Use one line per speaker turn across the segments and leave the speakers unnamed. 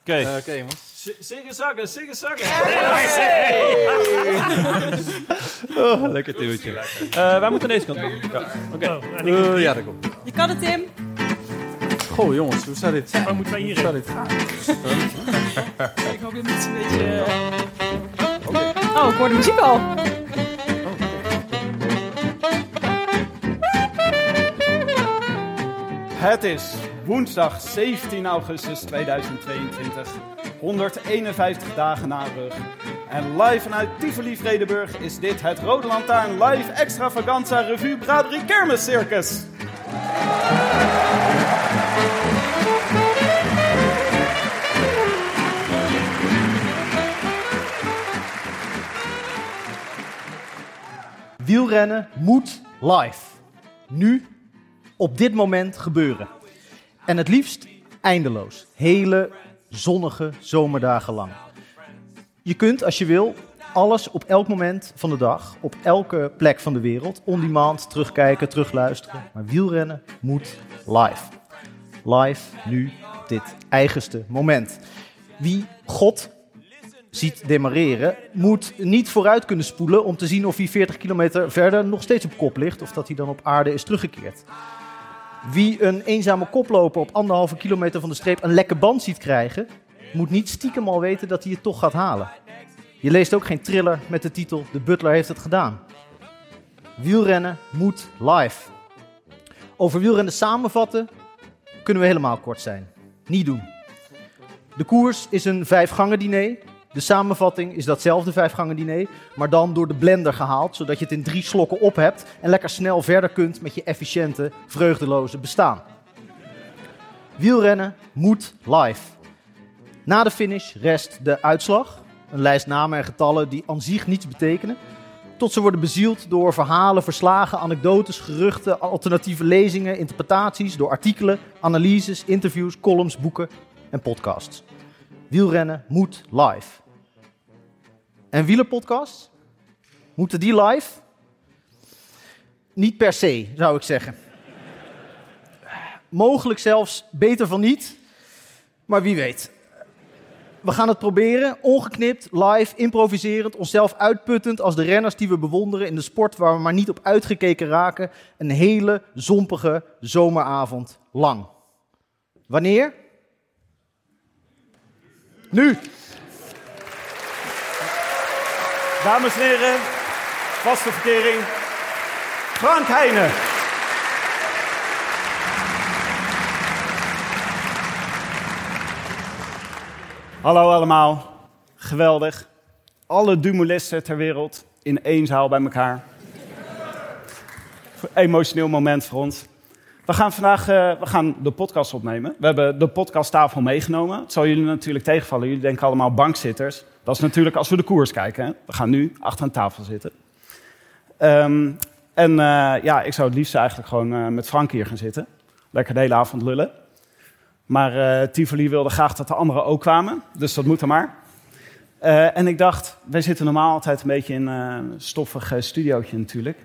Oké.
Zingen, zakken, zingen, zakken.
Oh, lekker tuurtje. Eh, wij moeten aan deze kant op. Ja. Oké. Eh, ja, daar komt.
Je kan het, Tim.
Goh jongens, hoe staat dit?
Dan moeten wij
Hoe
hierin.
staat dit? Ah,
Ik hoop dat het een beetje... eh, Oh, ik hoor de muziek al.
Het
is
woensdag 17 augustus 2022. 151 dagen na rug. En live vanuit Tivoli Vredeburg is dit het Rode Lantaarn Live Extravaganza Revue Braderie Kermis Circus.
Wielrennen moet live. Nu, op dit moment gebeuren. En het liefst eindeloos. Hele zonnige zomerdagen lang. Je kunt, als je wil, alles op elk moment van de dag, op elke plek van de wereld, on demand terugkijken, terugluisteren. Maar wielrennen moet live. Live, nu, op dit eigenste moment. Wie God ziet demareren, moet niet vooruit kunnen spoelen om te zien of hij 40 kilometer verder nog steeds op kop ligt of dat hij dan op aarde is teruggekeerd. Wie een eenzame koploper op anderhalve kilometer van de streep een lekke band ziet krijgen, moet niet stiekem al weten dat hij het toch gaat halen. Je leest ook geen thriller met de titel De Butler heeft het gedaan. Wielrennen moet live. Over wielrennen samenvatten kunnen we helemaal kort zijn. Niet doen. De koers is een vijfgangen diner. De samenvatting is datzelfde vijfgangen diner, maar dan door de blender gehaald, zodat je het in drie slokken op hebt en lekker snel verder kunt met je efficiënte, vreugdeloze bestaan. Wielrennen moet live. Na de finish rest de uitslag, een lijst namen en getallen die aan zich niets betekenen, tot ze worden bezield door verhalen, verslagen, anekdotes, geruchten, alternatieve lezingen, interpretaties, door artikelen, analyses, interviews, columns, boeken en podcasts. Wielrennen moet live. En wielerpodcasts? Moeten die live? Niet per se, zou ik zeggen. Mogelijk zelfs beter van niet, maar wie weet. We gaan het proberen, ongeknipt, live, improviserend, onszelf uitputtend als de renners die we bewonderen in de sport waar we maar niet op uitgekeken raken, een hele zompige zomeravond lang. Wanneer? Nu!
Dames en heren, vaste verkering, Frank Heijnen. Hallo allemaal, geweldig. Alle dumulisten ter wereld in één zaal bij elkaar. Emotioneel moment voor ons. We gaan vandaag eh, we gaan de podcast opnemen. We hebben de podcasttafel meegenomen. Het zal jullie natuurlijk tegenvallen. Jullie denken allemaal bankzitters. Dat is natuurlijk als we de koers kijken. Hè? We gaan nu achter een tafel zitten. Ehm, en eh, ja, ik zou het liefst eigenlijk gewoon eh, met Frank hier gaan zitten. Lekker de hele avond lullen. Maar eh, Tivoli wilde graag dat de anderen ook kwamen. Dus dat moet er maar. Eh, en ik dacht, wij zitten normaal altijd een beetje in eh, een stoffig eh, studiootje natuurlijk.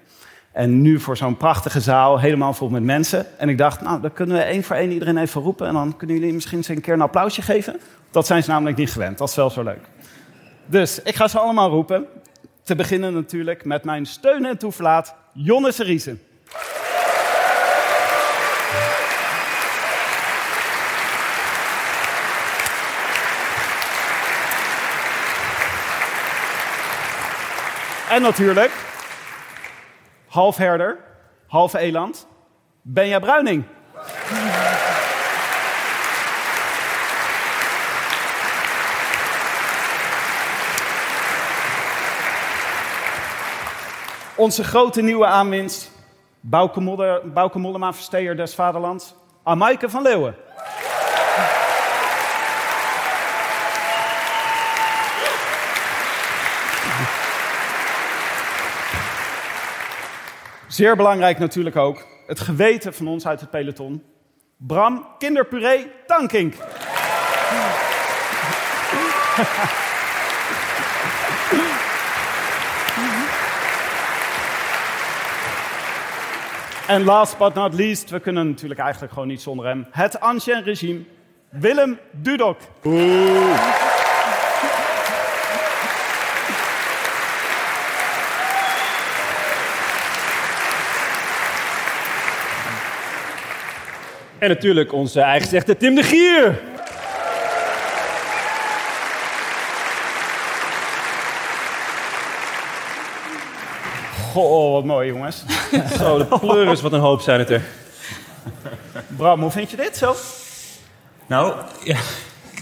En nu voor zo'n prachtige zaal, helemaal vol met mensen. En ik dacht, nou, dan kunnen we één voor één iedereen even roepen. En dan kunnen jullie misschien eens een keer een applausje geven. Dat zijn ze namelijk niet gewend. Dat is wel zo leuk. Dus ik ga ze allemaal roepen. Te beginnen natuurlijk met mijn steun en toeverlaat, Jonne Seriese. En natuurlijk half herder, half eland, Benja Bruining. Onze grote nieuwe aanwinst, Bouke, Modder, Bouke Mollema, versteer des vaderlands, Amaike van Leeuwen. Zeer belangrijk natuurlijk ook, het geweten van ons uit het peloton. Bram Kinderpuree Tankink. En last but not least, we kunnen natuurlijk eigenlijk gewoon niet zonder hem. Het ancien regime, Willem Dudok.
En natuurlijk onze eigen zegt Tim de Gier.
Goh, wat mooi jongens.
Zo, de pleuris, wat een hoop zijn het er.
Bram, hoe vind je dit zo?
Nou, ja,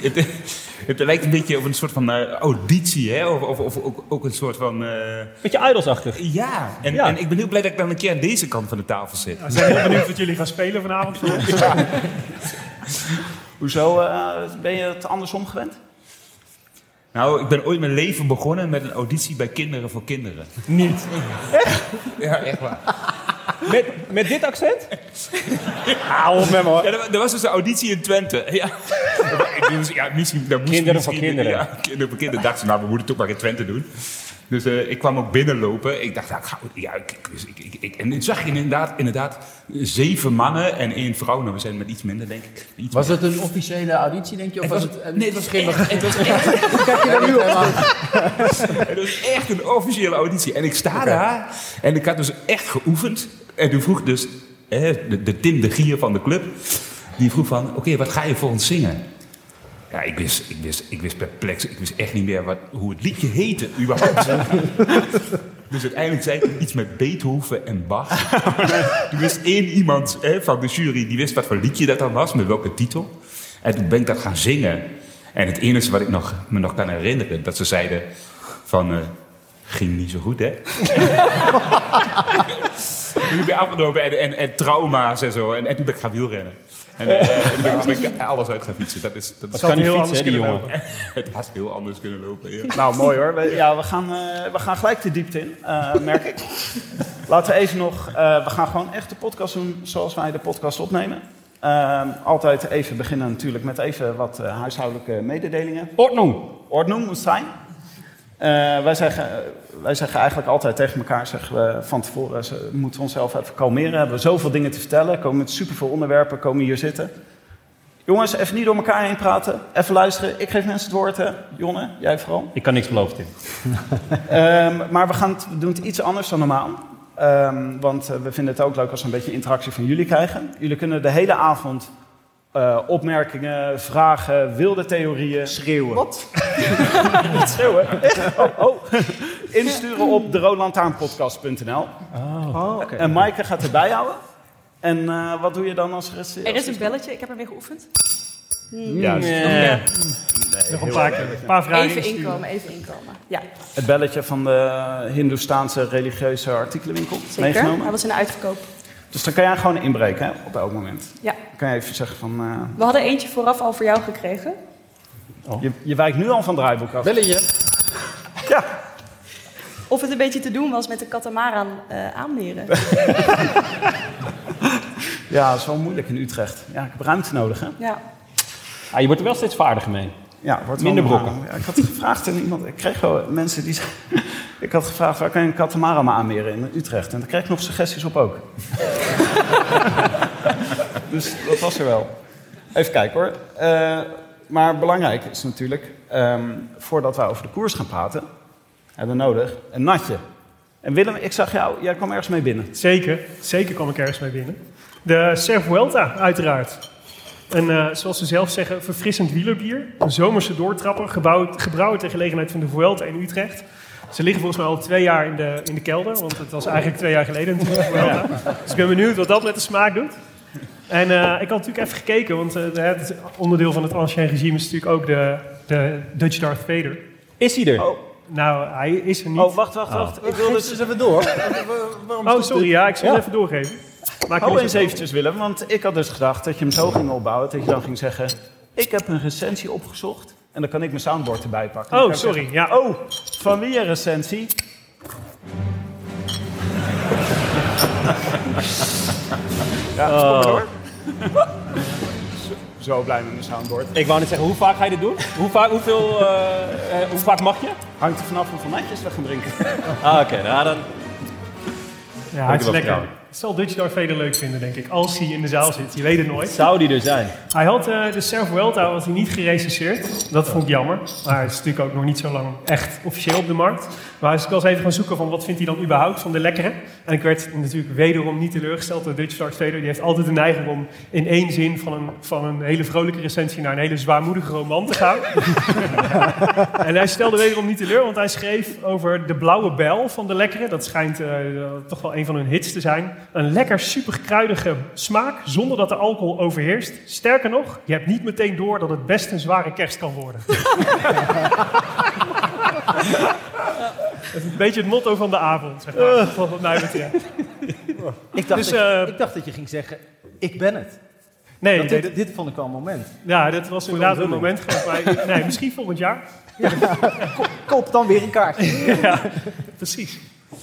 het, het lijkt een beetje op een soort van eh, auditie, hè? Of, of, of ook, ook een soort van... eh,
Beetje idolsachtig.
ja. En,
Ja.
en ik ben heel blij dat ik dan een keer aan deze kant van de tafel zit.
We zijn heel benieuwd wat jullie gaan spelen vanavond. voor ons.
Hoezo eh, ben je het andersom gewend?
Nou, ik ben ooit mijn leven begonnen met een auditie bij Kinderen voor Kinderen.
Niet.
Ja, echt waar.
Met, met dit accent? Hou op met me hoor.
Ja, er, wa- er was dus een auditie in Twente. Ja, Dus, ja misschien, dat moest
Kinderen
misschien-
voor kinderen.
Ja, kinderen voor kinderen. Dacht ze, nou, we moeten het ook maar in Twente doen. Dus eh, ik kwam ook binnenlopen. Ik dacht, nou, ik ga- ja, ik, ik- dus ik, ik, ik- En toen zag ik inderdaad, inderdaad zeven mannen en één vrouw. Nou, we zijn met iets minder, denk ik. Iets
Was het een officiële auditie, denk je? Of
Het
was,
was-
het een
nee, het was
schimmig-
echt- het was echt,
Kijk je daar nu op?
het was echt een officiële auditie. En ik sta daar en ik had dus echt geoefend. En toen vroeg dus hè, de, de Tim de Gier van de club, die vroeg van, oké, wat ga je voor ons zingen? Ja, ik wist, ik wist, ik wist perplex, ik wist echt niet meer wat, hoe het liedje heette überhaupt. dus uiteindelijk zei ik iets met Beethoven en Bach. Toen wist één iemand hè, van de jury, die wist wat voor liedje dat dan was, met welke titel. En toen ben ik dat gaan zingen. En het enige wat ik nog, me nog kan herinneren, dat ze zeiden van, eh, ging niet zo goed hè. toen ben ik afgenomen en, en, en trauma's en zo. En, en toen ben ik gaan wielrennen. En eh, toen ben ik- ben ik alles uit gaan fietsen. Dat is, dat is
Zou
Kan
het
niet
heel
fietsen,
anders
hè, die
kunnen
jongen.
het had heel anders kunnen lopen. Ja.
Nou, mooi hoor. We, ja, we gaan, eh, we gaan gelijk de diepte in, eh, merk ik. Laten we even nog... eh, we gaan gewoon echt de podcast doen zoals wij de podcast opnemen. Ehm, altijd even beginnen natuurlijk met even wat eh, huishoudelijke mededelingen.
Ordnung.
Ordnung moet zijn. Eh, wij, zeggen, eh, wij zeggen eigenlijk altijd tegen elkaar, zeggen we Eh, van tevoren, ze moeten we onszelf even kalmeren. Hebben we zoveel dingen te vertellen, komen met superveel onderwerpen, komen hier zitten. Jongens, even niet door elkaar heen praten, even luisteren. Ik geef mensen het woord, hè. Jonne, jij vooral.
Ik kan niks beloven, Tim.
Ehm, maar we, gaan het, we doen het iets anders dan normaal. Ehm, want eh, we vinden het ook leuk als we een beetje interactie van jullie krijgen. Jullie kunnen de hele avond eh, opmerkingen, vragen, wilde theorieën.
Schreeuwen.
Wat? Niet schreeuwen. Oh, oh. Insturen op de
Oh, oké.
En Maaike gaat erbij houden. En eh, wat doe je dan als er is?
Er is een belletje, ik heb ermee geoefend.
Eh,
Nog een paar, een paar vragen.
Even
insturen.
inkomen, even inkomen. Ja,
Het belletje van de Hindoestaanse religieuze artikelenwinkel
zeker. Hij
meegenomen.
was in de uitverkoop.
Dus dan kan jij gewoon inbreken hè, op elk moment.
Ja.
Dan kan je even zeggen van... eh,
We hadden eentje vooraf al voor jou gekregen.
Je, je wijkt nu al van het draaiboek af.
belletje?
Of het een beetje te doen was met de katamaran eh aanmeren.
Ja, dat is wel moeilijk in Utrecht. Ja, ik heb ruimte nodig, hè?
Ja.
Ah, je wordt er wel steeds vaardiger mee.
Ja, wordt
Minder
wel-
brokken.
Ja, ik had gevraagd aan iemand... Ik kreeg wel mensen die... zeiden- Ik had gevraagd, waar kan je een katamaran maar aanmeren in Utrecht? En daar kreeg ik nog suggesties op ook. dus dat was er wel. Even kijken, hoor. Eh, maar belangrijk is natuurlijk... ehm, voordat wij over de koers gaan praten... hebben we nodig een natje. En Willem, ik zag jou... Jij kwam ergens mee binnen.
Zeker, zeker kwam ik ergens mee binnen. De Cervuelta, uiteraard. Een, eh, zoals ze zelf zeggen, verfrissend wielerbier. Een zomerse doortrapper, gebouwd, gebrouwd ter gelegenheid van de Vuelta in Utrecht. Ze liggen volgens mij al twee jaar in de, in de kelder, want het was eigenlijk twee jaar geleden natuurlijk. voor Welta. Dus ik ben benieuwd wat dat met de smaak doet. En eh, ik had natuurlijk even gekeken, want eh, het onderdeel van het Ancien regime is natuurlijk ook de, de Dutch Darth Vader.
Is hij er?
Nou, hij is er niet.
Oh, wacht,
Ah.
wacht, wacht. Ik wil dus eens even door.
Oh, sorry, ja, ik zal het even doorgeven. Maak
Hou
jullie
eens
zo-
eventjes, Willem, want ik had dus gedacht dat je hem zo ging opbouwen. Dat je dan ging zeggen, ik heb een recensie opgezocht. En dan kan ik mijn soundboard erbij pakken.
Oh,
Dan kan ik
sorry,
zeggen,
ja.
Oh, van wie een recensie? ja, stop maar door. Zo blij met mijn soundboard.
Ik wou net zeggen, hoe vaak ga je dit doen? Hoe vaak, hoeveel, eh, eh, hoe vaak mag je?
Hangt er vanaf hoeveel netjes we gaan drinken.
Ah, oké. nou, dan...
Ja, het is lekker. Het zal Dutch Darth Vader leuk vinden, denk ik. Als hij in de zaal zit, je weet het nooit.
Zou die er zijn?
Hij had eh, de Serve Vuelta was hij niet gerecenseerd. Dat vond ik jammer. Maar het is natuurlijk ook nog niet zo lang echt officieel op de markt. Maar dus ik was even gaan zoeken van wat vindt hij dan überhaupt van de lekkere. En ik werd natuurlijk wederom niet teleurgesteld door Dutch Darth Vader. Die heeft altijd de neiging om in één zin van een, van een hele vrolijke recensie naar een hele zwaarmoedige roman te gaan. en hij stelde wederom niet teleur, want hij schreef over de blauwe bel van de lekkere. Dat schijnt eh, toch wel een van hun hits te zijn. Een lekker superkruidige smaak, zonder dat de alcohol overheerst. Sterker nog, je hebt niet meteen door dat het best een zware kerst kan worden. Dat is een beetje het motto van de avond, zeg maar. Wat mij betreft.
Ik dacht,
Dus,
dat,
eh,
ik dacht dat je ging zeggen, ik ben het.
Nee,
Want
nee,
dit, dit vond ik wel een moment.
Ja, dat was inderdaad een moment. geweest, maar- Nee, misschien volgend jaar.
Koop dan weer een kaartje.
Precies.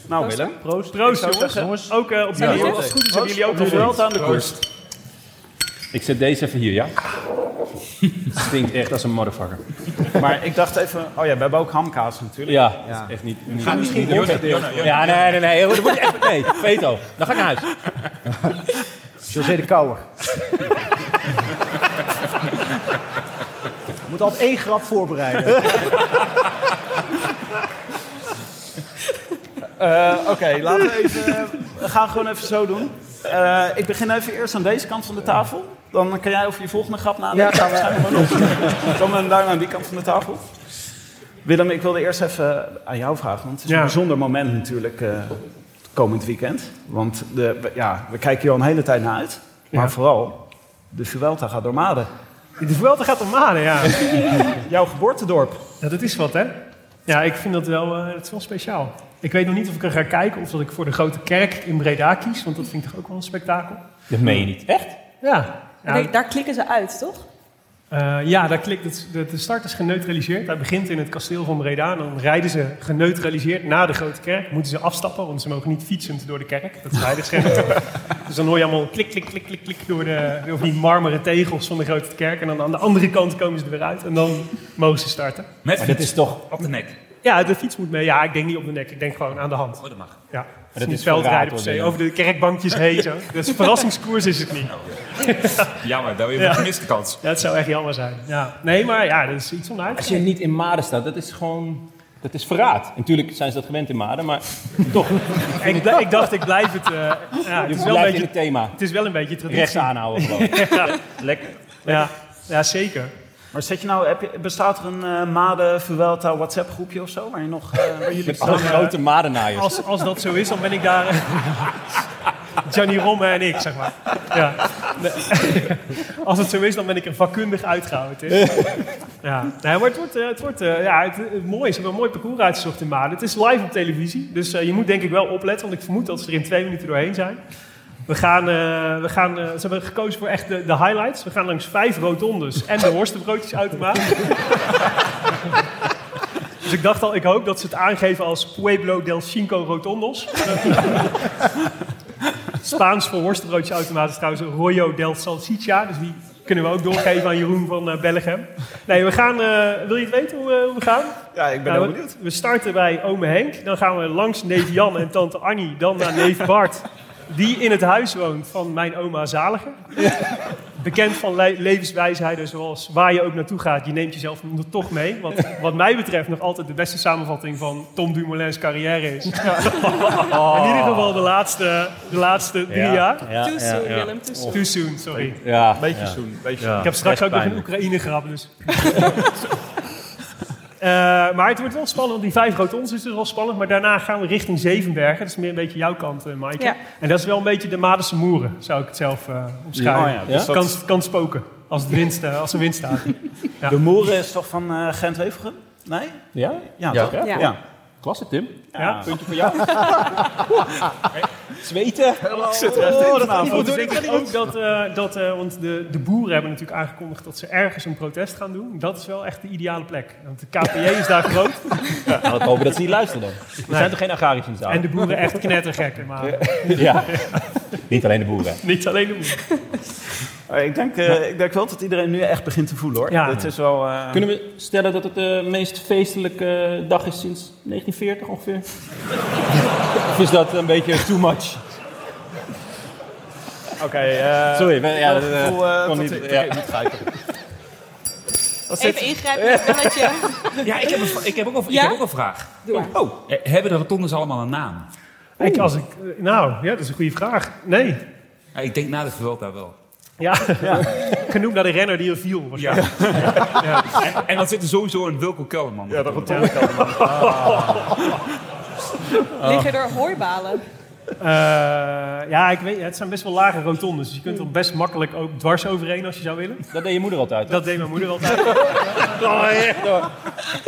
Nou, Willem.
Proost.
Proost,
Ik zou
jongens.
zeggen,
Ook eh, op
Ja,
jullie.
proost.
Als het goed is, hebben jullie ook
Nog
nog
wel aan de
koers.
koers. Ik zet deze even hier, ja? Stinkt echt als een motherfucker.
Maar ik dacht even, oh ja, we hebben ook hamkaas natuurlijk.
Ja,
Ja.
dat is echt niet... niet-
Gaat misschien
niet-
worden.
Ja, nee, nee, nee. Dat wordt echt... Nee, veto. Dan ga ik naar huis.
José de Kouwer. moet altijd één grap voorbereiden.
Eh, Oké, laten we even. eh, we gaan gewoon even zo doen. Eh, ik begin even eerst aan deze kant van de tafel. Dan kan jij over je volgende grap
Ja,
nadenken.
gaan we.
Dan ben ik daar aan die kant van de tafel. Willem, ik wilde eerst even aan jou vragen. Want het is
Ja.
een bijzonder moment natuurlijk eh, komend weekend. Want de, we- ja, we kijken hier al een hele tijd naar uit. Maar
Ja.
vooral, de Vuelta gaat door Maden.
De Vuelta gaat om Maden, ja.
Jouw geboortedorp.
Ja, dat is wat, hè? Ja, ik vind dat wel, eh, het is wel speciaal. Ik weet nog niet of ik er ga kijken of dat ik voor de grote kerk in Breda kies, want dat vind ik toch ook wel een spektakel.
Dat meen je niet. Echt?
Ja, ja,
Kijk, daar klikken ze uit, toch?
eh, ja daar klikt het, de, de start is geneutraliseerd. Hij begint in het kasteel van Breda en dan rijden ze geneutraliseerd naar de grote kerk. Moeten ze afstappen, want ze mogen niet fietsend door de kerk. Dat is rijderscherm. dus dan hoor je allemaal klik, klik, klik, klik, klik door, de, door die marmeren tegels van de grote kerk. En dan aan de andere kant komen ze er weer uit en dan mogen ze starten.
Met
Maar dat
fiets.
is toch...
Op de nek.
Ja, de fiets moet mee. Ja, ik denk niet op de nek. Ik denk gewoon aan de hand.
Oh, dat mag.
Ja. Het is
is
niet
verraad,
veldrijden per se.
hoor,
Over de kerkbankjes heen zo. Dus verrassingskoers is het
Oh.
niet.
Jammer, daar weer
Ja.
een gemiste kans.
Dat zou echt jammer zijn. Ja. Nee, maar ja, dat is iets om naar uit te
Als je niet in Maden staat, dat is gewoon... Dat is verraad. En Natuurlijk zijn ze dat gewend in Maden, maar toch.
kijken. ik, blij- ik dacht, ik blijf het... eh, ja, het,
Je
is wel een
blijft in
beetje,
het thema.
het is wel een beetje traditie.
Rechts aanhouden gewoon.
Lekker.
Ja, ja zeker.
Maar zet je nou, heb je, bestaat er een eh Maden Vuelta WhatsApp groepje of zo? Waar je nog... eh, waar jullie
Met alle grote Madenaaiers.
Als, als dat zo is, dan ben ik daar... eh, Gianni Romme en ik, zeg maar. Ja. Nee. Als het zo is, dan ben ik er vakkundig uitgehouden. Het is- Ja. Nee, maar het wordt, eh, het wordt eh, ja, het, het mooi. Ze hebben een mooi parcours uitgezocht in Maden. Het is live op televisie, dus eh, je moet denk ik wel opletten, want ik vermoed dat ze er in twee minuten doorheen zijn. We gaan, eh, we gaan, eh, ze hebben gekozen voor echt de, de highlights. We gaan langs vijf rotondes en de worstenbroodjesautomaat. Dus ik dacht al, ik hoop dat ze het aangeven als Pueblo del Cinco Rotondos. Spaans voor worstenbroodjesautomaat is trouwens Royo del Salsicha. Dus die kunnen we ook doorgeven aan Jeroen van eh Bellegem. Nee, we gaan... eh, wil je het weten hoe, eh, hoe we gaan?
Ja, ik ben
Nou,
heel
we-
benieuwd.
We starten bij ome Henk. Dan gaan we langs neef Jan en tante Annie. Dan naar neef Bart. Die in het huis woont van mijn oma Zaliger. Bekend van le- levenswijsheden zoals waar je ook naartoe gaat, je neemt jezelf nog toch mee. Wat, wat mij betreft nog altijd de beste samenvatting van Tom Dumoulin's carrière is. In ieder geval de laatste, de laatste drie jaar.
Ja,
too soon, Willem, too soon.
Too soon, sorry.
ja.
Beetje zoen. Beetje
Ik heb straks
echt
ook nog een
pijnlijk.
Oekraïne grap, dus. Eh, Eh, maar het wordt wel spannend, want die vijf grote ons is dus wel spannend. Maar daarna gaan we richting Zevenbergen. Dat is meer een beetje jouw kant, eh Maaike.
Ja.
En dat is wel een beetje de Madense Moeren, zou ik het zelf eh omschrijven.
Ja, oh ja, dus
kan,
dat-
kan spoken, als, het wind, eh, als er wind staat. Ja.
De Moeren is toch van eh Gent-Wevergem? Nee?
Ja?
Ja,
Ja.
toch? hè?
Ja.
Oh. ja.
Klasse, Tim.
Ja.
Puntje voor jou.
Zweten.
Ik zit er echt even aan. Overigens denk ik ook dat, eh, dat eh, want de, de boeren hebben natuurlijk aangekondigd dat ze ergens een protest gaan doen. Dat is wel echt de ideale plek. Want de KPJ is daar groot.
Laten we hopen Nou, dat ze niet luisteren dan. Er
Nee.
zijn toch geen agrarische in de zaal?
En de boeren echt knettergek. Maar
Ja. niet alleen de boeren.
niet alleen de boeren.
Maar Ik denk, eh, ik denk wel dat iedereen nu echt begint te voelen hoor.
Ja.
Dit is wel, eh,
Kunnen we stellen dat het de meest feestelijke Eh, dag is sinds 1940 ongeveer? of is dat een beetje too much?
Oké, eh,
Sorry, maar ja,
dat
dat, eh,
gevoel, eh,
kon
dat
niet-
ik-
ja.
oké, niet grijpen. Wat zit-
Even ingrijpen met het belletje.
Ja, ik heb, een, v- ik heb, ook, een, ik
Ja?
heb ook een vraag.
Doe maar.
Oh, eh, hebben de rotondes allemaal een naam?
Kijk, als ik, eh, nou, ja, dat is een goede vraag. Nee.
Ja, ik denk na de geweld daar wel.
Ja, genoemd naar de renner die er viel.
Ja. En, en dan zit er sowieso een Wilco Kelderman. Ja, dat
Liggen er hooibalen?
Eh, ja, ik weet, het zijn best wel lage rotondes. Dus je kunt er best makkelijk ook dwars overheen als je zou willen.
Dat deed je moeder altijd.
Dat deed mijn moeder altijd.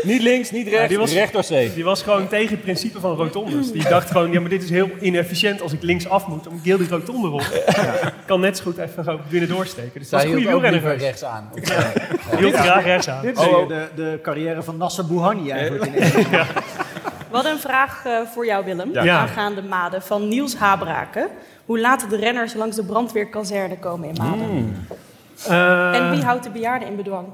Niet links, niet rechts,
Ja, die was-
recht door zee.
Die was gewoon tegen het principe van rotondes. Die dacht gewoon, ja, maar dit is heel inefficiënt als ik linksaf moet. Dan moet ik heel die rotonde rond. Ik kan net zo goed even gewoon binnen doorsteken. Dus dat is een
Zij
goede Oh,
hield ook
wielrenner
liever
geweest.
rechts aan.
Hield graag rechts aan.
Dit is weer de, de carrière van Nasser Bouhanni eigenlijk. in één.
We hadden een vraag eh, voor jou, Willem.
Ja.
Aangaande Maden van Niels Habraken. Hoe laten de renners langs de brandweerkazerne komen in Maden?
Eh,
En wie houdt de bejaarden in bedwang?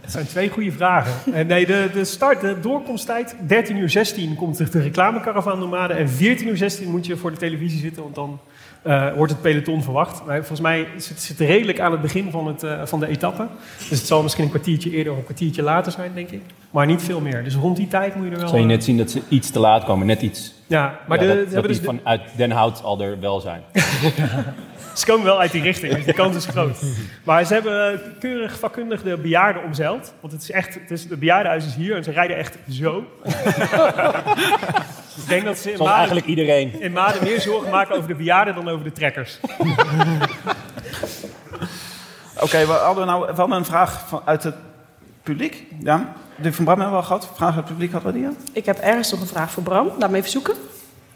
Het zijn twee goede vragen. En nee, de, de start, de doorkomsttijd, 13 uur 16 komt de reclamecaravan Nomade. En 14 uur 16 moet je voor de televisie zitten, want dan eh, wordt het peloton verwacht. Maar volgens mij zit zit het redelijk aan het begin van, het, eh, van de etappe. Dus het zal misschien een kwartiertje eerder of een kwartiertje later zijn, denk ik. Maar niet veel meer. Dus rond die tijd moet je er wel...
Zal je net zien dat ze iets te laat komen, net iets.
Ja, maar
Ja,
de,
dat,
ze
dat
hebben
die
dus-
vanuit Den Hout al er wel zijn.
Ze komen wel uit die richting, dus de kans is groot. Maar ze hebben eh, keurig vakkundig de bejaarden omzeild. Want het is echt, het is, de bejaardenhuis is hier en ze rijden echt zo. ik denk dat ze in
Zoals
Maden,
eigenlijk iedereen.
in Maden meer zorgen maken over de bejaarden dan over de trekkers.
Oké, we, hadden nou, we hadden een vraag van, uit het publiek. Ja? Die van Bram hebben we al gehad. Vraag uit het publiek hadden we die al?
Ik heb ergens nog een vraag voor Bram. Laat me even zoeken.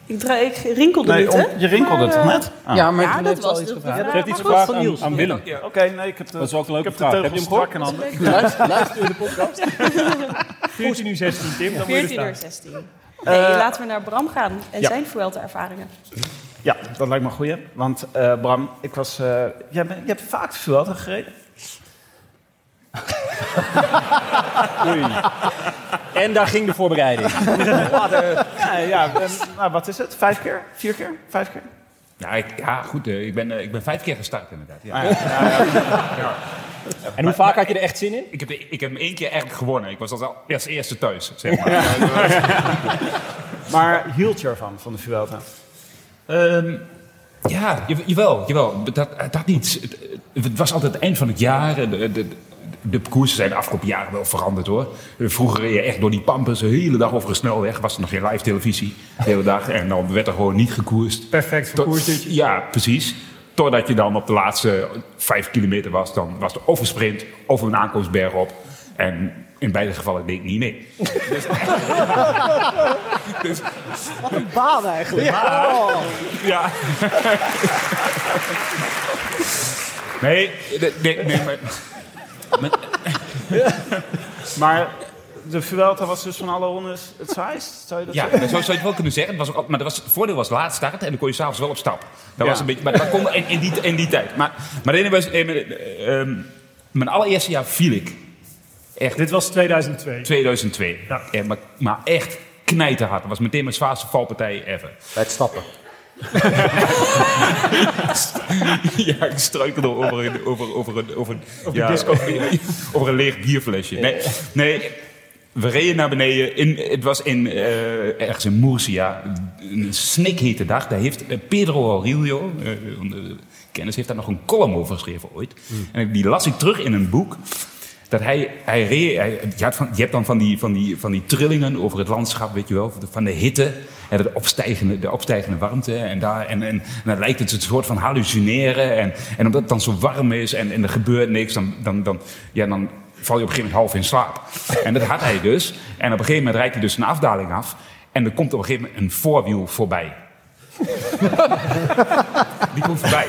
Ik, dra- ik rinkelde niet,
om-
hè?
je rinkelde
Maar,
toch
eh,
net? Ah.
Ja, maar
Ja,
toen
dat
heeft ze al
was
iets
de
gevraagd.
Ze
vraag.
heeft iets
Maar goed,
gevraagd aan, aan Willem.
Oké, nee, ik heb de,
Dat is wel een leuke
ik heb
vraag.
de
Heb je
teugels
hem gehoord?
strak in handen.
Luister, luister in de podcast.
14 uur 16, Tim, dan moet je
14
staan.
uur 16. Nee,
Eh,
laten we naar Bram gaan en
ja.
zijn Vuelta-ervaringen.
Ja, dat lijkt me een goeie. Want eh, Bram, ik was, eh, jij, bent- je hebt vaak Vuelta gereden.
En daar ging de voorbereiding.
Ja, ja en, nou, wat is het? Vijf keer? Vier keer? Vijf keer?
Ja, ik, ja goed, eh, ik ben, eh, ik ben vijf keer gestart inderdaad. Ja.
En hoe vaak had je er echt zin in?
Ik, heb, de- ik heb hem één keer echt gewonnen. Ik was als, al- als eerste thuis, zeg maar.
Maar hield je ervan, van de Vuelta?
Ehm, ja, jaw- jawel, jawel. Dat, dat niet. Het, het- het was altijd het eind van het jaar. en De, de, de parcoursen zijn de afgelopen jaren wel veranderd hoor. Vroeger reed je echt door die pampas de hele dag over een snelweg. Was er nog geen live televisie de hele dag. En dan werd er gewoon niet gekoerst.
Perfect voor
Tot-
koertje.
Ja, precies. Totdat je dan op de laatste vijf kilometer was. Dan was er of een sprint of een aankomstberg op. En in beide gevallen deed ik niet mee.
Wat een baan eigenlijk. Oh.
Ja. Nee, nee, nee, nee, maar-
Maar de Vuelta was dus van alle rondes het saaist, zou je dat
Ja,
zeggen?
zo zou je het wel kunnen zeggen. Het was ook, al- maar dat was, het voordeel was laat starten en dan kon je s'avonds wel op stap. Dat
Ja.
was een beetje, maar dat kon in, in, die, in die tijd. Maar, maar de ene was, eh, mijn, eh, ehm, mijn allereerste jaar viel ik.
Dit was 2002.
2002.
Ja.
Eh, maar, maar echt knijterhard. Dat was meteen mijn zwaarste valpartij ever.
Bij het stappen.
ja, ik struikelde over een, over, over een, over een, ja,
disco.
over, over een leeg bierflesje. Nee, nee, we reden naar beneden. In, het was in, eh, ergens in Murcia. Een snikhete dag. Daar heeft eh, Pedro Aurelio, eh, een, eh, kennis, heeft daar nog een column over geschreven ooit. En die las ik terug in een boek. Dat hij, hij, re- hij- je, had van, je hebt dan van die, van, die, van die trillingen over het landschap, weet je wel, van de hitte en de opstijgende, de opstijgende warmte. En, daar, en, en, en dan lijkt het een soort van hallucineren. En, en omdat het dan zo warm is en, en er gebeurt niks, dan, dan, dan, ja, dan val je op een gegeven moment half in slaap. En dat had hij dus. En op een gegeven moment rijdt hij dus een afdaling af. En er komt op een gegeven moment een voorwiel voorbij. Die komt voorbij.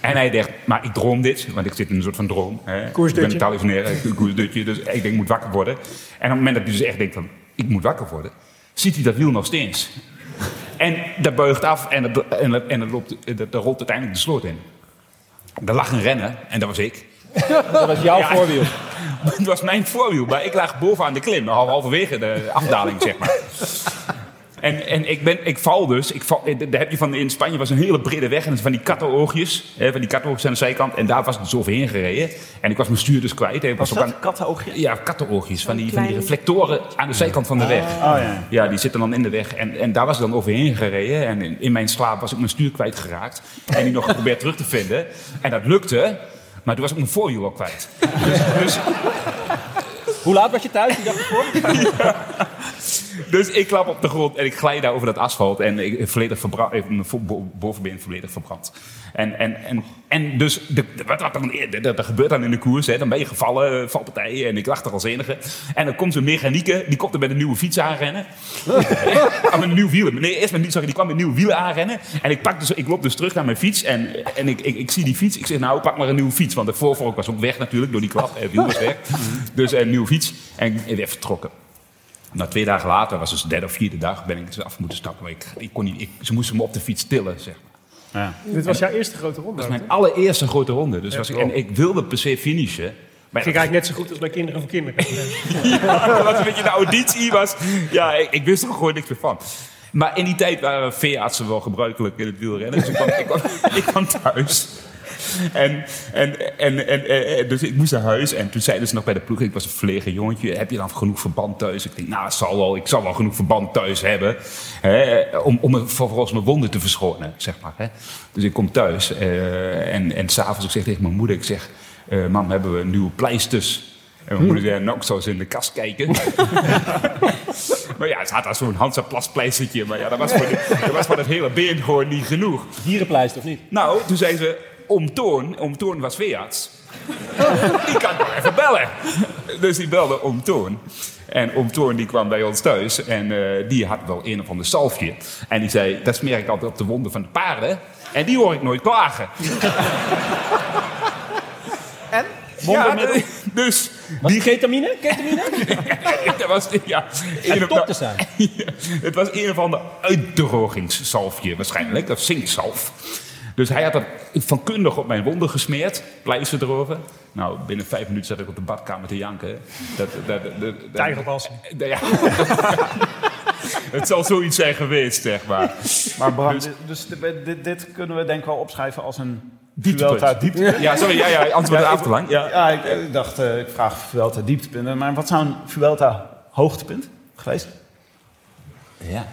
En hij dacht, maar ik droom dit, want ik zit in een soort van droom. Hè.
Koersdutje.
Ik ben een hallucineren, ik doe een koersdutje, dus ik denk, ik moet wakker worden. En op het moment dat hij dus echt denkt van, ik moet wakker worden, ziet hij dat wiel nog steeds. En dat buigt af en, dat, en, dat, en dat, loopt, dat, dat rolt uiteindelijk de sloot in. Er lag een renner, en dat was ik.
Dat was jouw voorwiel.
Het was mijn voorwiel, maar ik lag bovenaan de klim, hal- halverwege de afdaling, zeg maar. En, en ik, ben, ik val dus. Ik val, eh, daar heb je van, in Spanje was een hele brede weg en van die kattenoogjes. Hè, van die kattenoogjes aan de zijkant. En daar was ik dus overheen gereden. En ik was mijn stuur dus kwijt. En ik
Was
was ook
dat
aan-
kattenoogjes?
Ja, kattenoogjes. Van die, van die
klein-
reflectoren aan de zijkant van de weg.
ja.
Ja, die zitten dan in de weg. En, en daar was ik dan overheen gereden. En in, in mijn slaap was ik mijn stuur kwijtgeraakt. En die nog geprobeerd terug te vinden. En dat lukte. Maar toen was ik mijn voorwiel al kwijt. Dus,
Hoe laat was je thuis die dag ervoor?
Dus ik klap op de grond en ik glij daar over dat asfalt. En ik, volledig verbra- eh, mijn vo- bo- bovenbeen volledig verbrand. En, en, en, en dus, de, de- wat, wat dan, eh, dat, dat gebeurt dan in de koers. Hè. Dan ben je gevallen, eh, valpartijen. En ik lag er als enige. En dan komt zo'n mechanieke, die komt er met een nieuwe fiets aanrennen. Ah, met een nieuw wielen. Nee, eerst met, sorry, die kwam met nieuwe wielen aanrennen. En ik, pak dus, ik loop dus terug naar mijn fiets. En, en ik, ik, ik zie die fiets. Ik zeg, nou, pak maar een nieuwe fiets. Want de voorvork was ook weg natuurlijk, door die klap. Het wiel was weg. Dus een nieuwe fiets. En ik ben weer vertrokken. Nou, twee dagen later, was dus de derde of vierde dag, ben ik dus af moeten stappen. Maar ik, ik kon niet, ik, ze moesten me op de fiets tillen, zeg maar.
Dit was jouw eerste grote ronde.
Dat was mijn allereerste grote ronde. Dus was ik, en ik wilde per se finishen. Maar
Ging eigenlijk net zo goed als bij Kinderen voor Kinderen.
ja, dat was een beetje de auditie was. Ja, ik, ik wist er gewoon niks meer van. Maar in die tijd waren veeartsen wel gebruikelijk in het wielrennen. Dus ik kwam, ik kwam, ik kwam thuis. En, en, en, en, eh, dus ik moest naar huis. En toen zeiden ze nog bij de ploeg, ik was een verlegen jongetje. Heb je dan genoeg verband thuis? Ik denk, nou, het zal wel, ik zal wel genoeg verband thuis hebben. Hè, om om me, vervolgens mijn wonden te verschonen, zeg maar. Hè. Dus ik kom thuis. eh, en en s'avonds, ik zeg tegen mijn moeder, ik zeg... eh, mam, hebben we nieuwe pleisters? En mijn moeder zei, nou, ik zou eens in de kast kijken. maar ja, ze had daar zo'n Hansa Plaspleistertje. Maar ja, dat was, voor de- dat was voor het hele been gewoon niet genoeg.
Dierenpleister of niet?
Nou, toen zei ze, om Toorn, om Toorn was veearts. die kan toch even bellen. Dus die belde om Toorn. En om Toorn die kwam bij ons thuis. En eh, die had wel een of ander zalfje. En die zei, dat smeer ik altijd op de wonden van de paarden. En die hoor ik nooit klagen.
En?
Wondermiddel?
Ja, dus... Die
ketamine? Ketamine?
dat was, ja, een
top
of
te
ander-
zijn.
het was een of ander uitdrogingszalfje waarschijnlijk. Dat zinkzalf. Dus hij had dat vankundig op mijn wonden gesmeerd. Pleister erover. Nou, binnen vijf minuten zat ik op de badkamer te janken. Dat, dat, dat, dat,
Tijgerbalsem.
Ja. Het zal zoiets zijn geweest, zeg maar.
Maar Bram,
Dus-
dit- dus, dit- dit, dit kunnen we denk ik wel opschrijven als een
Dieptepunt.
Vuelta dieptepunt.
Ja, sorry, ja, ja, anders wordt het
ik-
af te lang. Ja.
Ja, ik, ik dacht, eh, ik vraag Vuelta dieptepunten. Maar wat zou een Vuelta hoogtepunt geweest?
Ja.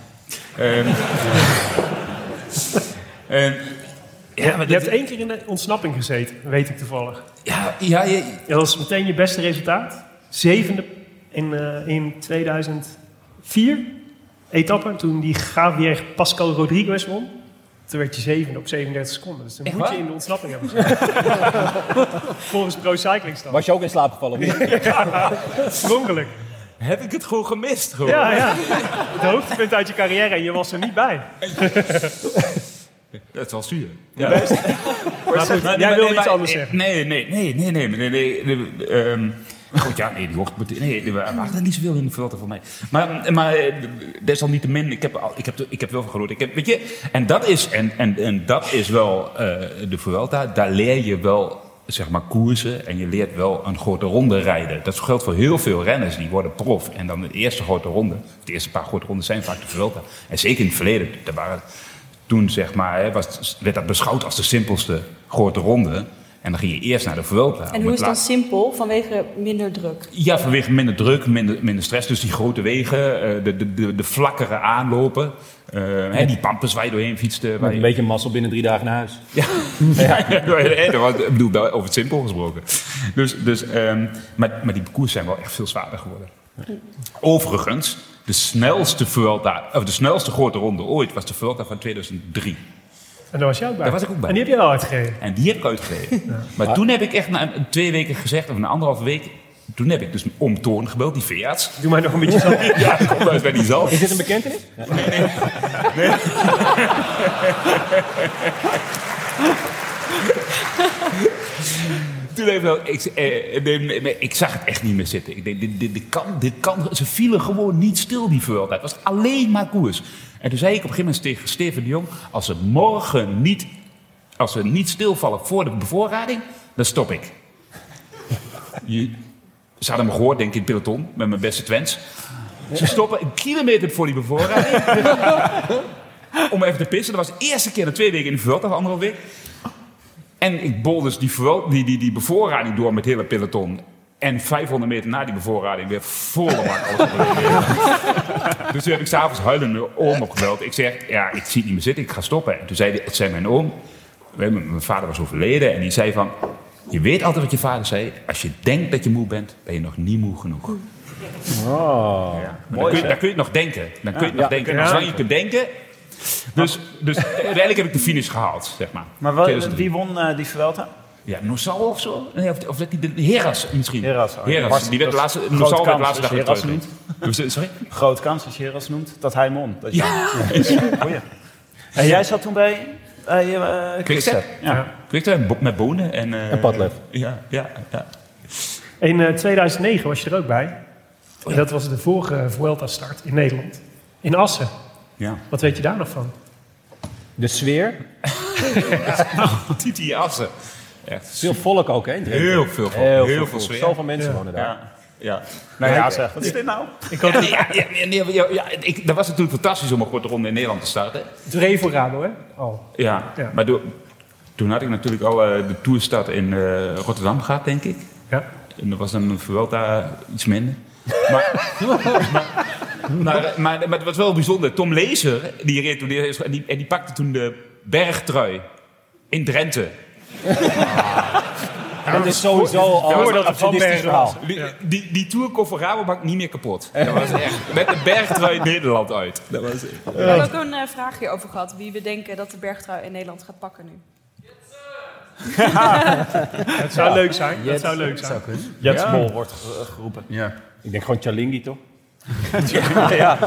Ehm. Ehm, ja, maar
je
dit-
hebt één keer in de ontsnapping gezeten, weet ik toevallig.
Ja, ja, ja.
Dat was meteen je beste resultaat. Zevende in, eh, in 2004. Etappe, toen die Javier Pascal Rodriguez won. Toen werd je zevende op 37 seconden. Dus dan
Echt
moet je
waar?
in de ontsnapping hebben gezeten. Volgens Pro Cycling Stats.
Was je ook in slaap gevallen? of niet?
Sprongelijk.
Heb ik het gewoon gemist? Gewoon?
Ja, ja. Het hoogtepunt uit je carrière en je was er niet bij.
Dat is wel zuur.
Ja. Maar goed, jij
maar-
wil
nee,
iets
maar-
anders
eh,
zeggen.
Nee, nee, nee, nee, nee, nee, nee. nee, ehm, Goed, ja, nee, die hoort meteen. Nee, nee, we waren niet zoveel in de verwachting van mij. Maar, maar eh, desalniettemin, ik heb, al, ik, heb, ik heb wel van gehoord. Ik heb, weet je, en dat is, en, en, en dat is wel eh, de Vuelta. Daar leer je wel, zeg maar, koersen. En je leert wel een grote ronde rijden. Dat geldt voor heel veel renners. Die worden prof. En dan de eerste grote ronde. De eerste paar grote ronden zijn vaak de Vuelta. En zeker in het verleden, daar waren toen zeg maar, hè, was, werd dat beschouwd als de simpelste grote ronde. En dan ging je eerst naar de Vuelta. om
En hoe
het
is het dan
laat-
simpel? Vanwege minder druk.
ja, vanwege minder druk, minder, minder stress. Dus die grote wegen, eh, de, de, de, de vlakkere aanlopen. eh, hè, die pampers waar je doorheen fietste. Waar je...
Een beetje mazzel binnen drie dagen naar huis.
Ja, ja, dat was- ik bedoel, daar over het simpel gesproken. Dus, dus, ehm, maar, maar die parcours zijn wel echt veel zwaarder geworden. Overigens, de snelste, Vuelta, of de snelste grote ronde ooit was de Vuelta van 2003.
En daar was jij ook bij.
Daar was ik ook bij.
En die heb je wel uitgegeven.
En die heb ik uitgereden.
Ja.
Maar toen heb ik echt na een- twee weken gezegd, of een anderhalve week... Toen heb ik dus om Toorn gebeld, die veearts.
Doe mij nog een beetje zand.
Ja, kom maar eens bij die zand.
Is dit een bekentenis?
Toen heeft wel, ik, eh, nee, nee, nee, ik zag het echt niet meer zitten. Ik denk, dit, dit, dit kan, dit kan, ze vielen gewoon niet stil, die Vuelta. Het was alleen maar koers. En toen zei ik op een gegeven moment tegen Steven de Jong... als ze morgen niet, als ze niet stilvallen voor de bevoorrading, dan stop ik. Je, ze hadden me gehoord, denk ik, in het peloton, met mijn beste Twents. Ze stoppen een kilometer voor die bevoorrading. om even te pissen. Dat was de eerste keer na twee weken in de Vuelta, of anderhalf week. En ik bol dus die, verwel- die, die, die bevoorrading door met het hele peloton. En 500 meter na die bevoorrading weer volle bak alles op en neer. Dus toen heb ik s'avonds huilend mijn oom opgebeld. Ik zeg, ja, ik zie het niet meer zitten, ik ga stoppen. En toen zei, die- het zei mijn oom, we hebben- mijn vader was overleden. En die zei van, je weet altijd wat je vader zei. Als je denkt dat je moe bent, ben je nog niet moe genoeg.
Oh.
Maar dan, kun je, dan kun je het nog denken. Dan kun je het
Ja.
nog denken. En
Ja.
zolang je kunt denken... Dus, dus uiteindelijk heb ik de finish gehaald, zeg maar.
Maar wel-
2003.
wie won eh, die Vuelta?
Ja, Nossal of zo? Nee, of, of dat die de Heras misschien.
Heras. oh,
Heras,
Bart-
die werd
dat is
laatste-
groot
Nossal werd
kans
laatste
als
dag
je Heras
terug. noemt. Sorry?
Groot kans als je Heras noemt, dat hij won. Dat je-
Ja.
Goeie. En jij zat toen bij... bij eh,
Quickstep.
Ja.
Quickstep bo- met bonen en... eh,
En Padlef.
Ja, ja, ja.
In eh, 2009 was je er ook bij. En dat was de vorige Vuelta-start in Nederland. In Assen.
ja.
Wat weet je daar nog van?
De sfeer.
Titi Assen. Echt.
Veel volk ook, hè? in Drenthe.
Heel veel volk, heel veel
volk.
sfeer.
Zoveel mensen wonen daar.
Ja. ja.
Nou ja,
ik-
zeg, wat is dit nou?
Ik
Ja,
had
nee, ja, ja, nee, ja, ja, ik, dat was natuurlijk fantastisch om een korte ronde in Nederland te starten.
Dre voor Rabo, hè? Oh.
Ja,
Ja.
maar door- toen had ik natuurlijk al eh, de toerstart in eh, Rotterdam gehad, denk ik.
Ja.
En dat was dan een Vuelta iets minder. Maar, maar, maar, maar, maar het was wel bijzonder. Tom Lezer, die reed toen eerst- en die, en die pakte toen de bergtrui in Drenthe.
Dat is sowieso al
dat
een
het van
absurdistisch
Bergen was.
verhaal.
Die, die, die tour kon voor Rabobank niet meer kapot. Dat was echt met de bergtrui Nederland uit. Dat was
We hebben ook een eh, vraagje over gehad. Wie we denken dat de bergtrui in Nederland gaat pakken nu.
Dat zou leuk zijn. Dat zou leuk zijn.
Jets Mol wordt ge- geroepen.
ja.
Ik denk gewoon Chalingi, toch? ja.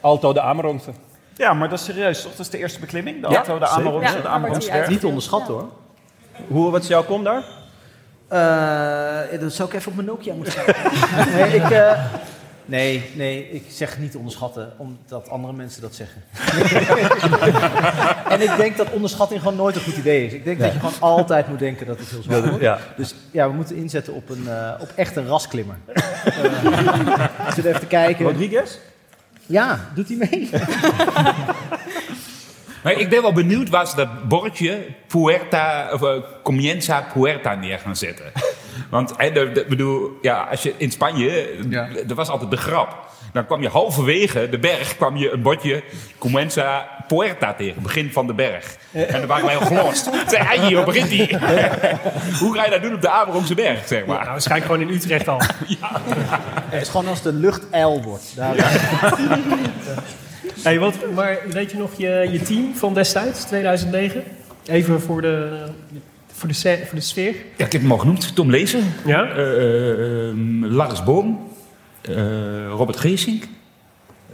Alto de Ameronte.
Ja, maar dat is serieus, toch? Dat is de eerste beklimming? De
Ja,
auto, de
zeker.
Amarons,
Ja,
de
wordt
Amaronsberg.
die
Niet onderschat hoor.
Hoe, wat is jouw kom daar?
Eh, dat zou ik even op mijn Nokia moeten schrijven. nee, ik, eh, nee, nee, ik zeg niet onderschatten, omdat andere mensen dat zeggen. en ik denk dat onderschatting gewoon nooit een goed idee is. Ik denk dat je gewoon altijd moet denken dat het heel zwaar wordt.
ja.
Dus ja, we moeten inzetten op, een, eh, op echt een rasklimmer. Eh, ik zit even te kijken.
Rodriguez?
Ja, doet hij mee?
Maar ik ben wel benieuwd waar ze dat bordje Puerta, of, eh, Comienza Puerta neer gaan zetten. Want hè, de- de- bedoel, ja, als je in Spanje,
Ja.
d- dat was altijd de grap. Dan kwam je halverwege de berg, kwam je een bordje Comienza Puerta tegen, begin van de berg. En dan waren wij al gelost. Zeg, hey, hier begint die. Hoe ga je dat doen op de Averongse berg, zeg maar?
Nou, waarschijnlijk gewoon in Utrecht al.
Het is gewoon als de lucht eil wordt. Daar,
Hey, wat, maar weet je nog je, je team van destijds, 2009? Even voor de, voor de, se- voor de sfeer.
Ja, ik heb hem al genoemd. Tom Lezer,
Ja?
eh, eh, ehm, Lars Boom, eh, Robert Geesink,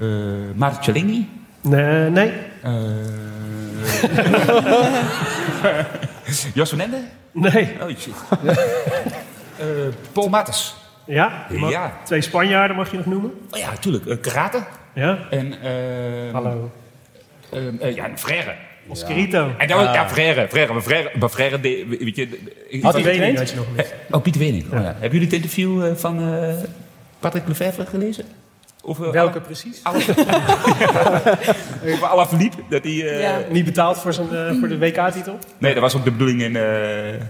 eh Maarten Cialinghi.
Nee, nee.
Eh Jos van Ende?
nee.
Oh, shit. Eh, Paul Mattes.
Ja? Je mag-
Ja.
Twee Spanjaarden mag je nog noemen.
Oh ja, tuurlijk. Eh, karate.
Ja?
En, eh,
Hallo.
ehm, eh, ja, en Frère.
Oscarito.
En dan, ja, Frère. Frère. Maar Frère, maar Frère deed- weet je... ik-
Had
Die
hij
weet ik,
getraind?
weet je nog niet.
Oh, Piet Wening. Oh, ja. Hebben jullie het interview eh, van eh, Patrick Lefevre gelezen? Of, eh,
Welke precies?
Ala- Over Alaphilippe? Dat hij... eh,
Ja.
Niet betaald voor, zijn, eh, voor de WK-titel?
Nee, dat was ook de bedoeling in... eh,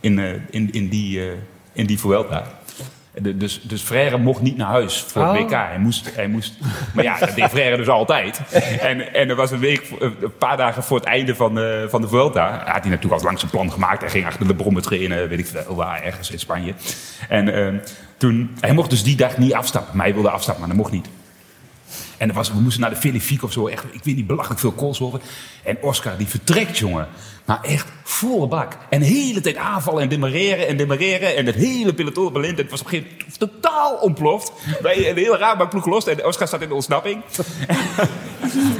in, eh, in, in, die, eh, in die Vuelta. De- Dus, dus Frère mocht niet naar huis voor het
Oh.
WK. Hij moest, hij moest, maar ja, dat deed Frère dus altijd. En, en er was een week, voor- een paar dagen voor het einde van, de- van de Vuelta... had hij natuurlijk al langs een plan gemaakt. Hij ging achter de brommen trainen, weet ik veel waar, ergens in Spanje. En ehm, toen, hij mocht dus die dag niet afstappen. Maar hij wilde afstappen, maar dat mocht niet. En er was, we moesten naar de Filipfiek of zo. Echt, ik weet niet, belachelijk veel koolzwolven. En Oscar, die vertrekt, jongen. Maar echt volle bak. En de hele tijd aanvallen en demareren en demareren. En het hele peloton belint. Het was op een gegeven moment totaal ontploft. Wij een hele raar, maar ploeg gelost. En Oscar staat in de ontsnapping.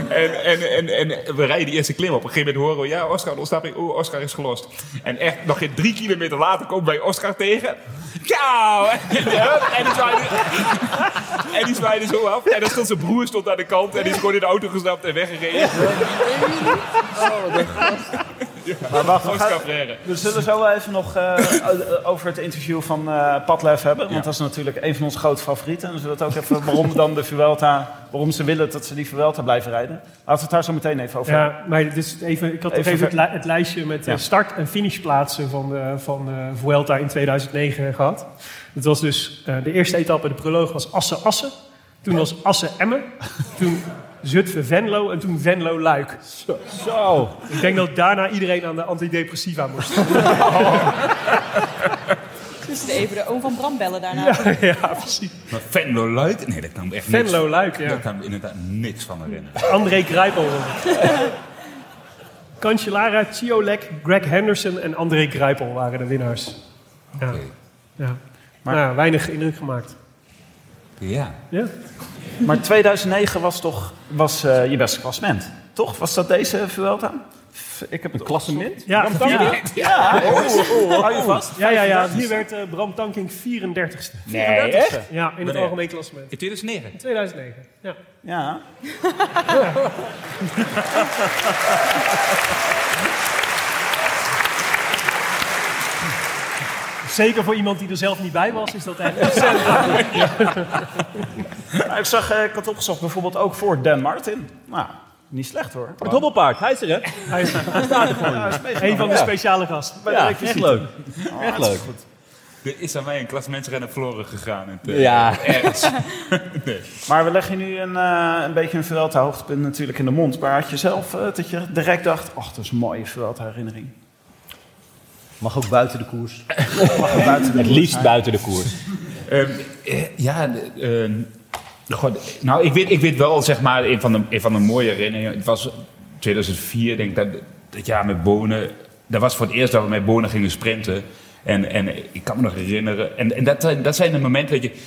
en, en, en, en we rijden die eerste klim op. Op een gegeven moment horen we, ja, Oscar, de ontsnapping. Oh, Oscar is gelost. En echt, nog geen drie kilometer later komen wij Oscar tegen. Ciao! en die zwaaide, en die zwaaide zo af. En dan stond zijn broer stond aan de kant. En die is gewoon in de auto gestapt en weggereden.
Maar wacht, we,
Oscar
gaan-
Freire.
we zullen zo wel even nog eh, o- over het interview van eh Padlef hebben. Want dat is natuurlijk een van onze grote favorieten. En we zullen het ook even waarom dan de Vuelta, waarom ze willen dat ze die Vuelta blijven rijden. Laten we het daar zo meteen even over hebben.
Ja, maar dus even, ik had even,
Even
het,
ver-
li- het lijstje met eh,
Ja.
start- en finishplaatsen van, de, van de Vuelta in 2009 gehad. Dat was dus eh, de eerste etappe, de proloog was Assen-Assen. Toen was Assen-Emmen. Toen Zutphen-Venlo en toen Venlo-Luik. Zo. Ik denk dat daarna iedereen aan de antidepressiva moest.
Dus even de oom van Bram bellen daarna.
ja, precies.
Maar Venlo Luik? Nee, dat kan echt niks.
Venlo Luik, ja.
Daar kan ik me inderdaad niks van herinneren.
André Grijpel. Cancellara, Ciolek, Greg Henderson en André Grijpel waren de winnaars. Ja. Ja. Maar ja, weinig indruk gemaakt.
Ja.
Ja.
Maar 2009 was toch was, eh, je beste klassement, toch? Was dat deze Vuelta? F- Ik heb een klassement?
Ja,
Ja.
vierde.
Ja. Hou
Oh.
je vast?
Ja, ja, ja. Hier werd eh, Bram Tankink 34ste.
Nee,
34ste?
echt?
Ja, in het
Wanneer?
algemeen klassement.
In 2009?
2009, ja.
Ja.
Zeker voor iemand die er zelf niet bij was, is dat echt ontzettend leuk.
Nou, ik zag, eh, ik had opgezocht bijvoorbeeld ook voor Dan Martin. Nou, niet slecht hoor.
Het
hobbelpaard, hij is er hè?
Hij is-
staat er gewoon. Ja, hij is meegenomen.
Een van de
Ja.
speciale gasten.
Bij de Ja, requisieten. echt leuk.
Oh,
Echt
dat is
leuk.
goed. Er is aan mij een klasmensrenner verloren gegaan. En, eh,
Ja.
Ergens. nee.
Maar we leggen nu een, eh, een beetje een Vuelta hoogtepunt natuurlijk in de mond. Maar had je zelf eh, dat je direct dacht, ach, dat is een mooie Vuelta herinnering.
Mag ook buiten de koers.
Mag ook buiten de
Het
koers.
liefst buiten de koers.
Ehm, eh, ja, de- ehm, god, nou, ik weet, ik weet wel, zeg maar, een van de, een van de mooie herinneringen. Het was 2004, denk ik, dat, dat jaar met Bonen. Dat was voor het eerst dat we met Bonen gingen sprinten. En, en ik kan me nog herinneren. En, en dat, zijn- dat zijn de momenten dat je.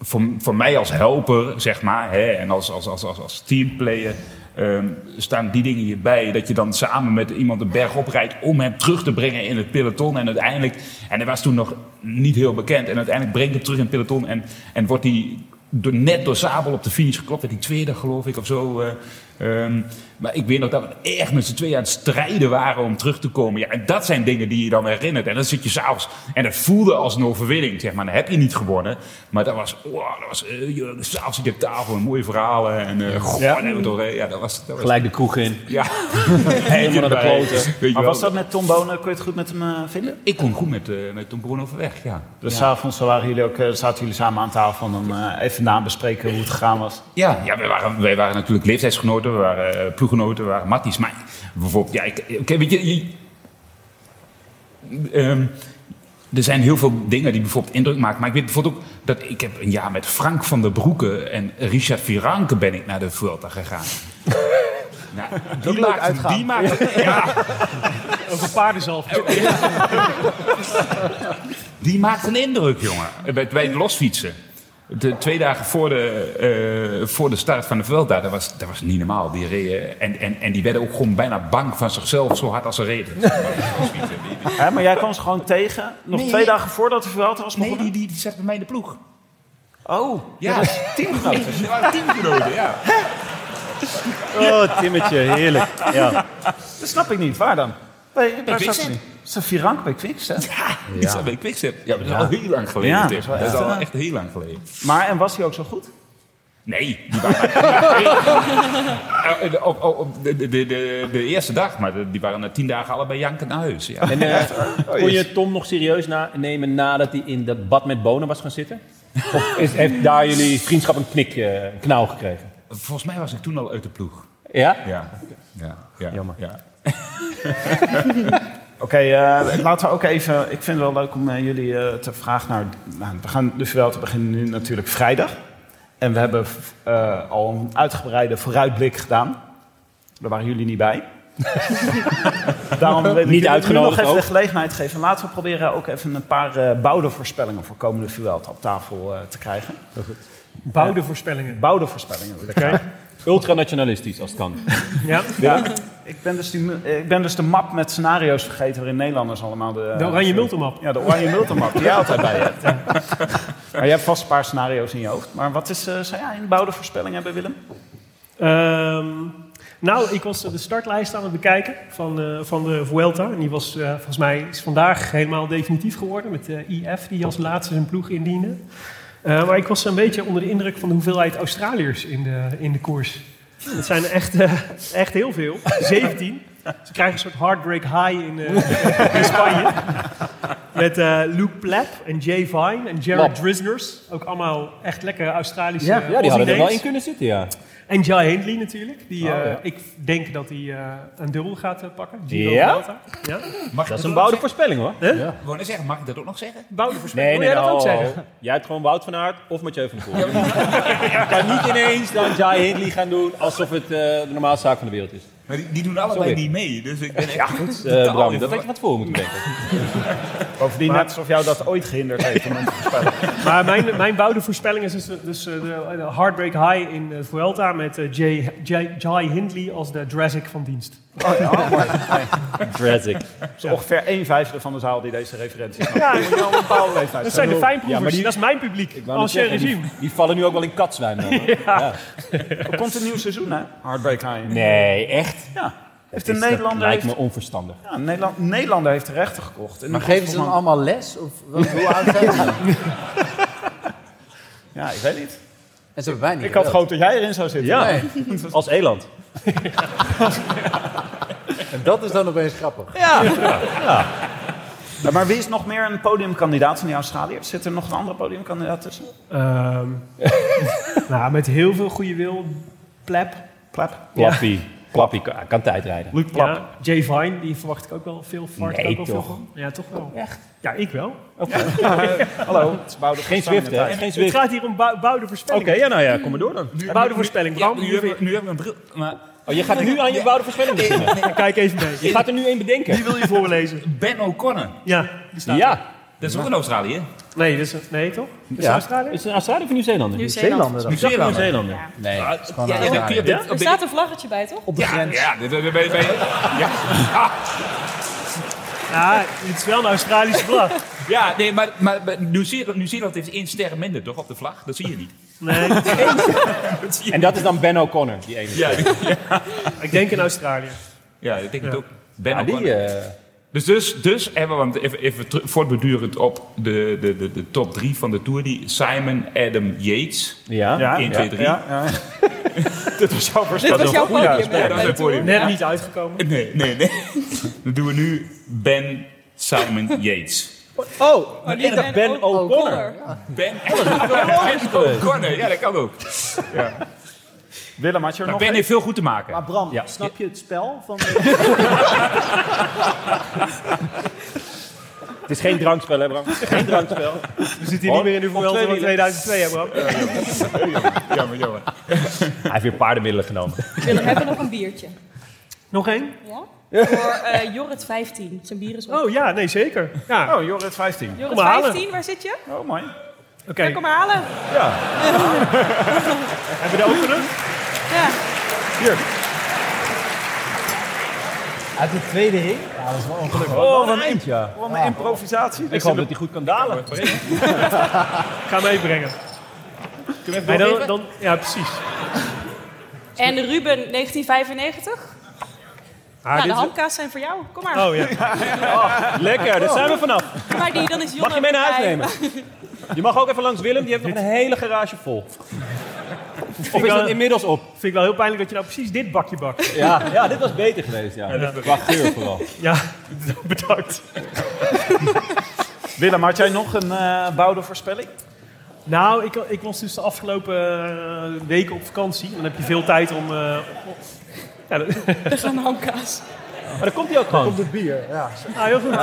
Voor, voor mij als helper, zeg maar, hè, en als, als, als, als, als teamplayer. ehm, staan die dingen hierbij. Dat je dan samen met iemand een berg oprijdt om hem terug te brengen in het peloton. En uiteindelijk, en hij was toen nog niet heel bekend. En uiteindelijk brengt hem terug in het peloton. En, en wordt hij door, net door Zabel op de finish geklopt. Werd hij tweede, geloof ik, of zo. eh, ehm, maar ik weet nog dat we echt met z'n tweeën aan het strijden waren om terug te komen. Ja, en dat zijn dingen die je dan herinnert. En dan zit je s'avonds. En dat voelde als een overwinning, zeg maar. Dan heb je niet gewonnen. Maar dat was, wow, dat was eh, je- s'avonds zit je op tafel. en Mooie verhalen. En eh goh,
Ja.
dan hebben we toch, eh, ja, dat was, dat was
Gelijk de kroeg in.
ja.
Helemaal naar de
Erbij.
kloten.
Weet je
Maar
wel.
was dat met Tom Bonen, kon je het goed met hem eh, vinden?
Ik kon goed met, eh, met Tom Boon overweg, ja.
Dus
ja.
s'avonds waren jullie ook, eh, zaten jullie samen aan tafel en dan eh, even nabespreken hoe het gegaan was.
Ja, ja wij, waren, wij waren natuurlijk leeftijdsgenoten, we waren eh, ploeggenoten, we waren matties. Maar bijvoorbeeld, ja, ik, oké, weet je, je- ehm, er zijn heel veel dingen die bijvoorbeeld indruk maken. Maar ik weet bijvoorbeeld ook dat ik heb een jaar met Frank van der Broeke en Richard Viranke ben ik naar de Vuelta gegaan. Nou, die,
leuk
maakt,
uitgaan.
die maakt, ja,
Over paardenzalf.
Die maakt een indruk, jongen. Bij, bij het losfietsen. De, twee dagen voor de, eh, voor de start van de Vuelta, dat was, dat was niet normaal. Die reden, en, en, en die werden ook gewoon bijna bang van zichzelf, zo hard als ze reden.
Hè, maar jij kwam ze gewoon tegen, nog
Nee,
twee
nee.
dagen voordat de Vuelta was
Nee,
begonnen?
die, die, die zat bij mij in de ploeg.
Oh,
Ja.
ja. teamgenoten.
Die waren teamgenoten, ja.
Oh, Timmetje, heerlijk. Ja.
Dat snap ik niet, waar dan? Bij, bij
Quickstep.
Is Virank bij Quickstep?
Die zat bij Quickstep. Ja, dat is al heel lang geleden.
Ja,
Tim.
dat is wel
dat is
echt,
al
eh,
echt heel lang geleden.
Maar en was hij ook zo goed?
Nee, die waren. Nee. Eh, op- op- op de, de, de, de eerste dag, maar de- die waren na tien dagen allebei jankend naar huis. Ja.
En eh, kon
jezus.
je Tom nog serieus na nemen nadat hij in dat bad met bonen was gaan zitten? Of is, heeft daar jullie vriendschap een knik, eh, een knauw gekregen?
Volgens mij was ik toen al uit de ploeg.
Ja?
Ja. ja, ja Jammer. Ja.
Oké, eh, laten we ook even. Ik vind het wel leuk om eh, jullie eh, te vragen naar. Nou, we gaan de Vuelta beginnen nu natuurlijk vrijdag. En we hebben eh, al een uitgebreide vooruitblik gedaan. Daar waren jullie niet bij. Daarom wil ik
Niet
jullie nu
uitgenodigd
nog even
ook.
de gelegenheid geven. Laten we proberen ook even een paar eh bouwde voorspellingen voor komende Vuelta op tafel eh, te krijgen.
Bouwde voorspellingen.
Bouwde voorspellingen. wil ik
Oké.
graag.
Ultranationalistisch, als het kan.
Ja.
Ja. Ik, ben dus die, ik ben dus de map met scenario's vergeten waarin Nederlanders allemaal de... eh,
De oranje multimap.
Ja, de oranje multimap die jij altijd bij je hebt. Maar je hebt vast een paar scenario's in je hoofd. Maar wat is, eh zou jij een bouwde voorspelling hebben, Willem?
Ehm, nou, ik was de startlijst aan het bekijken van, eh, van de Vuelta. En die was eh, volgens mij is vandaag helemaal definitief geworden met de IF die als laatste zijn ploeg indiende. Eh, maar ik was een beetje onder de indruk van de hoeveelheid Australiërs in de, in de koers. Dat zijn er echt, eh, echt heel veel. 17. Ze krijgen een soort heartbreak high in, eh, in Spanje. Met eh, Luke Plapp en Jay Vine en Jared
Plapp.
Drisners. Ook allemaal echt lekker Australische
Ja, ja, die hadden er wel
Aussie-names.
in kunnen zitten, ja.
En Jai Hindley natuurlijk. Die,
Oh,
eh,
ja.
Ik denk dat hij eh, een dubbel gaat eh, pakken. Giro
Ja?
Vuelta. ja?
Mag
Dat is een bouwde voorspelling, hoor.
Huh?
Ja.
Gewoon eens zeggen, mag ik dat ook nog zeggen?
Bouwde voorspelling.
Nee,
Wil
nee,
jij
nee. oh.
dat ook
ho, ho.
zeggen?
Jij hebt gewoon Wout van Aert of Mathieu van der Poel. Je kan niet ineens dan Jai Hindley gaan doen alsof het eh, de normaalste zaak van de wereld is.
Maar die, die doen allebei
Sorry.
niet mee, dus ik ben echt...
Ja, goed. eh,
totaal
Bram,
in
dat
ver-
weet je wat voor moeten denken.
Bovendien net alsof jou dat ooit gehinderd heeft om een voorspelling.
Oh.
Maar mijn, mijn bouwde voorspelling is dus, dus eh, de, de Heartbreak High in eh, Vuelta met eh, Jay, Jay, Jai Hindley als de Jurassic van dienst.
Oh, ja, oh, mooi.
Tragic.
Het is ongeveer een vijfde van de zaal die deze referentie snapt.
Ja,
Moet je wel een bouwde leeftijd
Dat zijn
zijn.
de fijnproevers.
Ja, maar die-
Dat is mijn publiek.
wou net
Als je
zeggen,
regime.
Die vallen nu ook wel in katzwijn. man.
Er komt een nieuw seizoen, hè? Heartbreak High.
Nee, echt.
Ja. Heeft
Is
een
dat-
Nederlander...
lijkt
Heeft,
me onverstandig.
ja, Nederland, Nederlander heeft de rechten gekocht. En
Maar
die
geven
kost
ze dan
nog
allemaal les? Of wat, hoe oud zijn ze?
maar- Ja, ik weet niet.
En ze hebben wij niet.
Ik had
gebeld.
gehoopt dat jij erin zou zitten.
Nee.
Als Eland.
En dat is dan opeens grappig.
Ja, maar wie is nog meer een podiumkandidaat van die Australiërs? Zit er nog een andere podiumkandidaat tussen?
Ehm, nou, met heel veel goede wil. Plap.
Klep.
Plappie. Plappie kan, kan tijdrijden.
Luc Plap.
Ja, Jay Vine, die verwacht ik ook wel veel. Verwacht
Nee,
ik ook wel
toch?
veel van. Ja, toch wel. Echt? Ja, ik wel.
Hallo. Het is Boudewijn
Geen
van
Zwift,
Stein
hè?
met
Geen
Het
Zwift.
gaat hier om bou- bouwde
Oké,
voorspelling.
ja, nou ja, kom maar door dan.
Bouwde voorspelling.
Ja,
Bram,
nu,
hier
heb
weer-
ik, nu heb ik een bril. Maar
Oh, je gaat er nu aan je bouwde voorspelling beginnen.
Kijk even mee.
Je gaat er nu één bedenken.
Die wil je voorlezen.
Ben O'Connor,
Ja.
Ja.
dat is ook een Australië.
Nee, dat is, nee toch? Is ja. Australië?
Is het een Australië of een Nieuw-Zeelander?
Zeelanden dan.
Nieuw-Zeelander.
Nieuw-Zeelander.
Nee.
Ja, ja,
een
dan kun je op dit- op
Er
dit-
staat een vlaggetje bij, toch?
Op de
Ja,
grens.
ja, dit- dit- dit- dit- dit-
Ja, het is wel een Australische vlag.
ja, nee, maar, maar, maar Nieuw-Zeeland Nieuw-Zeeland heeft één ster minder, toch, op de vlag? Dat zie je niet.
Nee,
Dat zie je
En dat is dan Ben O'Connor, die ene.
Ja, die-
ik denk in Australië.
ja, ik denk het
Ja.
ook. Ben
Ja, die,
O'Connor.
eh,
Dus, dus, dus hebben we want even, even teru- voortbedurend op de, de, de, de top drie van de Tour. Die Simon, Adam, Yates.
ja.
Ja,
1, 2, 3.
Ja, ja.
Dat was jouw
Dit was jouw podium.
Ja,
hè,
dat
bij
is
de Tour.
een podium.
Net niet uitgekomen.
Nee, nee, nee. Dan doen we nu Ben, Simon, Yates.
Oh,
Maar
ik dacht Ben O'Connor.
Ben,
Oh,
Ben O'Connor. Ja, dat kan ook.
Willem, had je er
Maar
nog
Ben
één?
heeft veel goed te maken.
Maar Bram,
Ja.
snap je het spel van...
Het is geen drankspel, hè, Bram? Geen drankspel.
We zitten hier niet meer in de Vuelta van 2002, hè Bram?
Jammer, jammer.
Hij heeft weer paardenmiddelen genomen.
Willem, hebben we nog een biertje?
Nog één?
Ja? Voor eh Jorrit 15. Zijn bier is op.
Oh ja, nee zeker. Ja.
Oh, Jorrit 15.
Jorrit
kom maar halen.
15, waar zit je?
Oh, mooi.
Oké,
Ja, kom maar halen.
hebben we de opener?
Ja.
Uit de tweede ring? Ja, dat is wel ongelukkig.
Oh, wat een eind, ja.
Wat
Ah.
een improvisatie.
Ik hoop dat hij goed kan dalen.
Ik ga hem meebrengen. Nee, dan, dan, ja, precies.
En Ruben, 1995.
Ah,
nou,
dit
de
is-
handkaas zijn voor jou. Kom maar.
Oh ja. Oh, dus-
Lekker, daar zijn we vanaf.
Kom maar die, dan is Jonne
Mag je mee naar huis
bij.
nemen? Je mag ook even langs Willem, die heeft nog een hele garage vol. Of is dat inmiddels op?
Vind ik wel heel pijnlijk dat je nou precies dit bakje bakt.
Ja, ja, dit was beter geweest. Ja. Qua geur vooral.
Ja, bedankt.
Willem, had jij nog een eh bouwde voorspelling?
Nou, ik, ik was dus de afgelopen eh, weken op vakantie. Dan heb je veel tijd om... eh op- ja, dat...
Er gaan hamkaas.
Maar dan komt hij ook gewoon.
Op de bier, ja.
Ah, heel goed.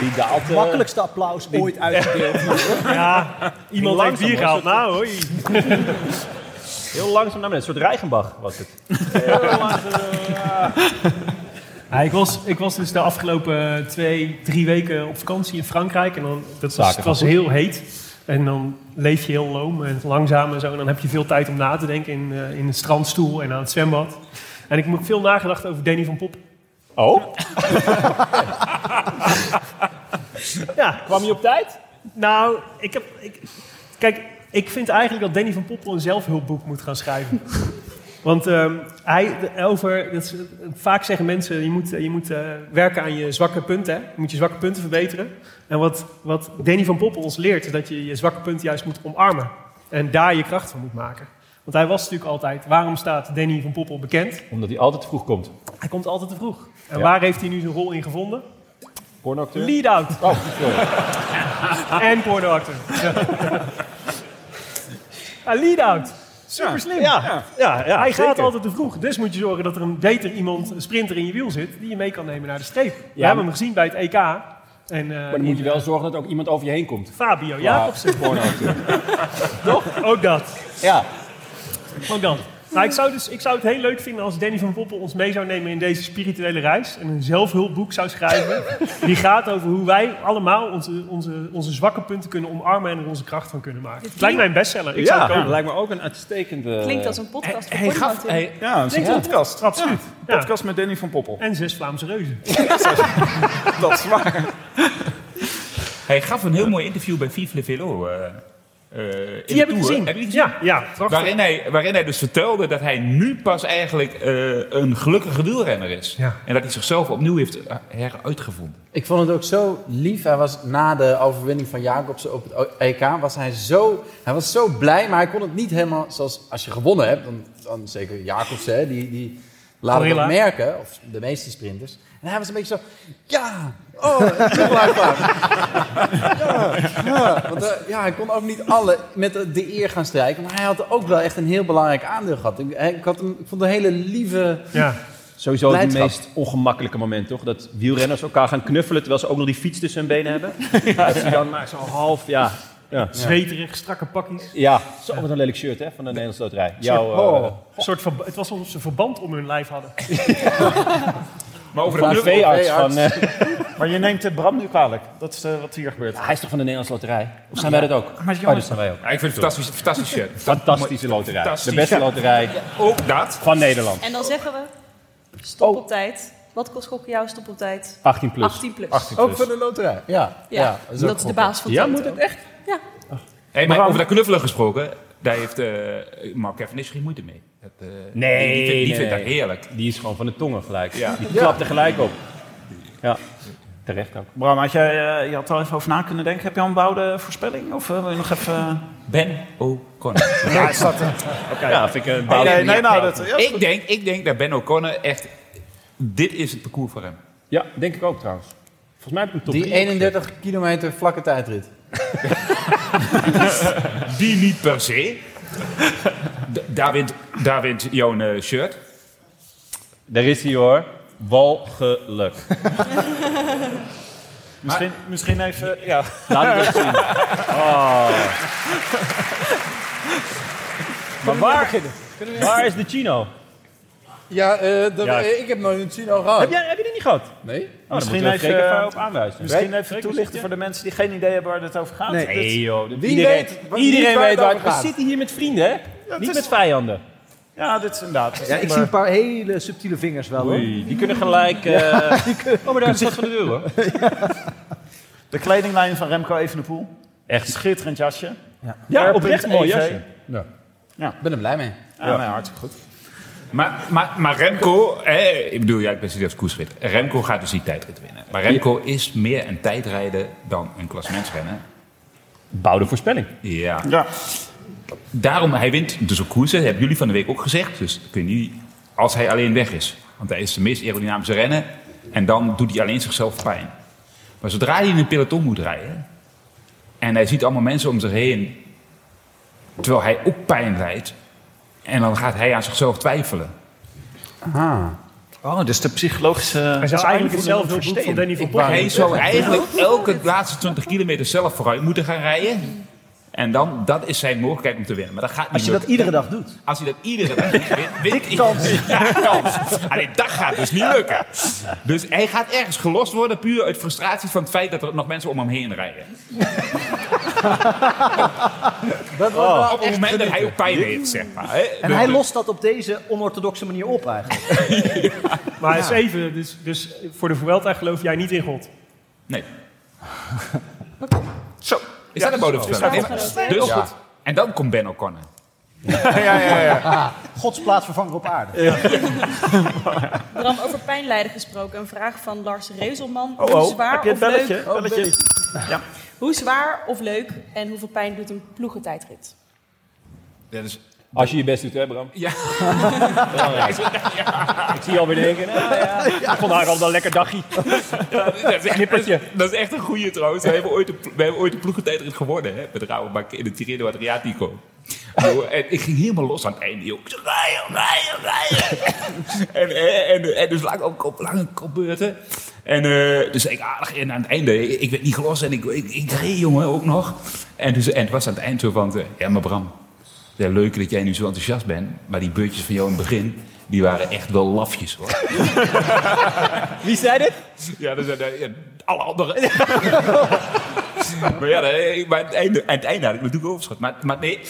Die daalt, eh,
Makkelijkste applaus ooit uitgedeeld.
Ja, iemand heeft bier
langzaam, hoor.
gehaald. Nou, hoi.
Heel langzaam naar beneden. Een soort Reichenbach was het.
Ja, ik, was, ik was dus de afgelopen twee, drie weken op vakantie in Frankrijk. En dan, dat was,
Zaken
het was
gaan goed.
heel heet. En dan leef je heel loom en langzaam en zo. En dan heb je veel tijd om na te denken in, eh, in een strandstoel en aan het zwembad. En ik heb veel nagedacht over Danny van Pop.
Oh?
Ja,
Kwam je op tijd?
Nou, ik heb. Ik, kijk, ik vind eigenlijk dat Danny van Poppel een zelfhulpboek moet gaan schrijven. Want ehm, hij, de- over, dat is- vaak zeggen mensen, je moet, je moet eh, werken aan je zwakke punten. Hè? Je moet je zwakke punten verbeteren. En wat, wat Danny van Poppel ons leert, is dat je je zwakke punten juist moet omarmen. En daar je kracht van moet maken. Want hij was natuurlijk altijd, waarom staat Danny van Poppel bekend?
Omdat hij altijd te vroeg komt.
Hij komt altijd te vroeg. En
Ja.
waar heeft hij nu zijn rol in gevonden?
Pornoacteur?
Lead-out
Oh, sorry.
en pornoactor. Ja. lead-out. Ah, Super slim.
Ja, ja, ja,
Hij gaat
zeker.
altijd te vroeg. Dus moet je zorgen dat er een beter iemand, een sprinter in je wiel zit... die je mee kan nemen naar de streep. We
maar-
hebben hem gezien bij het EK. En, eh,
Maar dan moet je
in
wel zorgen dat er ook iemand over je heen komt.
Fabio
Ja,
Jacobsen.
pornoacteur.
Toch? Ook dat.
Ja.
Ook dat. Nou, ik, zou dus, ik zou het heel leuk vinden als Danny van Poppel ons mee zou nemen in deze spirituele reis. En een zelfhulpboek zou schrijven. die gaat over hoe wij allemaal onze, onze, onze zwakke punten kunnen omarmen en er onze kracht van kunnen maken. Het lijkt mij een bestseller. Ik zou
Ja,
het kopen.
dat lijkt me ook een uitstekende...
Klinkt als een podcast voor
Hey,
porno
gaf,
natuurlijk.
hey, ja, een
Ja.
podcast.
Absoluut. Ja.
Podcast met Danny van Poppel.
En zes Vlaamse reuzen.
Dat is waar.
Hij gaf een heel mooi interview bij Vive le Velo. eh, eh, in de
Die heb ik
Tour.
gezien.
Heb je die gezien?
Ja, ja prachtig.
Waarin hij, waarin hij dus vertelde dat hij nu pas eigenlijk eh, een gelukkige wielrenner is.
Ja.
En dat hij zichzelf opnieuw heeft eh, heruitgevonden.
Ik vond het ook zo lief. Hij was na de overwinning van Jacobsen op het EK, was hij, zo, hij was zo blij, maar hij kon het niet helemaal zoals als je gewonnen hebt. Dan, dan zeker Jacobsen, hè, die, die laat het
Gorilla.
ook merken, of de meeste sprinters. En hij was een beetje zo, ja, oh, het is blijkbaar. ja, ja, want, eh, ja, hij kon ook niet alle met de, de eer gaan strijken, maar hij had ook wel echt een heel belangrijk aandeel gehad. Ik, eh, ik, had hem, ik vond een hele lieve...
Ja.
Sowieso het
Blijdschap.
meest ongemakkelijke moment, toch? Dat wielrenners elkaar gaan knuffelen terwijl ze ook nog die fiets tussen hun benen hebben. Dat ze dan maar zo half, ja. Ja,
Zweterig, strakke pakjes.
ja. Zo, wat een lelijk shirt hè, van de Nederlandse Loterij. Jouw, eh,
Oh.
Een soort verba- het was alsof ze verband om hun lijf hadden.
Maar over
van
de
de
club,
veearts van... eh,
Maar je neemt het Bram nu kwalijk. Dat is eh, wat hier gebeurt.
hij is toch van de Nederlandse Loterij? Of zijn wij dat ook?
Maar
Oh,
jongens-
dat zijn wij ook.
Ja, ik vind het fantastisch, fantastisch shirt.
Fantastische loterij.
Fantastisch.
De beste loterij
Ook dat.
van Nederland.
En dan zeggen we, stop
Oh.
op tijd. Wat kost gokken jou stop op tijd?
18 plus.
18 plus.
Ook voor de loterij, ja.
Ja,
is
dat
ook
is de
goed.
baas van
Ja,
Toto.
moet het echt?
Hey, maar over dat knuffelen gesproken, daar heeft eh Mark Cavendish geen moeite mee. Dat, eh,
Nee,
die, vindt- die
nee,
vindt dat
nee.
heerlijk.
Die is gewoon van de tongen gelijk.
Ja.
Die klapt er gelijk op. Ja, terecht ook.
Bram, had jij, eh, je had er al even over na kunnen denken. Heb je al een bouwde voorspelling? Of eh, wil je nog even...
Ben O'Connor.
Ja, vind ik een
Nee,
bouw-
nee, nee, nou, dat, ja, is
ik,
goed.
denk, ik denk dat Ben O'Connor echt... Dit is het parcours voor hem.
Ja, denk ik ook trouwens. Volgens mij heb ik een top
Die
drie opgezet.
31 kilometer vlakke tijdrit.
Die niet per se. D- daar, wint, daar wint jouw eh, shirt.
Daar is hij hoor. Walgeluk.
Misschien, misschien even... Ja.
Laat het Oh. eens zien. Oh. Maar waar, waar is de chino? Nou,
Ja, eh, dat-
Ja.
eh, ik heb nooit een Chino gehad.
Heb jij, heb je die niet gehad?
Nee?
Oh,
Misschien
Misschien
even,
even
eh,
op aanwijzen.
Misschien even toelichten voor de mensen die geen idee hebben waar dit over gaat.
Nee.
Nee joh,
Wie
iedereen,
weet wat-
iedereen
niet waar
weet
het
waar
over
We
gaat.
zitten hier met vrienden, hè? niet
is-
met vijanden.
Ja, dit is inderdaad.
Ja, ik zie een paar hele subtiele vingers wel hoor.
Oei, die kunnen gelijk... eh Oh, maar daar is wat van de deur, hoor.
De kledinglijn van Remco Evenepoel.
Echt.
Schitterend jasje.
Ja,
R.EV.
oprecht mooi jasje.
Ik ben er blij mee.
Ja, nee, hartstikke goed.
Maar, maar, maar Remco, eh, ik bedoel, ja, ik ben serieus koersrit. Remco gaat dus die tijdrit winnen. Maar Remco is meer een tijdrijder dan een klassementsrenner.
Bouwde voorspelling.
Ja. ja. Daarom, hij wint dus ook koersen. Dat hebben jullie van de week ook gezegd. Dus kun je, als hij alleen weg is. Want hij is de meest aerodynamische renner. En dan doet hij alleen zichzelf pijn. Maar zodra hij in een peloton moet rijden. En hij ziet allemaal mensen om zich heen. Terwijl hij ook pijn lijdt. En dan gaat hij aan zichzelf twijfelen.
Ah.
Oh, dus de psychologische...
Hij zou eigenlijk hetzelfde boek van Danny van Poppel.
Hij zou eigenlijk elke laatste 20 kilometer zelf vooruit moeten gaan rijden. En dan, dat is zijn mogelijkheid om te winnen. Maar dat gaat niet
Als je dat
lukken.
iedere dag doet.
Als hij dat iedere dag doet, wint- wint hij. Ja, kans. Alleen dat gaat dus niet lukken. Dus hij gaat ergens gelost worden puur uit frustratie van het feit dat er nog mensen om hem heen rijden.
Dat wordt wel
op het
echt
moment dat hij
genieten.
ook pijn heeft, zeg maar. hè.
En
Dus-
hij lost dat op deze onorthodoxe manier op eigenlijk.
Maar eens even, dus, dus voor de Vuelta geloof jij niet in God?
Nee. Zo, is dat een
dus-
bodemverspilling?
dus-
Dus
Ja.
goed. En dan komt Ben O'Connor.
ja, ja, ja. Gods plaatsvervanger op aarde.
Bram, over pijnlijden gesproken. Een vraag van Lars Reuzelman.
Oh,
Hoe
oh.
zwaar
Heb je
of
het belletje?
leuk...
Oh, belletje.
Hoe zwaar of leuk en hoeveel pijn doet een ploegentijdrit?
Als je je best doet, hè, Bram?
Ja.
Ik zie je alweer denken. Nou, ja. Vandaag al een lekker dagje.
Dat is, echt, dat is echt een goede trouwens. We hebben ooit de, we hebben ooit de ploegentijdrit geworden hè, met Rabobank in de Tirreno Adriatico. Yo, En ik ging helemaal los aan het einde. joh. Ik zei, Rijden, rijden, rijden. En, eh, en, en dus lang ook op lange kopbeurten. En eh, dus ik aardig en aan het einde. Ik, ik werd niet gelost en ik, ik, ik reed jongen ook nog. En, dus, en het was aan het eind zo van, eh, ja maar Bram, ja, leuk dat jij nu zo enthousiast bent. Maar die beurtjes van jou in het begin, die waren echt wel lafjes hoor.
Wie zei dit?
Ja, dat zijn eh, ja, alle anderen. maar ja, nee, maar aan het einde, aan het einde had ik natuurlijk overschot. Maar, maar nee.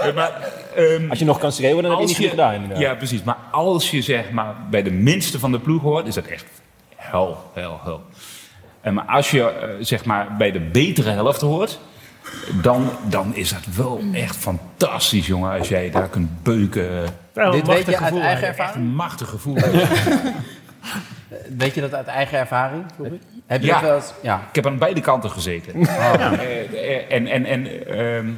eh, maar, ehm,
Als je nog kan schreeuwen, dan heb je
als
niet goed gedaan. Inderdaad.
Ja, precies. Maar als je zeg maar bij de minste van de ploeg hoort, is dat echt hel, hel, hel. En maar als je eh, zeg maar bij de betere helft hoort, dan, dan is dat wel echt fantastisch, jongen. Als jij daar kunt beuken.
Ja,
Dit weet je uit
gevoel,
eigen
hè.
Echt
ervaring?
een machtig gevoel.
Weet je dat uit eigen ervaring? Robby? Heb je
Ja.
dat wel eens... Ja.
Ik heb aan beide kanten gezeten. Eh, en, en, en, ehm,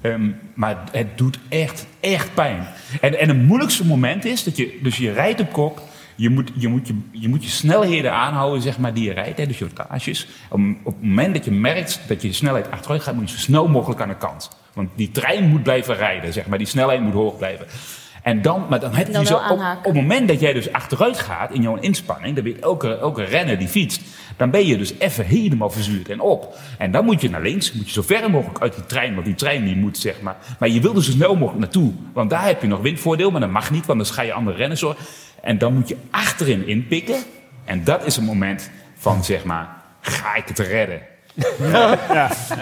ehm, maar het doet echt, echt pijn. En, en het moeilijkste moment is dat je, dus je rijdt op kop. Je moet je, moet je, je moet je snelheden aanhouden, zeg maar, die je rijdt. Hè, dus je rotaages. Op, op het moment dat je merkt dat je je snelheid achteruit gaat, moet je zo snel mogelijk aan de kant. Want die trein moet blijven rijden, zeg maar. Die snelheid moet hoog blijven. En dan, maar dan heb
En
je
dan
zo
wel
op,
aanhaken.
op het moment dat jij dus achteruit gaat in jouw inspanning, dat weet elke, elke renner die fietst, dan ben je dus even helemaal verzuurd en op. En dan moet je naar links, moet je zo ver mogelijk uit die trein, want die trein die moet zeg maar. Maar je wil er zo snel mogelijk naartoe, want daar heb je nog windvoordeel, maar dat mag niet, want dan ga je andere renners zo. En dan moet je achterin inpikken. En dat is een moment van zeg maar, ga ik het redden?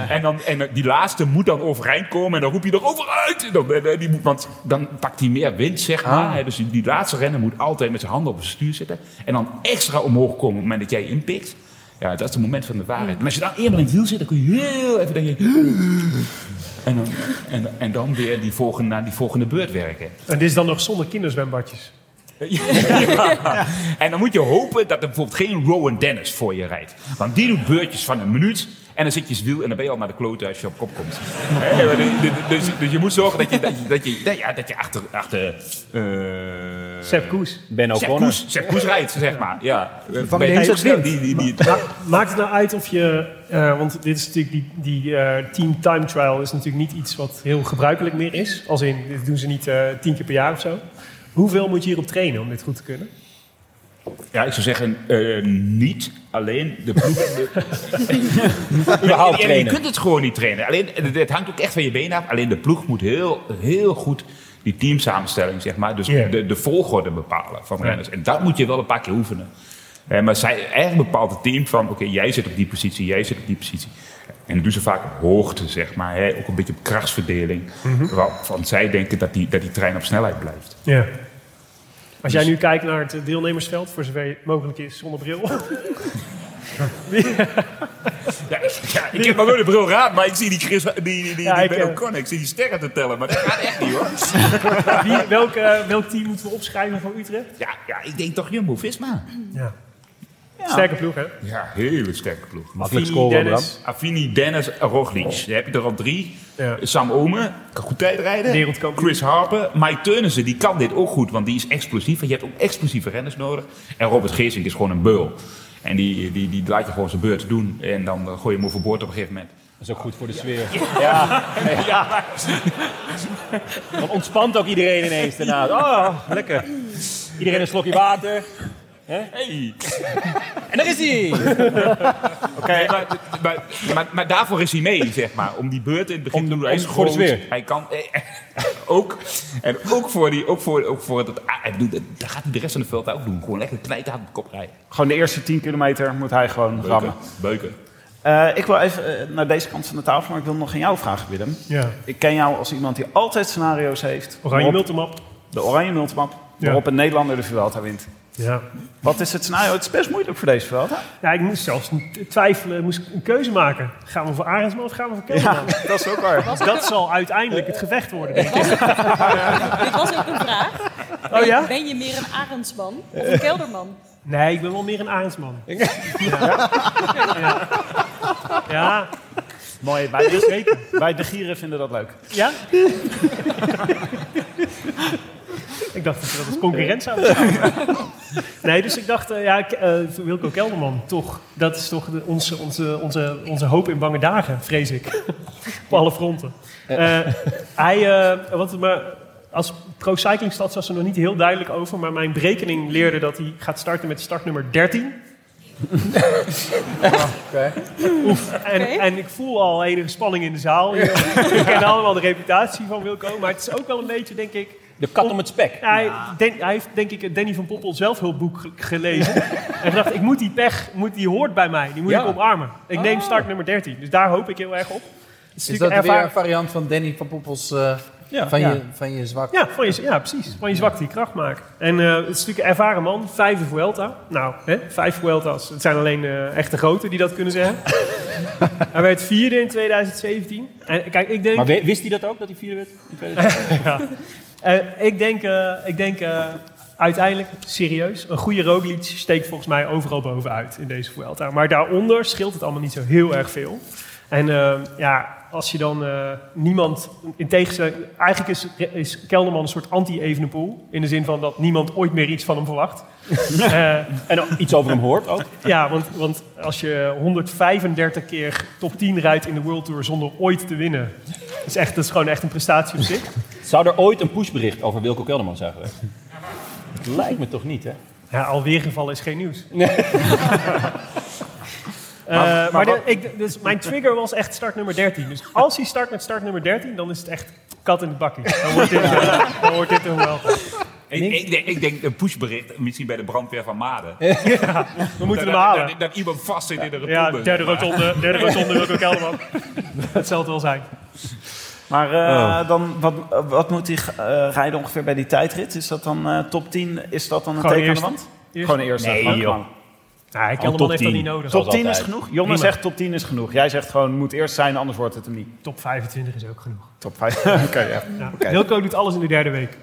En, dan, en die laatste moet dan overeind komen en dan roep je erover uit. En dan, en- en die moet, want dan pakt hij meer wind, zeg maar. Hè, Dus die, die laatste renner moet altijd met zijn handen op het stuur zitten. En dan extra omhoog komen op het moment dat jij inpikt. Ja, dat is het moment van de waarheid. Maar als je dan eenmaal in het wiel zit, dan kun je heel even denken... En dan, en, en dan weer die volgende, naar die volgende beurt werken.
En dit is dan nog zonder kinderzwembadjes.
Ja. En dan moet je hopen dat er bijvoorbeeld geen Rowan Dennis voor je rijdt. Want die doet beurtjes van een minuut. En dan zit je wiel en dan ben je al naar de klote als je op kop komt. Hè, maar dus- dus, dus je moet zorgen dat je, dat je, dat je, dat- ja, dat je achter, achter eh
Sepp Koes.
Ben
Sepp
O'Connor.
Koes, Sepp Koes rijdt, zeg maar. Ja.
Van
Ben
links
Koes,
het wind.
die- die- die-
Maakt het nou uit of je, eh, want dit is natuurlijk die, die eh, team time trial is natuurlijk niet iets wat heel gebruikelijk meer is. Als in, dit doen ze niet eh, tien keer per jaar of zo. Hoeveel moet je hierop trainen om dit goed te kunnen?
Ja, ik zou zeggen, eh, niet alleen de ploeg.
Überhaupt
Ja, je
trainen.
kunt het gewoon niet trainen. Alleen, het het hangt ook echt van je benen af. Alleen de ploeg moet heel, heel goed die teamsamenstelling, zeg maar. Dus
Ja.
de, de volgorde bepalen van renners. En dat moet je wel een paar keer oefenen. Eh, maar zij, eigenlijk bepaalt het team van, oké, jij zit op die positie, jij zit op die positie. En dat doen ze vaak op hoogte, zeg maar. Hè? Ook een beetje op krachtsverdeling. Wa- Want zij denken dat die, dat die trein op snelheid blijft.
Ja. Als jij nu kijkt naar eh, het deelnemersveld, voor zover het mogelijk is zonder bril. Wie-
Ja, ja, ik heb maar wel een bril raad, maar ik zie die, Chris, die, die, die,
Ja,
die
ik,
Ben
eh,
O'Connor, ik zie die sterren te tellen, maar dat gaat echt niet hoor.
Wie, welk, eh, welk team moeten we opschrijven van Utrecht?
Ja, ja ik denk toch Jumbo-Visma.
Ja. Sterke ploeg, hè?
Ja, hele sterke ploeg.
Makkelijk Affini, scoren, Dennis.
Affini, Dennis, Roglic. Daar heb je er al drie. Sam Omen, kan goed tijdrijden.
Wereldkampioen.
Chris Harper. Mike Teunissen, die kan dit ook goed, want die is explosief. Want je hebt ook explosieve renners nodig. En Robert Geesink is gewoon een beul. En die, die, die laat je gewoon zijn beurt doen. En dan eh, gooi je hem overboord op een gegeven moment.
Dat is ook goed voor de sfeer.
Ja.
Ja. Dan ontspant ook iedereen ineens daarna. Oh, lekker. Iedereen een slokje water. Hè?
Hey.
En daar is hij!
Nee, maar, maar, maar, maar daarvoor is hij mee, zeg maar. Om die beurt in het begin te doen. Hij is
om- voor de
groot,
sfeer.
Hij kan eh, ook. En ook voor, die, ook voor, ook voor dat, ah, ik bedoel, dat, dat gaat hij de rest van de veld ook doen. Gewoon lekker knijten aan de kop rijden.
Gewoon de eerste 10 kilometer moet hij gewoon rammen.
Beuken.
Eh, ik wil even eh, naar deze kant van de tafel, maar ik wil nog aan jou vragen, Willem.
Ja.
Ik ken jou als iemand die altijd scenario's heeft.
Oranje
waarop-
multimap.
De oranje multimap, waarop een Nederlander de Vuelta wint.
Ja.
Wat is het scenario? Het is best moeilijk voor deze Vuelta.
Ja, ik moest zelfs niet twijfelen, moest ik een keuze maken. Gaan we voor Arendsman of gaan we voor Kelderman?
dat is ook waar.
Dat, zal uiteindelijk het gevecht worden, denk ik.
Dit was ook een vraag.
Oh ja?
Ben je meer een Arendsman of een Kelderman?
Nee, ik ben wel meer een Arendsman. Ja. Ja. ja.
Mooi, wij
dus
de, wij de Gieren vinden dat leuk.
Ja? ik dacht dat je dat als concurrent zou beschouwen. Nee, dus ik dacht, eh, ja, K- eh, Wilco Kelderman, toch. Dat is toch de- onze, onze, onze, onze hoop in bange dagen, vrees ik. Op alle fronten. Eh, hij, eh, want, maar als Pro Cycling Stads was er nog niet heel duidelijk over, maar mijn berekening leerde dat hij gaat starten met startnummer 13. Oef. En, en ik voel al enige spanning in de zaal. We kennen allemaal de reputatie van Wilco, maar het is ook wel een beetje, denk ik...
De kat om het spek.
Hij, denk- hij heeft, denk ik, het Danny van Poppel zelfhulpboek ge- gelezen. en dacht, ik moet die pech, moet, die hoort bij mij. Die moet
Ja.
ik omarmen. Ik neem
Ah.
start nummer 13. Dus daar hoop ik heel erg op. Het
Is dat
natuurlijk
weer een
ervaring-
variant van Danny van Poppels eh,
Ja,
van,
ja.
Je, van je zwak?
Ja, van je, ja, precies. Van je zwakte die kracht maken. En eh, het is natuurlijk een ervaren man. Vijf Vuelta. Nou, hè, vijf Vuelta's. Het zijn alleen eh, echte groten die dat kunnen zeggen. hij werd vierde in 2017. En kijk, ik denk...
Maar we- wist hij dat ook, dat hij vierde werd? in 2016?
ja. Eh, ik denk, eh, ik denk eh, uiteindelijk, serieus, een goede Roglic steekt volgens mij overal bovenuit in deze Vuelta. Maar daaronder scheelt het allemaal niet zo heel erg veel. En eh, ja, als je dan eh, niemand in tegenstelling... Eigenlijk is, is Kelderman een soort anti-Evenepoel. In de zin van dat niemand ooit meer iets van hem verwacht. Eh, en
iets over hem hoort ook.
Ja, want, want als je 135 keer top 10 rijdt in de World Tour zonder ooit te winnen... Is echt, dat is gewoon echt een prestatie op zich.
Zou er ooit een pushbericht over Wilco Kelderman zijn geweest? Dat lijkt me toch niet, hè?
Ja, alweer gevallen is geen nieuws. Eh,
Maar-
maar
maar
de-
wat-
ik, dus mijn trigger was echt start nummer 13. Dus als hij start met start nummer 13, dan is het echt kat in de bakkie. Dan wordt dit, eh, dan wordt dit een wel.
Ik, ik, denk, ik denk een pushbericht, misschien bij de brandweer van Maden.
We moeten
dat,
hem halen.
Dat, dat iemand vast zit in de rotonde.
Ja, derde
zeg maar.
rotonde, derde rotonde Wilco Kelderman. Dat zal het wel zijn.
Maar eh,
Oh.
dan, wat, wat moet hij eh, rijden ongeveer bij die tijdrit? Is dat dan eh, top 10? Is dat dan een
Gewoon
teken aan de
eerste.
wand?
Eerste.
Gewoon een eerste.
Nee,
Gewoon
joh.
gewoon.
Nee, Kelderman top heeft dat 10. niet
Top
nodig. Zoals
10 is
altijd.
genoeg? Jongen
Prima.
zegt top 10 is genoeg. Jij zegt gewoon moet eerst zijn, anders wordt het hem niet.
Top 25 is ook genoeg.
Top 5. Oké, ja.
Ja.
Oké.
Wilco doet alles in de derde week.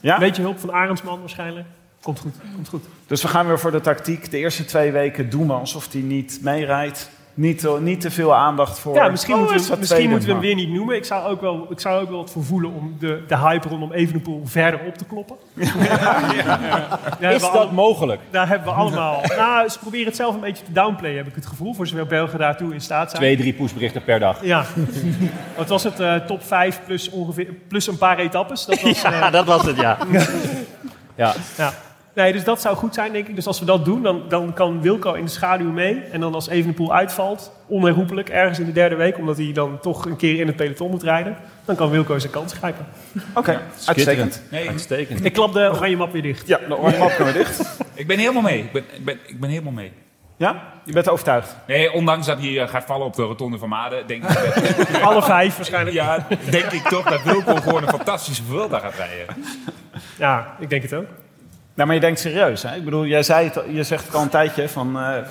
Ja?
Beetje hulp van Arendsman waarschijnlijk. Komt goed, komt goed.
Dus we gaan weer voor de tactiek. De eerste twee weken doen we alsof hij niet meerijdt. Niet, te- niet te veel aandacht voor.
Ja, misschien
Oh,
moeten
is
we,
dat
hem- misschien
tweede
moeten we hem
maar.
weer niet noemen. Ik zou ook wel, ik zou ook wel wat voor voelen om de, de hype rondom Evenepoel verder op te kloppen.
Is dat mogelijk?
Daar hebben we allemaal... Nou, ze proberen het zelf een beetje te downplayen, heb ik het gevoel. Voor zover Belgen daartoe in staat zijn.
Twee, drie pushberichten per dag.
Ja. Wat was het? eh, top 5 plus, ongeveer, plus een paar etappes? Dat was,
Ja,
eh,
dat was het, ja. Ja.
Ja. Nee, dus dat zou goed zijn, denk ik. Dus als we dat doen, dan, dan kan Wilco in de schaduw mee. En dan als Evenepoel uitvalt, onherroepelijk, ergens in de derde week... omdat hij dan toch een keer in het peloton moet rijden... dan kan Wilco zijn kans grijpen.
Oké, uitstekend.
Nee,
Ik klap de oranje map weer dicht.
Ja, de oranje map kunnen we dicht.
Ik ben helemaal mee. Ik ben, ik ben, ik ben helemaal mee.
Ja? Je bent overtuigd.
Nee, ondanks dat hij eh, gaat vallen op de rotonde van Maden, denk ik,
Alle vijf waarschijnlijk. Ja.
ja, denk ik toch dat Wilco gewoon een fantastische Vuelta gaat rijden.
ik denk het ook.
Nou, maar je denkt serieus, hè? Ik bedoel, jij zei het, al- je zegt het al een tijdje van... eh eh,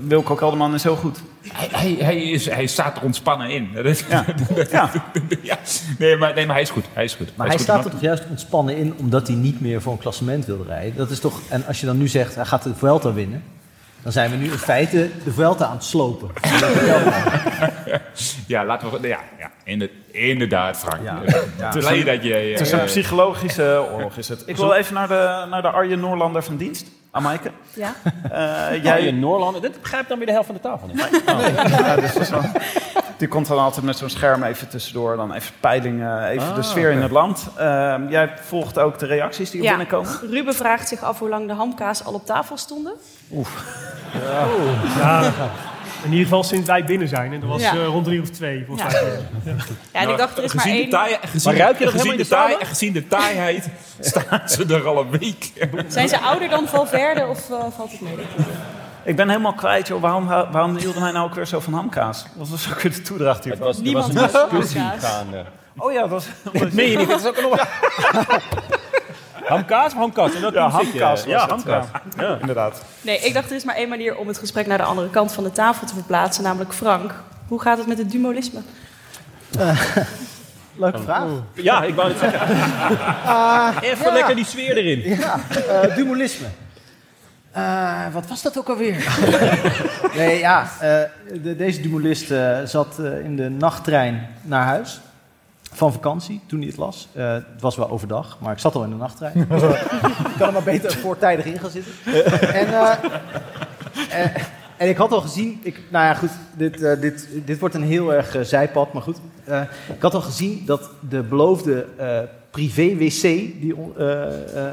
Wilco Kelderman is heel goed.
Hij, hij, hij, is, hij staat er ontspannen in. Dat is-
Ja. ja.
Nee, maar, nee, maar hij is goed. Hij is goed.
Maar
is
hij
goed.
staat er toch juist ontspannen in omdat hij niet meer voor een klassement wil rijden. Dat is toch, en als je dan nu zegt hij gaat de Vuelta winnen, dan zijn we nu in feite de Vuelta aan het slopen.
Ja, laten we... Ja, ja inder- inderdaad, Frank. Ja.
Ja.
Blij dat je...
Het is een psychologische oorlog, is het. Ik wil even naar de, naar de Arjen Noorlander van dienst. Amaike.
Ja.
Eh,
jij...
jij...
Noorlander, dit begrijpt dan weer de helft van de tafel niet.
Ja, dus dat is wel- die komt dan altijd met zo'n scherm even tussendoor. Dan even peilingen, even
Ah,
de sfeer in
oké.
het land. Ehm, jij volgt ook de reacties die er
Ja,
binnenkomen.
Ruben vraagt zich af hoe lang de hamkaas al op tafel stonden.
Ja. In ieder geval sinds wij binnen zijn. En dat was
Ja.
eh, rond drie of twee, volgens
Ja.
mij. Ja.
Ja, en ik dacht, er is maar
gezien
één.
de taai- gezien,
Maar ruik je dat
gezien
helemaal in
de
de
taai,
zaal?
Gezien de taaiheid staan ze er al een week.
Zijn ze ouder dan Valverde of eh, valt het mee?
Ik ben helemaal kwijt, joh. Waarom, waarom hielden wij nou ook weer zo van hamkaas? Wat was ook weer de toedracht hiervan?
was- er was een Niemand was van discussie hamkaas. gaande.
Oh ja, dat was...
Meen je niet? Dat is ook een nog. Hamkaas of hamkaas? In welk
Ja,
team zit je?
hamkaas was
Ja,
het,
hamkaas.
ja. Inderdaad.
Nee, ik dacht, er is maar één manier om het gesprek naar de andere kant van de tafel te verplaatsen, namelijk Frank. Hoe gaat het met het dumolisme?
Leuke vraag.
Ja, ik wou het zeggen.
Ah,
Even
ja.
lekker die sfeer erin.
Ja, eh, dualisme. Eh, wat was dat ook alweer? nee, ja, eh, de- deze dualist eh, zat eh, in de nachttrein naar huis. Van vakantie, toen hij het las. Eh, het was wel overdag, maar ik zat al in de nachttrein. Ik kan er maar beter voortijdig in gaan zitten. En, eh, eh, en ik had al gezien... Ik, nou ja, goed, dit, eh, dit, dit wordt een heel erg eh, zijpad, maar goed. Eh, ik had al gezien dat de beloofde eh, privé-wc... die on- eh, eh, eh,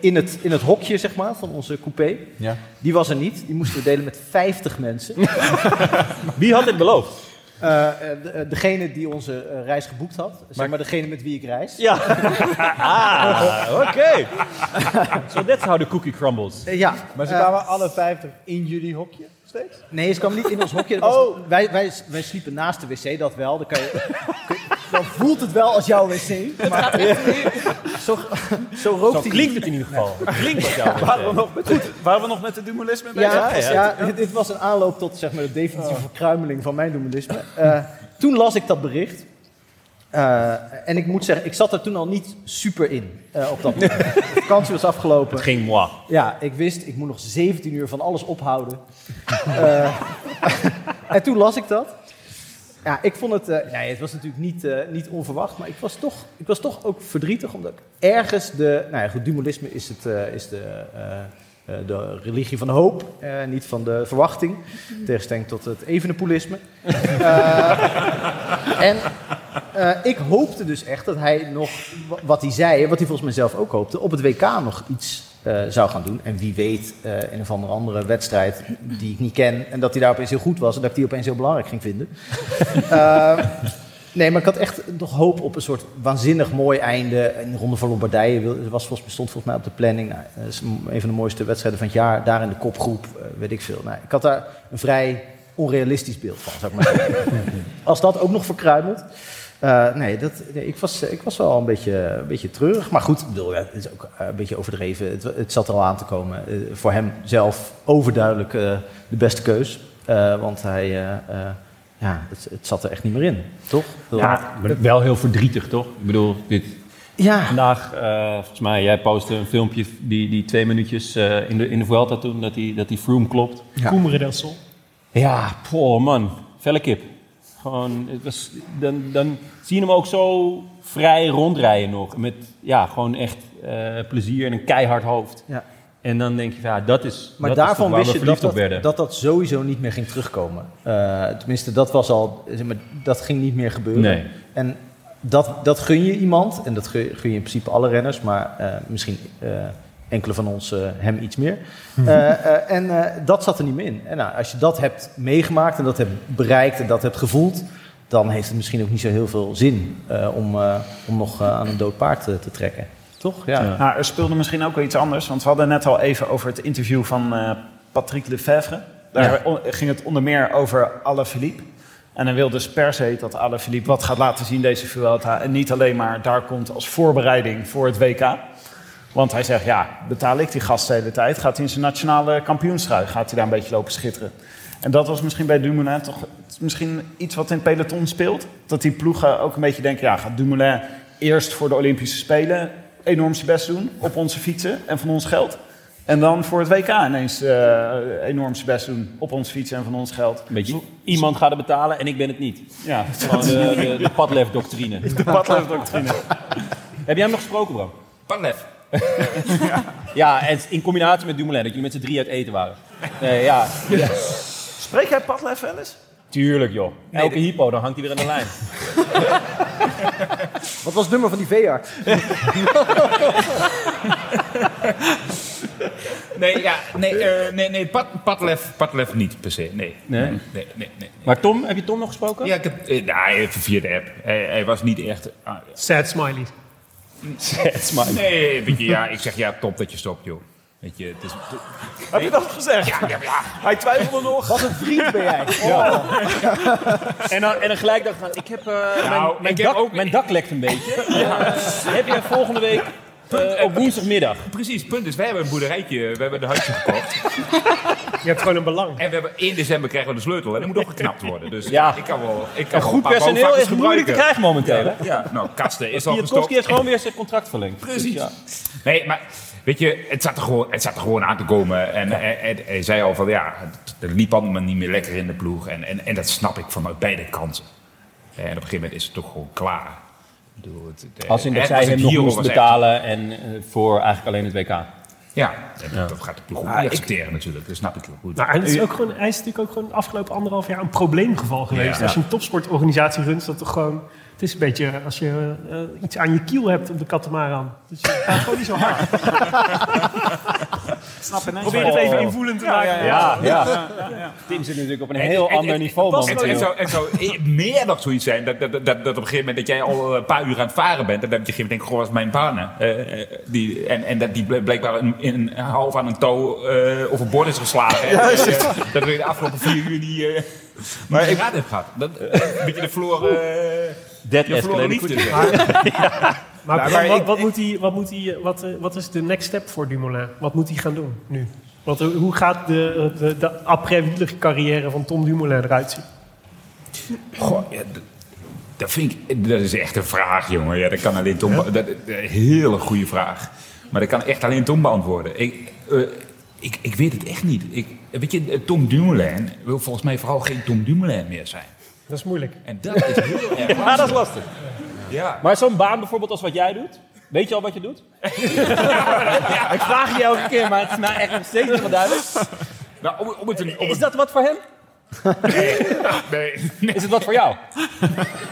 in, het, in het hokje, zeg maar, van onze coupé...
Ja.
die was er niet. Die moesten we delen met 50 mensen.
Wie had dit beloofd?
Eh, eh, de- eh, degene die onze eh, reis geboekt had. Zeg maar degene met wie ik reis.
Ja. Ah, oké. So that's how the cookie crumbles.
Eh, ja.
Maar ze
Eh,
kwamen alle 50 in jullie hokje steeds?
Nee, ze kwam niet in ons hokje. Dat was-
Oh.
wij, wij, wij sliepen naast de wc, dat wel. Dan, kan je, dan voelt het wel als jouw wc. Maar zo, zo rookt
Zo
hij
klinkt het in ieder geval. Klinkt het
Ja, waren, we
jou.
nog met, goed, waren we nog met het dualisme bezig?
Ja, ja, dit- dit was een aanloop tot zeg maar, de definitieve
Oh.
verkruimeling van mijn dualisme. toen las ik dat bericht. Eh, en ik moet zeggen, ik zat er toen al niet super in eh, op dat moment. De vakantie was afgelopen.
Het ging moi.
Ja, ik wist, ik moet nog 17 uur van alles ophouden. Eh, en toen las ik dat. Ja, ik vond het... eh, nee, het was natuurlijk niet, eh, niet onverwacht, maar ik was, toch, ik was toch ook verdrietig, omdat ik ergens de... Nou ja, goed, dualisme is, het, eh, is de, eh, eh, de religie van de hoop, eh, niet van de verwachting. in Tegenstelling tot het evenepoelisme. Eh, en eh, ik hoopte dus echt dat hij nog, wa- wat hij zei, en wat hij volgens mij zelf ook hoopte, op het WK nog iets eh, zou gaan doen. En wie weet, eh, in een of andere wedstrijd die ik niet ken. En dat hij daar opeens heel goed was en dat ik die opeens heel belangrijk ging vinden. Eh, nee, maar ik had echt nog hoop op een soort waanzinnig mooi einde. Een ronde van Lombardije wil- was volgens, stond volgens mij op de planning. Nou, dat is een een van de mooiste wedstrijden van het jaar. Daar in de kopgroep, eh, weet ik veel. Nou, ik had daar een vrij onrealistisch beeld van, zou ik maar zeggen. Als dat ook nog verkruimelt. Eh, nee, dat, nee, ik, was, eh, ik was wel een beetje, een beetje treurig. Maar goed, ik bedoel, ja, het is ook eh, een beetje overdreven. Het, het zat er al aan te komen. Eh, voor hem zelf overduidelijk eh, de beste keus. Eh, want hij, eh, eh, ja, het, het zat er echt niet meer in, toch? Ik bedoel,
Ja, maar wel heel verdrietig, toch? Ik bedoel, dit...
Ja.
Vandaag, eh, volgens mij, jij postte een filmpje die, die twee minuutjes eh, in, de, in de Vuelta toen, dat die, dat die Froome klopt.
Koemeren del Sol.
Ja, poh man, felle kip. Gewoon, het was, dan, dan zie je hem ook zo vrij rondrijden nog. Met ja, gewoon echt eh, plezier en een keihard hoofd.
Ja.
En dan denk je, van, ja, dat is,
Maar
dat is toch
daarvan
waar
wist
we
je dat
verliefd op
dat,
werden.
dat dat sowieso niet meer ging terugkomen. Eh, tenminste, dat was al, zeg maar, dat ging niet meer gebeuren.
Nee.
En dat, dat gun je iemand, en dat gun, gun je in principe alle renners, maar eh, misschien eh, enkele van ons eh, hem iets meer. Eh, eh, en eh, dat zat er niet meer in. En nou, als je dat hebt meegemaakt en dat hebt bereikt en dat hebt gevoeld, dan heeft het misschien ook niet zo heel veel zin eh, om, eh, om nog eh, aan een dood paard eh, te trekken. Toch? Ja.
Ja.
Nou, er speelde misschien ook wel iets anders. Want we hadden net al even over het interview van eh, Patrick Lefevre. Daar
Ja.
on- ging het onder meer over Alaphilippe. En hij wil dus per se dat Alaphilippe wat gaat laten zien deze Vuelta. En niet alleen maar daar komt als voorbereiding voor het WK. Want hij zegt, ja, betaal ik die gast de hele tijd. Gaat hij in zijn nationale kampioenstrui, gaat hij daar een beetje lopen schitteren. En dat was misschien bij Dumoulin toch misschien iets wat in het peloton speelt. Dat die ploegen ook een beetje denken, ja, gaat Dumoulin eerst voor de Olympische Spelen enorm zijn best doen op onze fietsen en van ons geld. En dan voor het WK ineens eh, enorm zijn best doen op ons fietsen en van ons geld.
Beetje, iemand gaat het betalen en ik ben het niet.
Ja.
Gewoon de, de, de Padlef-doctrine.
De Padlef-doctrine.
Heb jij hem nog gesproken, Bram? Padlef. ja, en in combinatie met Dumoulin, dat jullie met z'n drie uit eten waren. Nee, ja. ja.
Spreek jij Padlef wel eens?
Tuurlijk, joh.
Nee,
Elke hypo, dan hangt hij weer aan de lijn.
Wat was het nummer van die veearts?
Nee, ja, nee, eh, nee, nee Pat, Patlef, Patlef niet per se. Nee.
Nee?
Nee, nee, nee, nee.
Maar Tom, heb je Tom nog gesproken?
Ja, ik heb, eh, nou, even via de app. Hij, hij was niet echt... ah,
Sad smiley.
Sad smiley.
Nee, weet je, ja, ik zeg ja, top dat je stopt, joh. Weet je, het is...
Heb je dat gezegd?
Ja, ja, ja.
Hij twijfelde nog.
Wat een vriend ben jij.
En, dan, en dan gelijk dacht ik, van, ik heb, eh, mijn, mijn,
Nou, ik heb
dak, mijn dak lekt een beetje. Eh, heb jij volgende week eh, op woensdagmiddag?
Precies, punt is, wij hebben een boerderijtje, we hebben een huisje gekocht.
Je hebt gewoon een belang.
En we hebben 1 december krijgen we de sleutel en dat moet nog geknapt worden. Dus
Ja.
ik kan wel ik kan
En
wel
goed
een paar
personeel
bouwvakkers
is moeilijk te krijgen
gebruiken.
momenteel. hè?
Ja, nou, kasten is al
Pietkowski heeft
gestopt.
gewoon weer zijn contract verlengd.
Precies.
Dus ja.
Nee, maar weet je, het zat er gewoon, het zat er gewoon aan te komen. En hij, hij- hij zei al van ja, het- er liep allemaal niet meer lekker in de ploeg. En, en, en dat snap ik vanuit beide kanten. En op een gegeven moment is het toch gewoon klaar. Ik bedoel, het- het-
Als in dat
en
zij
als
hem
het
nog
hier
moest
was, echt-
betalen en eh, voor eigenlijk alleen het WK.
Ja, en dat- dat gaat de ploeg
Ah,
ook niet accepteren natuurlijk. Dat snap ik heel goed.
Nou, en het is ook gewoon, hij is natuurlijk ook gewoon de afgelopen anderhalf jaar een probleemgeval geweest.
Ja.
Als je een topsportorganisatie runt, is dat toch gewoon... Het is een beetje als je eh, iets aan je kiel hebt op de katamaran. Dus je gaat gewoon niet zo hard.
Snap je
Probeer het even invoelend te maken.
Ja, ja. Tim zit natuurlijk op een heel
En- en-
ander
en-
niveau
het- Het, het
momenteel.
zou, het zou e- meer nog zoiets zijn dat, dat, dat, dat op een gegeven moment dat jij al eh, een paar uur aan het varen bent. En dat je op een gegeven moment denkt, goh, wat is mijn baan? hè? Eh, eh, die, en, en dat die bl- blijkbaar een, in, een half aan een touw eh overboord is geslagen. En, eh, dat we de afgelopen vier uur die, eh maar ik raad heb gehad. Dat, eh, een beetje de Floor, eh
Dead
de Floor
escalated
liefde.
Maar,
Nou,
wat,
maar
wat,
ik-
wat moet hij, wat, moet hij, wat, eh, wat is de next step voor Dumoulin? Wat moet hij gaan doen nu? Want eh, hoe gaat de, eh, de, de après-wielercarrière van Tom Dumoulin eruit zien?
Goh, ja, d- dat, vind ik, dat is echt een vraag, jongen. Ja, dat kan alleen Tom... be- Dat, dat- een hele goede vraag. Maar dat kan echt alleen Tom beantwoorden. Ik, eh, ik, ik weet het echt niet. Ik, weet je, eh, Tom Dumoulin wil volgens mij vooral geen Tom Dumoulin meer zijn.
Dat is moeilijk.
En dat is heel erg
Maar Ah, dat
lastig.
is lastig.
Ja.
Maar zo'n baan bijvoorbeeld als wat jij doet, weet je al wat je doet? Ik vraag je elke keer, maar het is mij echt nog steeds niet duidelijk.
Nou, om, om het, een- om
Is
het,
dat wat voor hem?
nee, nee.
Is het wat voor jou?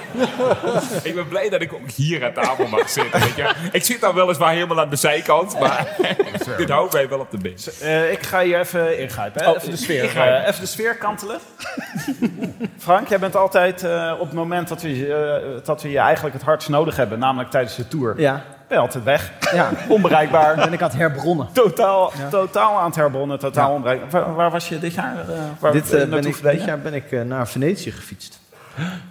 ik ben blij dat ik ook hier aan tafel mag zitten. Weet je. Ik zit dan weliswaar helemaal aan de zijkant, maar dit houdt mij wel op de been.
Eh, ik ga hier even ingrijpen. Hè?
Oh,
even, de
ik
sfeer,
ga
eh, even de sfeer kantelen. Frank, jij bent altijd eh, op het moment dat we, je- eh, dat we je eigenlijk het hardst nodig hebben, namelijk tijdens de tour,
Ja,
ben je altijd weg.
ja.
Onbereikbaar.
Ben ik aan het herbronnen.
Totaal, totaal aan het herbonnen, totaal onbereikbaar. Waar, waar was je dit jaar? eh, waar
Dit,
eh,
eh, ben
naartoe
ik,
verdedigd?
dit jaar ben ik eh, naar Venetië gefietst.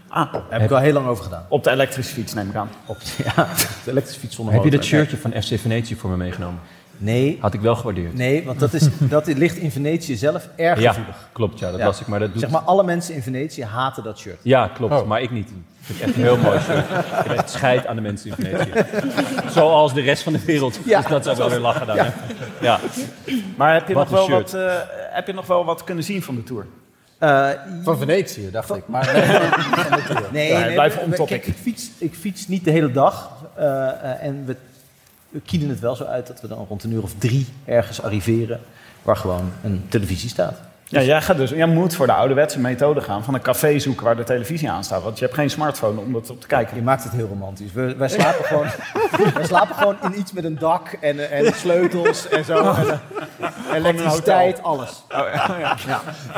Ah,
Daar heb ik al heel lang over gedaan.
op de elektrische fiets neem ik aan.
Op, ja, de elektrische fiets zonder
Heb je
motor.
dat shirtje van FC Venetië voor me meegenomen?
Nee,
Had ik wel gewaardeerd.
nee want dat, is, dat ligt in Venetië zelf erg
Ja,
gevoelig.
klopt. Ja, dat
Ja.
las ik. Maar dat doet...
Zeg maar, Oh. alle mensen in Venetië haten dat shirt.
Ja, klopt. Maar ik niet. Vind ik echt een heel mooi shirt. Ik heb echt scheid aan de mensen in Venetië. Zoals de rest van de wereld.
Ja.
Dus dat zou wel weer lachen dan. Ja. ja.
Maar heb je,
Wat
nog wel
een
wat, eh, heb je nog wel wat kunnen zien van de tour?
Eh,
Van Venetië, dacht ik. Maar nee,
Nee,
Ja,
nee,
blijf
we-
on
we-
topic.
Kijk, ik fiets, ik fiets niet de hele dag. eh, eh, en we, we kieden het wel zo uit dat we dan rond een uur of drie ergens arriveren. Waar gewoon een televisie staat.
Ja, jij, gaat dus, jij moet voor de ouderwetse methode gaan van een café zoeken waar de televisie aan staat. Want je hebt geen smartphone om dat op te kijken.
Je maakt het heel romantisch. We, wij, slapen gewoon, wij slapen gewoon in iets met een dak en, eh, en sleutels en zo. En, eh, elektriciteit, alles.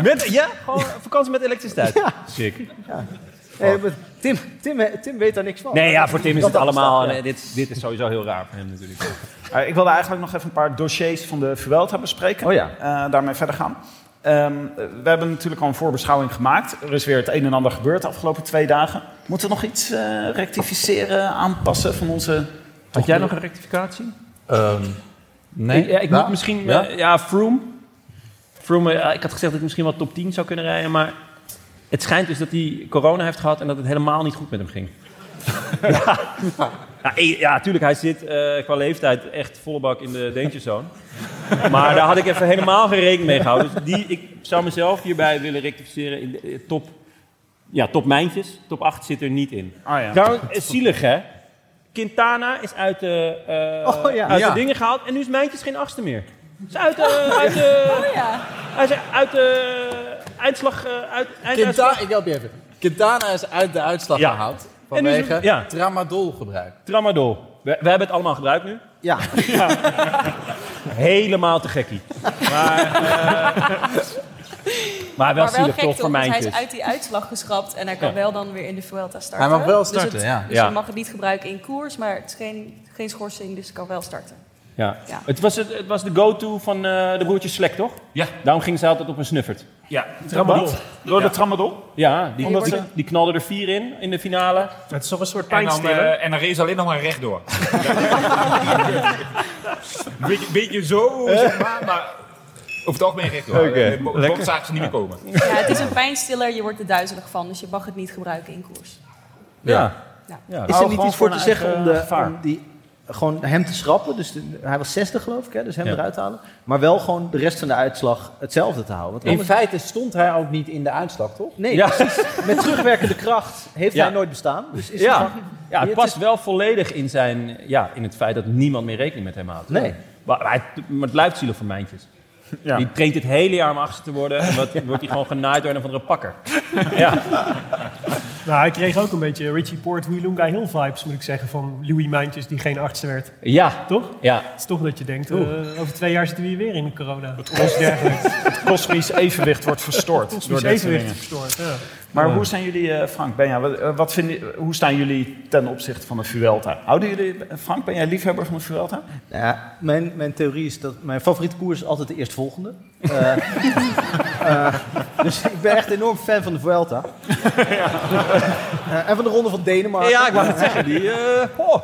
Met, ja, gewoon vakantie met elektriciteit. Sick.
Eh, maar Tim, Tim, eh, Tim weet daar niks van.
Nee, ja, voor Tim is
Dat
het allemaal...
bestaat, ja.
nee, dit, dit is sowieso heel raar voor hem natuurlijk.
Eh, ik wilde eigenlijk nog even een paar dossiers van de Vuelta bespreken.
Oh ja.
Eh, daarmee verder gaan. Ehm, eh, we hebben natuurlijk al een voorbeschouwing gemaakt. Er is weer het een en ander gebeurd de afgelopen twee dagen. Moeten we nog iets eh, rectificeren, aanpassen van onze...
Had jij nog een rectificatie?
Ehm,
Ik, ja, ik
Ja?
moet misschien...
Ja?
eh, Ja, Froome. Froome, eh, ik had gezegd dat ik misschien wel top 10 zou kunnen rijden, maar... Het schijnt dus dat hij corona heeft gehad en dat het helemaal niet goed met hem ging. ja. Ja, eh, ja, tuurlijk, hij zit eh, qua leeftijd echt volle bak in de danger zone. maar daar had ik even helemaal geen rekening mee gehouden. Dus die, ik zou mezelf hierbij willen rectificeren in de eh, top... Ja, top mijntjes. Top 8 zit er niet in.
Ah, ja.
Daarom, eh, zielig, hè? Quintana is uit de, eh,
Oh, ja.
uit
Ja.
de dingen gehaald en nu is Mijntjes geen achtste meer. Is uit de, uit de,
Oh
Hij is uit de eindslag, eh, uit, einduitslag.
Quintana, ik help je even. Quintana is uit de uitslag
Ja.
gehaald
En nu is-
vanwege
ja.
tramadol gebruik.
Tramadol. We, we hebben het allemaal gebruikt nu.
Ja.
Helemaal te gekkie. Maar, eh, maar
maar
wel
wel
zielig
gek
toch
toch,
voor
want hij
Mijntjes.
is uit die uitslag geschrapt en hij kan
Ja.
wel dan weer in de Vuelta starten.
Hij mag wel
Dus het-
starten, ja.
Dus
Ja.
je mag het niet gebruiken in koers, maar het is geen, geen schorsing, dus hij kan wel starten.
Ja.
Ja.
Het, was het, het was de go-to van eh, de broertjes Slek, toch? Ja. Daarom gingen ze altijd op een snuffert.
Ja,
tramadol.
Wat?
Door de
tramadol?
Ja, die,
Omdat
die,
ze-
die knalden er vier in, in de finale.
Het is toch een soort
En dan, eh,
pijnstiller?
en dan rees alleen nog maar rechtdoor.
Beetje, beetje zo, zeg maar, maar over het algemeen recht hoor.
Oké,
Eh, bo-
lekker.
boven zagen ze niet meer komen.
Ja, het is een pijnstiller, je wordt er duizelig van, dus je mag het niet gebruiken in koers.
Ja.
Ja.
Is er niet iets voor te
een
zeggen
eigen
om, de,
gevaar.
om die, gewoon hem te schrappen? Dus de- hij was 60 geloof ik, hè? dus hem
Ja.
eruit te halen. Maar wel gewoon de rest van de uitslag hetzelfde te houden. Want
In
anders-
feite stond hij ook niet in de uitslag, toch?
Nee, precies. Met terugwerkende kracht heeft
Ja.
hij nooit bestaan. Dus is
ja.
het gewoon-
ja, het
Het
past wel volledig in, zijn, ja, in het feit dat niemand meer rekening met hem houdt.
Nee.
Maar, maar het, maar het blijft zielig voor Mijntjes.
Ja.
Die traint het hele jaar om achter te worden en wat, wordt hij gewoon genaaid door een of andere pakker. ja.
Nou, hij kreeg ook een beetje Richie Poort, Wilunga Hill vibes, moet ik zeggen, van Louis Mijntjes, die geen arts werd.
ja,
toch?
Ja.
Het is toch dat je denkt, eh,
Oeh.
over twee jaar zitten we hier weer in de corona. Het
ons- Het kosmisch evenwicht wordt verstoord.
Het
door
kosmisch
dit soort
evenwicht
dingen.
verstoord, ja.
Maar
Ja.
hoe zijn jullie, eh, Frank, Benja, wat, eh, wat vinden, hoe staan jullie ten opzichte van de Vuelta? Houden jullie, Frank, ben jij liefhebber van de Vuelta?
Nou ja, mijn, mijn theorie is dat mijn favoriete koers is altijd de eerstvolgende. Eh eh, dus ik ben echt enorm fan van de Vuelta. Eh, en van de Ronde van Denemarken.
Ja, ik wou het zeggen, die... eh, oh.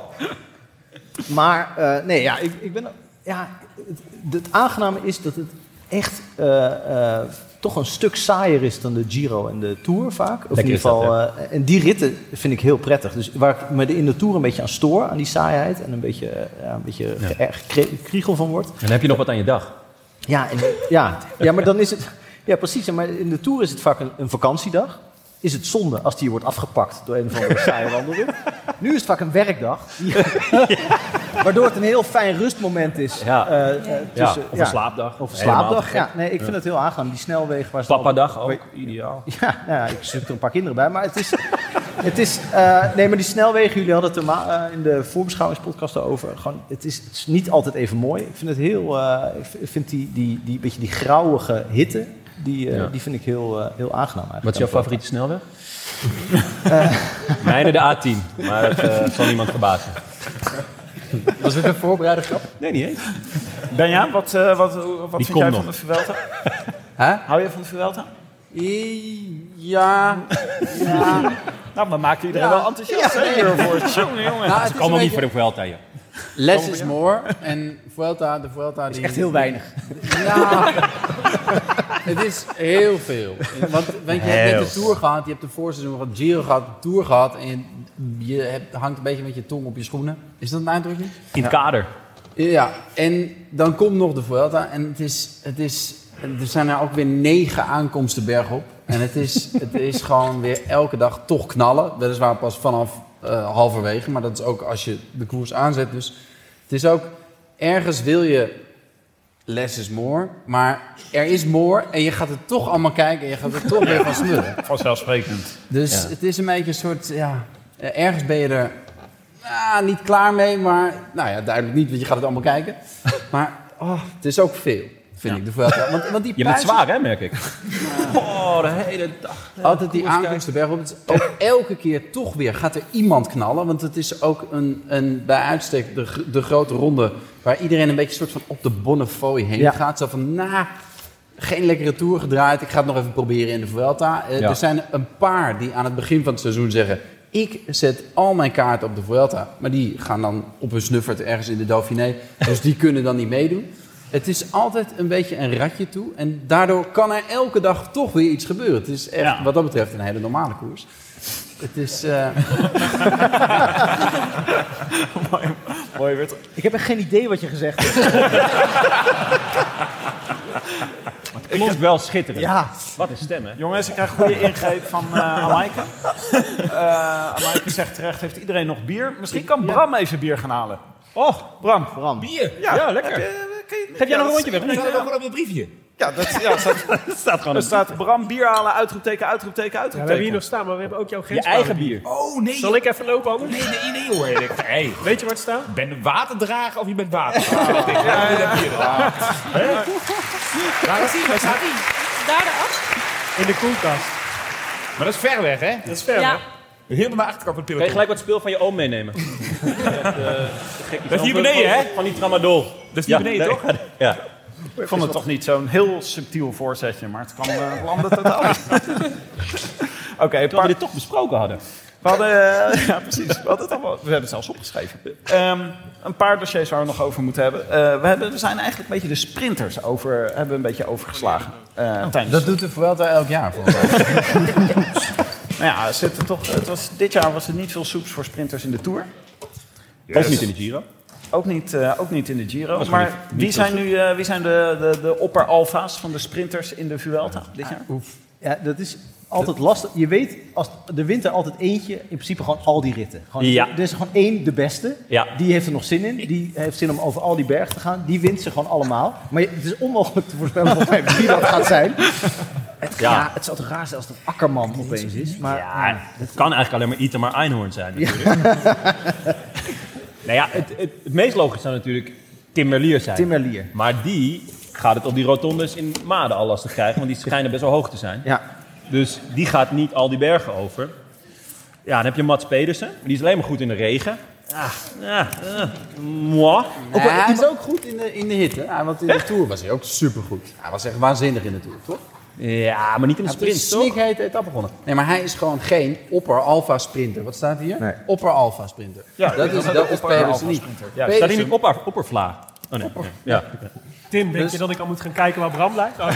Maar eh, nee, ja, ik, ik ben. Ja, het, het aangename is dat het echt eh, eh, toch een stuk saaier is dan de Giro en de Tour vaak. Of
Lekker
in ieder
is dat,
geval. eh, en die ritten vind ik heel prettig. Dus waar ik me de- in de Tour een beetje aan stoor, aan die saaiheid en een beetje, eh, ja, een beetje
Ja.
ge- kre- kriegel van word.
Dan heb je nog wat aan je dag.
Ja, en, ja, ja, maar dan is het. Ja, precies. Maar in de Tour is het vaak een, een vakantiedag. Is het zonde als die wordt afgepakt door een of andere saaie wandelroute. Nu is het vaak een werkdag. die- Waardoor het een heel fijn rustmoment is.
Ja.
eh, eh,
Ja,
tussen-
of een slaapdag.
Of een
Helemaal
slaapdag,
te
ja.
gek.
Nee, ik vind
Ja.
het heel aangenaam. Die snelwegen waar ze...
Papadag ook, ideaal.
Ja, nou ja, ik zit er een paar kinderen bij. Maar het is... het is eh, nee, maar die snelwegen, jullie hadden het er ma- eh, in de voorbeschouwingspodcast over. Gewoon, het, is, het is niet altijd even mooi. Ik vind het heel... eh, ik v- ik vind die, die, die, beetje die grauwige hitte, die, eh,
Ja.
die vind ik heel, eh, heel aangenaam eigenlijk.
Wat is jouw favoriete snelweg? Mijne de A10, maar dat eh, zal niemand verbazen.
Was dit een voorbereide grap?
Nee, niet eens.
Benja, wat, eh, wat, wat vind
komt
jij
nog.
van de Vuelta?
Huh?
Hou je van de Vuelta?
Ja. ja.
Nou, maar maken iedereen wel enthousiast
Ja.
hè, hiervoor.
Ja.
Jongen, jongen.
Nou, het is een beetje-
Vuelta, joh.
Less is more. En Vuelta, de Vuelta... Is
echt heel weinig.
Ja. het is heel veel. Want, want je hebt
Heel
net de Tour gehad, je hebt de voorseizoen gehad, Giro gehad, de Tour gehad. En je, je hebt, hangt een beetje met je tong op je schoenen. Is dat een uitdrukking?
In het kader.
Ja, en dan komt nog de Vuelta. En het is, het is, er zijn er ook weer negen aankomsten bergop. En het is, het is gewoon weer elke dag toch knallen. Weliswaar pas vanaf eh, halverwege. Maar dat is ook als je de koers aanzet. Dus het is ook, ergens wil je less is more. Maar er is more. En je gaat het toch allemaal kijken. En je gaat er toch weer van smullen.
Vanzelfsprekend.
Dus het is een beetje een soort, ja, eh, ergens ben je er ah, niet klaar mee, maar nou ja, duidelijk niet, want je gaat het allemaal kijken. Maar oh, het is ook veel, vind ik. De Vuelta. want, want die
Je bent
puisten-
zwaar, hè, merk ik. Oh, de hele dag.
Altijd die aankomsten bergop. Het is ook elke keer toch weer gaat er iemand knallen. Want het is ook een, een bij uitstek de, gr- de grote ronde... waar iedereen een beetje soort van op de bonnefooi heen
Ja.
gaat. Zo van, na, geen lekkere tour gedraaid. Ik ga het nog even proberen in de Vuelta. Eh,
Ja.
Er zijn een paar die aan het begin van het seizoen zeggen... Ik zet al mijn kaarten op de Vuelta. Maar die gaan dan op een snuffert ergens in de Dauphiné. Dus die kunnen dan niet meedoen. Het is altijd een beetje een ratje toe. En daardoor kan er elke dag toch weer iets gebeuren. Het is echt, wat dat betreft, een hele normale koers. Het is... eh,
Mooi werd. Ik heb echt geen idee wat je gezegd hebt.
Het klonk wel schitterend.
Ja.
Wat een stem, hè?
Jongens, ik krijg een goede ingreep van eh Amaike. Eh, Amaike zegt terecht, heeft iedereen nog bier? Misschien kan Bram even bier gaan halen. Oh, Bram. Bram.
Bier?
Ja,
Ja, lekker.
Heb
Eh,
je- kan je-
Geef jij
Ja,
nog een
dat-
rondje weg?
dat-
Nee,
dat-
ja.
op dat briefje.
Ja, dat ja, dat staat, dat
staat gewoon
Er
op.
staat Bram bier halen, uitroepteken, uitroepteken,
we
uitroepteken.
hebben hier nog staan, maar we hebben ook jouw grens.
eigen bier.
Oh nee.
Zal ik even lopen, anders?
Nee, nee, nee hoor. Ik- Hey,
Weet je waar het staat?
ben je waterdrager of je bent water? Ik denk, ja, ja, ja. Waar is die? Waar staat die?
In de koelkast.
Maar dat is ver weg, hè?
Dat is ver,
Ja.
hè?
Helemaal naar de achterkant van de
Kan je
peloton.
gelijk wat speel van je oom meenemen?
Dat is hier beneden, hè?
Van die tramadol.
Dat is hier
Ja,
beneden,
nee.
toch?
Ja.
Ik vond het toch niet zo'n heel subtiel voorzetje, maar het kan eh, landen totaal niet. Oké, een
Terwijl
paar-
we dit toch besproken hadden.
We hadden, eh, ja, precies. We, hadden het allemaal, we hebben het zelfs opgeschreven. Ehm, een paar dossiers waar we nog over moeten hebben. Eh, we, hebben we zijn eigenlijk een beetje de sprinters over, hebben we een beetje overgeslagen. Eh, tijdens-
dat doet de Vuelta elk jaar. volgens mij.
nou ja, er zitten toch, het was, dit jaar was er niet veel soeps voor sprinters in de Tour.
Ook niet in de Giro.
Ook niet, eh, ook niet in de Giro.
Was
maar
gewoon niet- niet
wie
veel
zijn nu eh, wie zijn de, de, de opper-alfa's van de sprinters in de Vuelta dit
Ah,
jaar?
Ja, dat is altijd lastig. Je weet, als de winter altijd eentje, in principe gewoon al die ritten. Gewoon,
Ja.
Er is gewoon één de beste.
Ja.
Die heeft er nog zin in. Die heeft zin om over al die berg te gaan. Die wint ze gewoon allemaal. Maar je- het is onmogelijk te voorspellen volgens mij wie dat gaat zijn. Het, ja.
Ja.
het zou toch raar zijn als dat Akkerman opeens is. Maar
Ja, dat kan eigenlijk alleen maar Itamar Einhorn zijn natuurlijk. nou ja, het, het, het meest logisch zou natuurlijk Tim Merlier zijn.
Tim Merlier.
Maar die gaat het op die rotondes in Maden al lastig krijgen, want die schijnen best wel hoog te zijn.
Ja.
Dus die gaat niet al die bergen over. Ja, dan heb je Mats Pedersen. Die is alleen maar goed in de regen. Ah, ja, eh, moi.
Ook wel- hij is ook goed in de, in de hitte. Ja, want in de Tour was hij ook supergoed. Hij was echt waanzinnig in de Tour, toch?
Ja, maar niet in de
Hij heeft een
sprint, toch?
snikheet etappe gewonnen. Nee, maar hij is gewoon geen opper-alpha sprinter. Wat staat hier?
Nee.
Opper-alpha sprinter.
Ja,
dat is, dat is Pedersen niet.
Ja, staat hij nu op oppervla? Oh nee. nee. Ja.
Tim, denk je dat ik al moet gaan kijken waar Bram blijft? Oh,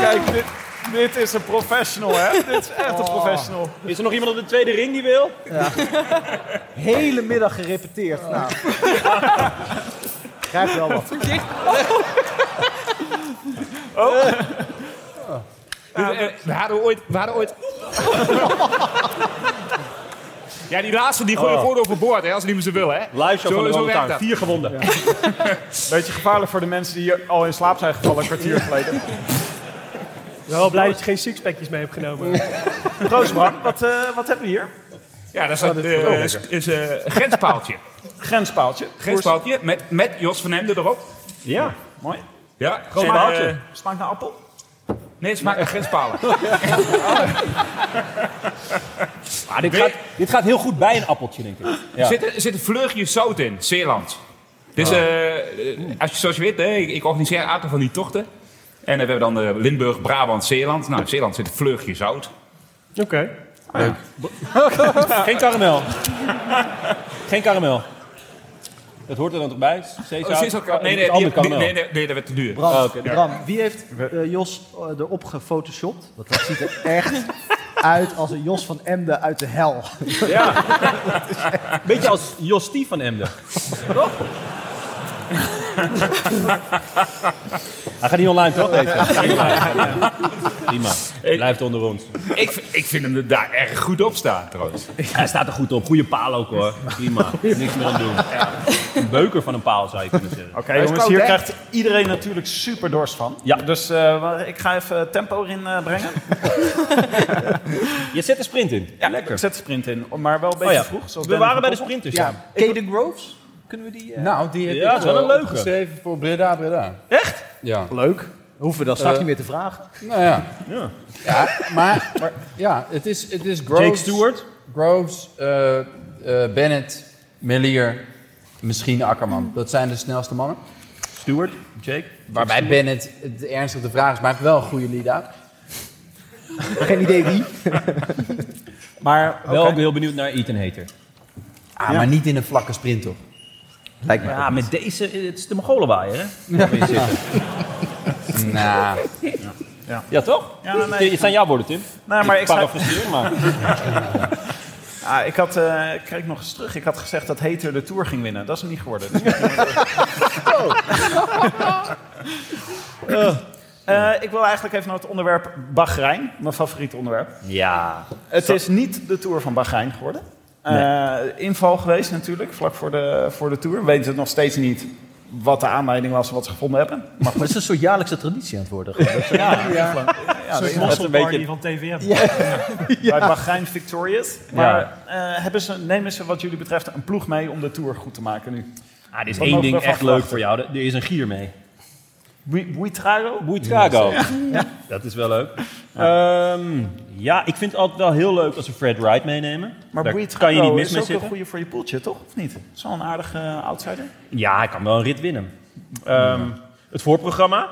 Kijk, dit, dit is een professional, hè? Dit is echt een professional.
Is er nog iemand op de tweede ring die wil?
hele middag gerepeteerd. Nou. Grijp wel wat.
Eh, we hadden ooit... We hadden ooit... ja, die laatste die gooien gewoon overboord, hè, als niemand ze wil, hè?
Live show
Zo-
van de
zo
Rode
werkt
Tuin.
dat.
Vier gewonden.
Beetje gevaarlijk voor de mensen die hier al in slaap zijn gevallen een kwartier geleden.
wel blij dat je geen sixpackjes mee hebt genomen.
Proost, Mark. Wat, eh, wat hebben we hier?
Ja, dat is een is, is, eh, grenspaaltje.
Grenspaaltje.
grenspaaltje met, met Jos van Hemden erop.
Ja, mooi.
Ja,
Smaakt-
en, eh,
eh, smaakt naar appel?
nee, het smaakt naar grenspalen.
Ah, dit,
Nee.
gaat, dit gaat heel goed bij een appeltje, denk ik. Ja.
Er zit, een- er zit een vleugje zout in, Zeeland. Dus eh, eh, als je, zoals je weet, eh, ik, ik organiseer een aantal van die tochten. En eh, we hebben dan eh, Limburg, Brabant, Zeeland. Nou, in Zeeland zit een vleugje zout.
Oké.
Geen karamel. Geen karamel. Dat hoort er dan toch bij?
Oh,
Zeezout?
nee,
Het andere
nee, die- die-
karamel.
nee, nee, nee, dat werd te duur.
Bram,
Oh, oké.
Bram, wie heeft eh, Jos eh, erop gefotoshopt? Want dat ziet er echt uit als een Jos van Emden uit de hel.
Beetje als Jostie van Emden. Toch? Hij gaat niet online, toch? Nee, hij gaat niet online. Prima. Hij Blijft onder ons.
Ik, vind- ik vind hem er daar erg goed op staan, trouwens.
Hij staat er goed op. Goede paal ook, hoor. Prima. Niks meer aan doen. Een beuker van een paal, zou je kunnen zeggen.
Oké, jongens, hier krijgt iedereen natuurlijk super dorst van.
Ja.
Dus eh, wa- ik ga even tempo erin eh, brengen.
Je zet de sprint in.
Ja, lekker. Ik zet de sprint in, maar wel een beetje
Oh ja,
vroeg. zoals
we
Ben
waren bij de
gekoppeld.
sprinters.
Ja,
ja.
Caden Groves, kunnen we die... eh,
Nou, die heb
Ja,
ik
dat is wel een leuke.
geschreven voor Breda Breda. Echt? Ja.
Leuk. Hoeven we dat straks
Eh,
niet meer te vragen.
Nou ja.
Ja.
Ja, maar, maar ja, het is, het is Groves.
Jake
Stewart? Groves, eh, eh, Bennett, Melier, misschien Akkerman. Dat zijn de snelste mannen.
Stewart, Jake.
Waarbij
Jake Stewart.
Bennett het ernstig de vraag is, maakt wel een goede lead-out.
Geen idee wie.
Maar wel
Oké.
heel benieuwd naar Ethan Hater.
Ah, maar niet in een vlakke sprint, toch? Lijkt me
Ja, met deze, eh, het is de Mongolenwaaier, hè?
Ja.
Waar je zit.
Nou.
Ja. ja, toch?
Ja, nee.
Het zijn jouw woorden, Tim.
Nou, maar ik zou-
parafraseer, maar...
Ah, ik had, eh, ik kijk nog eens terug, ik had gezegd dat Hater de Tour ging winnen. Dat is hem niet geworden. Dus Oh. Eh, eh, ik wil eigenlijk even naar het onderwerp Bahrein, mijn favoriete onderwerp.
Ja.
Het is niet de Tour van Bahrein geworden. Eh, Inval geweest natuurlijk, vlak voor de, voor de Tour. We weten het nog steeds niet wat de aanleiding was en wat ze gevonden hebben. Maar
het is een soort jaarlijkse traditie aan het worden.
ja,
Ja.
ja.
Zo'n
dat is
mosselparty van TVM.
Bij Bahrein Victorious. Maar eh, hebben ze, nemen ze wat jullie betreft een ploeg mee om de Tour goed te maken nu?
Ah, dit is
Wat mogen
één
we
ding
ervan
echt leuk
verwachten?
voor jou. Er er is een gier mee.
Bui- Buitrago?
Buitrago.
Ja.
Ja. Dat is wel leuk. Ehm, ja, ik vind het altijd wel heel leuk als ze Fred Wright meenemen.
Maar
Daar
Buitrago
kan je niet mis
is
mee
ook een
zitten.
goede voor je poeltje, toch? Of niet? Is wel een aardige eh, outsider.
Ja, hij kan wel een rit winnen. Ehm, Het voorprogramma.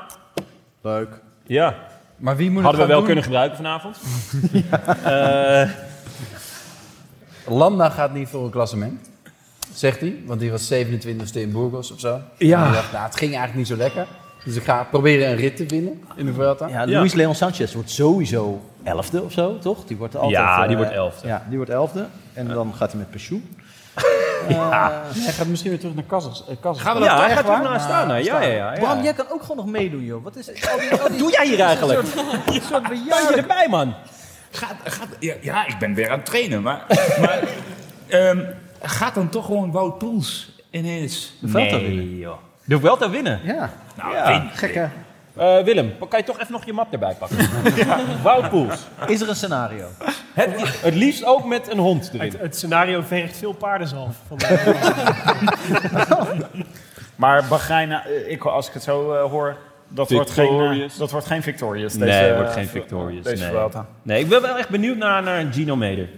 Leuk.
Ja.
Maar wie moet het
Hadden we
gaan
wel
doen?
kunnen gebruiken vanavond. Eh,
Landa gaat niet voor een klassement, zegt hij. Want die was 27e in Burgos of zo.
Ja.
En hij dacht, nou, het ging eigenlijk niet zo lekker. Dus ik ga proberen een rit te winnen in de Vuelta.
Ja, Luis Leon Sanchez wordt sowieso elfde of zo, toch? Die wordt altijd,
Ja, die
eh,
wordt elfde.
Ja, die wordt elfde. En dan gaat hij met pensioen.
Ja. hij gaat misschien weer terug naar Kazachs- eh, Kazachstan.
Gaan we Oh, dat Ja, hij echt gaat waar? Ah, terug naar
Astana. Ja,
Astana.
ja, ja, ja.
Bram, jij kan ook gewoon nog meedoen, joh. Wat is al die- al die-
doe jij hier eigenlijk?
Een soort, een soort
Ben je
bejaarde...
erbij, man?
Gaat, gaat, ja, ja, ik ben weer aan het trainen, maar, maar ehm, gaat dan toch gewoon Wout Poels ineens de
Vuelta winnen? De Vuelta winnen?
Ja.
Nou,
Ja.
win.
Gekke.
Eh, Willem, kan je toch even nog je map erbij pakken? Wout Poels.
Is er een scenario?
Het, het liefst ook met een hond erin.
Het, het scenario vergt veel paardenzalf. Van
Maar Bahrein, eh, ik, als ik het zo eh, hoor, dat wordt, geen, eh,
Victorious.
dat wordt geen Victorious.
nee,
deze,
het wordt
eh,
geen
v-
Victorious.
Deze
nee.
Vuelta.
nee, ik ben wel echt benieuwd naar, naar Gino Meder.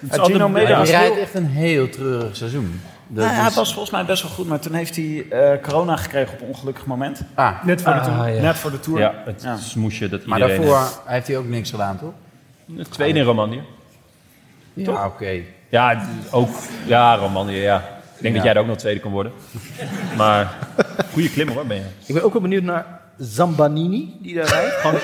Het is
Ah, Gino
altijd-
Meder
Ja,
Hij
is
rijdt
heel-
echt een heel treurig seizoen. Dat
Nou ja,
is-
het was volgens mij best wel goed, maar toen heeft hij eh, corona gekregen op een ongelukkig moment.
Ah.
Net voor de
Ah,
tour.
ja.
Net voor de tour.
Ja, het smoesje dat
Maar
iedereen...
daarvoor
heeft.
heeft hij ook niks gedaan, toch?
Het tweede in Romandie.
Ja,
Toch?
oké.
Ja, d- ook. Ja, Romandie, ja. Ik denk
Ja.
dat jij er ook nog tweede kan worden. Maar goede klimmer hoor, ben je.
Ik ben ook wel benieuwd naar Zambanini, die daar rijdt. Gewoon...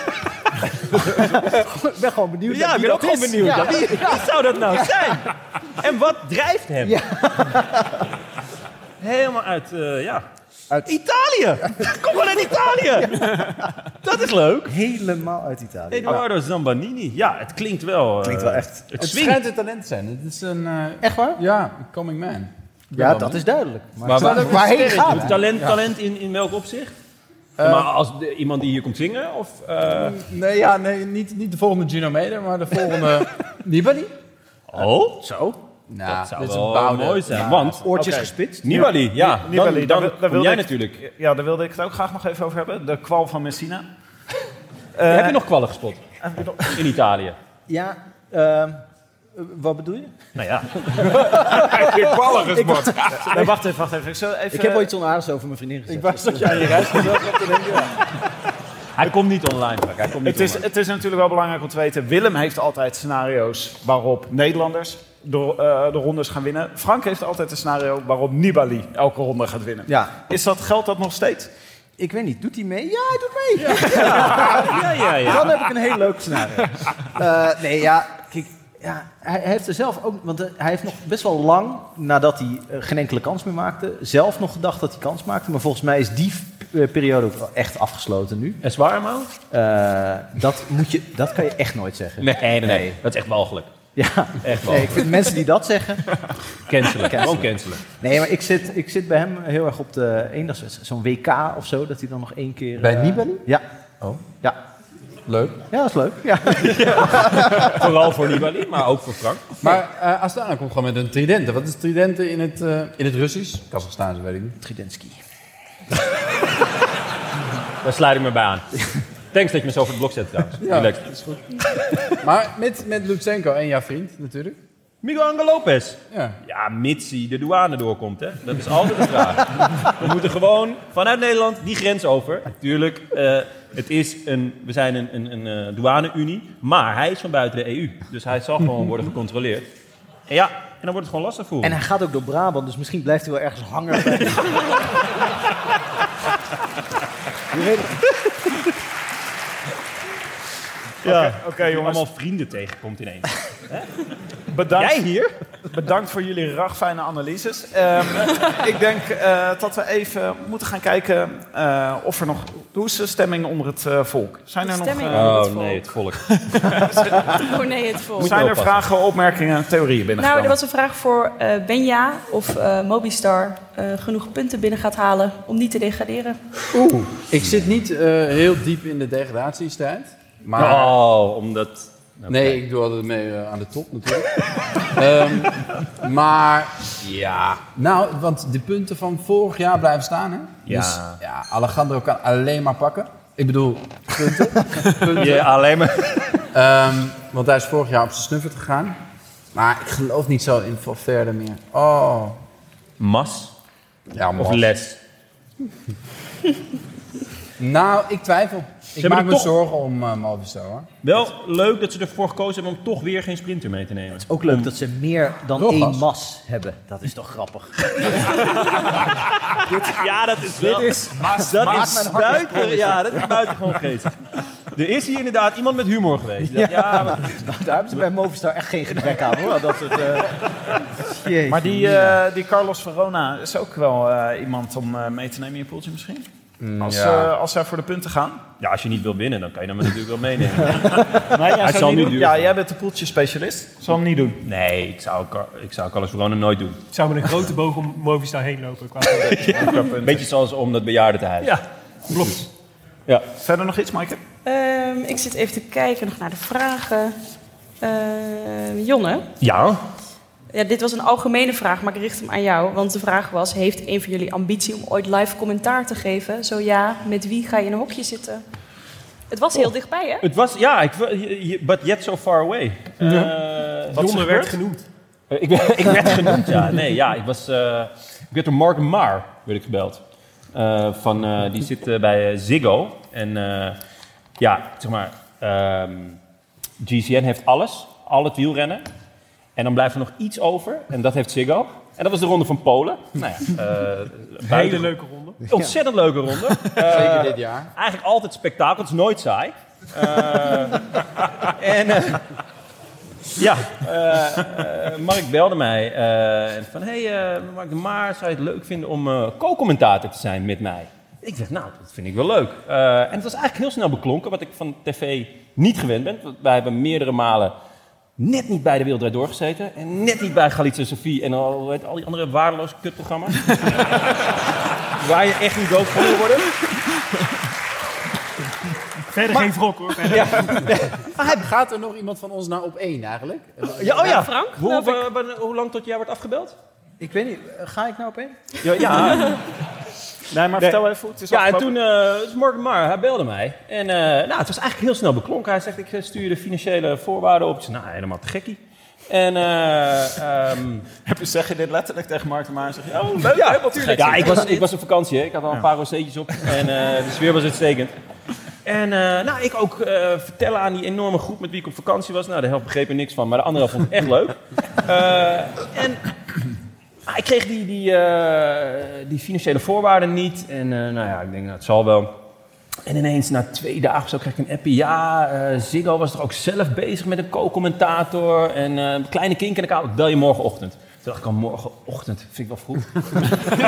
ik ben gewoon benieuwd naar
Ja, ik
wie
ben ook
dat
gewoon
is.
benieuwd.
Ja.
Ja, wie- Wat zou dat nou zijn? En wat drijft hem? Helemaal uit, eh, ja. Italië! Kom gewoon uit Italië! Dat is leuk.
Helemaal uit Italië.
Eduardo Zambanini. Ja, het klinkt wel... eh,
Klinkt wel echt.
Het
Het
swingt.
schijnt een talent te zijn. Het is een... eh,
Echt waar?
ja, een coming man. Ik ben
Ja,
wel
dat is
benieuwd.
duidelijk. Maar,
Maar waar-
waarheen gaat het?
Talent, talent in, in welk opzicht? maar als de- iemand die hier komt zingen? Of, eh,
Nee, ja, nee niet, niet de volgende Gino Meder, maar de volgende... Nibali?
oh?
Zo? Nou,
dat zou
dit is
wel
een bouwde.
mooi zijn.
Ja.
Want
Oortjes
Oké.
gespitst.
Nibali, ja, dan,
Nibali,
dan,
daar wil- daar
kom
wilde
jij
ik-
natuurlijk.
Ja, daar wilde ik het ook graag nog even over hebben. De kwal van Messina. Eh,
heb je nog kwallen gespot
heb je nog-
in Italië?
Ja, ehm, wat bedoel je?
Nou ja.
Heb je ballen gespot?
Nee, wacht even, wacht even. Ik, zal even
Ik heb ooit onaardigs over mijn vriendin gezegd.
Ik was dat je aan je reis
Hij komt niet online. Frank. Hij komt niet
Het is,
online.
het is natuurlijk wel belangrijk om te weten. Willem heeft altijd scenario's waarop Nederlanders de, eh, de rondes gaan winnen. Frank heeft altijd een scenario waarop Nibali elke ronde gaat winnen.
Ja,
Is dat, geldt dat nog steeds?
ik weet niet. Doet hij mee? Ja, hij doet mee.
Ja, ja, ja.
Dan heb ik een heel leuk scenario. Eh, nee, ja, kijk. Ja, hij hij heeft er zelf ook, want eh, hij heeft nog best wel lang nadat hij eh, geen enkele kans meer maakte, zelf nog gedacht dat hij kans maakte. Maar volgens mij is die eh, periode ook wel echt afgesloten nu.
En zwaar, man?
Eh, dat, moet je, dat kan je echt nooit zeggen.
Nee, nee, nee,
Nee.
Dat is echt walgelijk.
Ja,
Echt wel.
nee, ik vind mensen die dat zeggen,
Cancelen.
Cancelen.
Gewoon cancelen.
Nee, maar ik zit, ik zit bij hem heel erg op de eendagswedstrijd. Zo'n WK of zo, dat hij dan nog één keer...
Bij
eh,
Nibali?
Ja.
Oh.
Ja.
Leuk.
ja, dat is leuk. Ja.
Vooral voor Nibali, maar ook voor Frank.
Maar eh Astana komt gewoon met een tridente. Wat is tridente in het, eh, in het Russisch? Kazachstaans, weet ik niet.
Tridensky.
Daar sluit ik me bij aan. Thanks dat je me zo voor het blok zet trouwens.
Ja,
Relaxed.
dat is goed. maar met, met Lutsenko en jouw vriend natuurlijk.
Miguel Angel Lopez.
Ja.
Ja, mits hij de douane doorkomt, hè. Dat is altijd de vraag. We moeten gewoon vanuit Nederland die grens over. Natuurlijk, eh, het is een, we zijn een, een, een eh, douane-unie, maar hij is van buiten de EU. Dus hij zal gewoon worden gecontroleerd. En ja, en dan wordt het gewoon lastig voor
En
hem.
hij gaat ook door Brabant, dus misschien blijft hij wel ergens hangen. bij- Je weet het.
Ja.
Oké,
Dat
oké,
je
jongens.
allemaal vrienden tegenkomt ineens.
Bedankt.
Jij hier?
Bedankt voor jullie ragfijne analyses. Ehm, ik denk eh, dat we even moeten gaan kijken eh, of er nog... Hoe is de stemming onder het eh, volk? Zijn
De
er nog...
stemming
eh,
onder
Oh nee, het volk.
Oh nee, het volk.
Zijn er vragen, opmerkingen, theorieën
Nou,
binnengekomen?
er was een vraag voor eh, Benja of eh, Mobistar eh, genoeg punten binnen gaat halen om niet te degraderen.
Oeh, ik zit niet eh, heel diep in de degradatiestrijd. Maar...
Oh, omdat...
Nee, ik doe altijd mee eh, aan de top natuurlijk. Ehm, maar ja, nou, want de punten van vorig jaar blijven staan, hè?
Ja.
Dus ja, Alejandro kan alleen maar pakken. Ik bedoel, punten. punten.
Ja, alleen maar.
Ehm, want hij is vorig jaar op zijn snuffert gegaan. Maar ik geloof niet zo in Valverde meer. Oh.
Mas?
Ja,
Of
Mas.
les?
Nou, ik twijfel. Ik
hebben
maak
er
me
toch-
zorgen om eh Movistar, hoor.
Wel leuk dat ze ervoor gekozen hebben om toch weer geen sprinter mee te nemen.
Oh.
Ook leuk dat ze meer dan
Rogas.
één mas hebben. Dat is toch grappig?
Ja, dat is wel...
Dit is-
dat
maak
is
mijn hart een
buiten,
sprongetje.
Ja, dat is buitengewoon geestig. Er is hier inderdaad iemand met humor geweest. Ja, maar-
Daar hebben ze bij Movistar echt geen gebrek aan hoor. Dat soort, eh, Jeetje,
Maar die,
Mina.
eh, die Carlos Verona is ook wel eh, iemand om eh, mee te nemen in je poeltje misschien? Als,
Mm, ja.
eh, als zij voor de punten gaan.
ja, als je niet wil winnen, dan kan je hem natuurlijk wel meenemen.
Nee, jij
Hij
zou
zal
niet
nu
doen.
duur
Ja,
gaan.
jij bent de poeltje-specialist. Zal hem niet doen.
Nee, ik zou, Car- ik zou Carlos Verona nooit doen.
Ik zou met een grote boog om Movistar heen lopen. Qua
Een beetje zoals om dat bejaarden te huizen.
ja, klopt.
Ja.
Verder nog iets, Maaike?
Ehm, ik zit even te kijken nog naar de vragen. Ehm, Jonne,
Ja.
ja, dit was een algemene vraag, maar ik richt hem aan jou. Want de vraag was, heeft een van jullie ambitie om ooit live commentaar te geven? Zo ja, met wie ga je in een hokje zitten? Het was heel dichtbij, hè?
Het was, ja, ik, je- je- but yet so far away. Eh,
Wat
is
Jonne
er
werd
gebeurd?
genoemd.
Eh, Ik, werd- ik werd genoemd, ja. Nee, ja, ik was... eh, ik werd door Mark Maar, werd ik gebeld. Eh, van, eh, die zit eh, bij eh, Ziggo. En eh, ja, zeg maar... ehm, GCN heeft alles. Al het wielrennen. En dan blijft er nog iets over. En dat heeft Ziggo. En dat was de ronde van Polen. Nou ja, eh,
Hele
buiten-
leuke ronde.
Ontzettend leuke ronde.
Zeker
Eh,
dit jaar.
Eigenlijk altijd spektakel, het is nooit saai. Eh, en eh, ja, eh, eh, Mark belde mij eh, en van... hey, eh, Mark de Maar, zou je het leuk vinden om eh, co-commentator te zijn met mij? Ik zeg, nou, dat vind ik wel leuk. Eh, en het was eigenlijk heel snel beklonken, wat ik van tv niet gewend ben. Want Wij hebben meerdere malen net niet bij de Wereldraad doorgezeten... en net niet bij Galitza Sophie en al, hoe heet- al die andere waardeloze kutprogramma's. waar je echt niet dood van wil worden.
Verder geen wrok hoor. Verder.
Ah,
Gaat er nog iemand van ons naar op één eigenlijk?
Ja, oh ja.
Frank,
Hoe,
geloof ik.
wa- wa- hoe lang tot jij wordt afgebeld?
Ik weet niet, eh, ga ik nou op één?
Ja, ja.
Nee, maar
Nee.
vertel even hoe het is
ja en
afgelopen.
toen, eh dus Morgan Maar, hij belde mij. En eh, nou, het was eigenlijk heel snel beklonken. Hij zegt, ik eh, stuur je de financiële voorwaarden op. Ik zei, nou, helemaal te gekkie. En, eh ehm,
Heb je, zeg je dit letterlijk tegen Mark de Maar? Zeg je, oh, leuk,
ja,
helemaal tuurlijk.
ja ik, was, ik was op vakantie, hè. ik had al een paar rozeetjes op. En eh, de sfeer was uitstekend. En eh, nou, ik ook eh, vertellen aan die enorme groep met wie ik op vakantie was. Nou, de helft begreep er niks van, maar de andere helft vond het echt leuk. Eh, en ah, ik kreeg die, die, eh, die financiële voorwaarden niet. En eh, nou ja, ik denk, nou, het zal wel. En ineens na twee dagen of zo kreeg ik een appje. Ja, eh, Ziggo was toch ook zelf bezig met een co-commentator. En eh, kleine kink in de kabel. Ik Bel je morgenochtend. Toen dacht ik al, morgenochtend. Vind ik wel vroeg.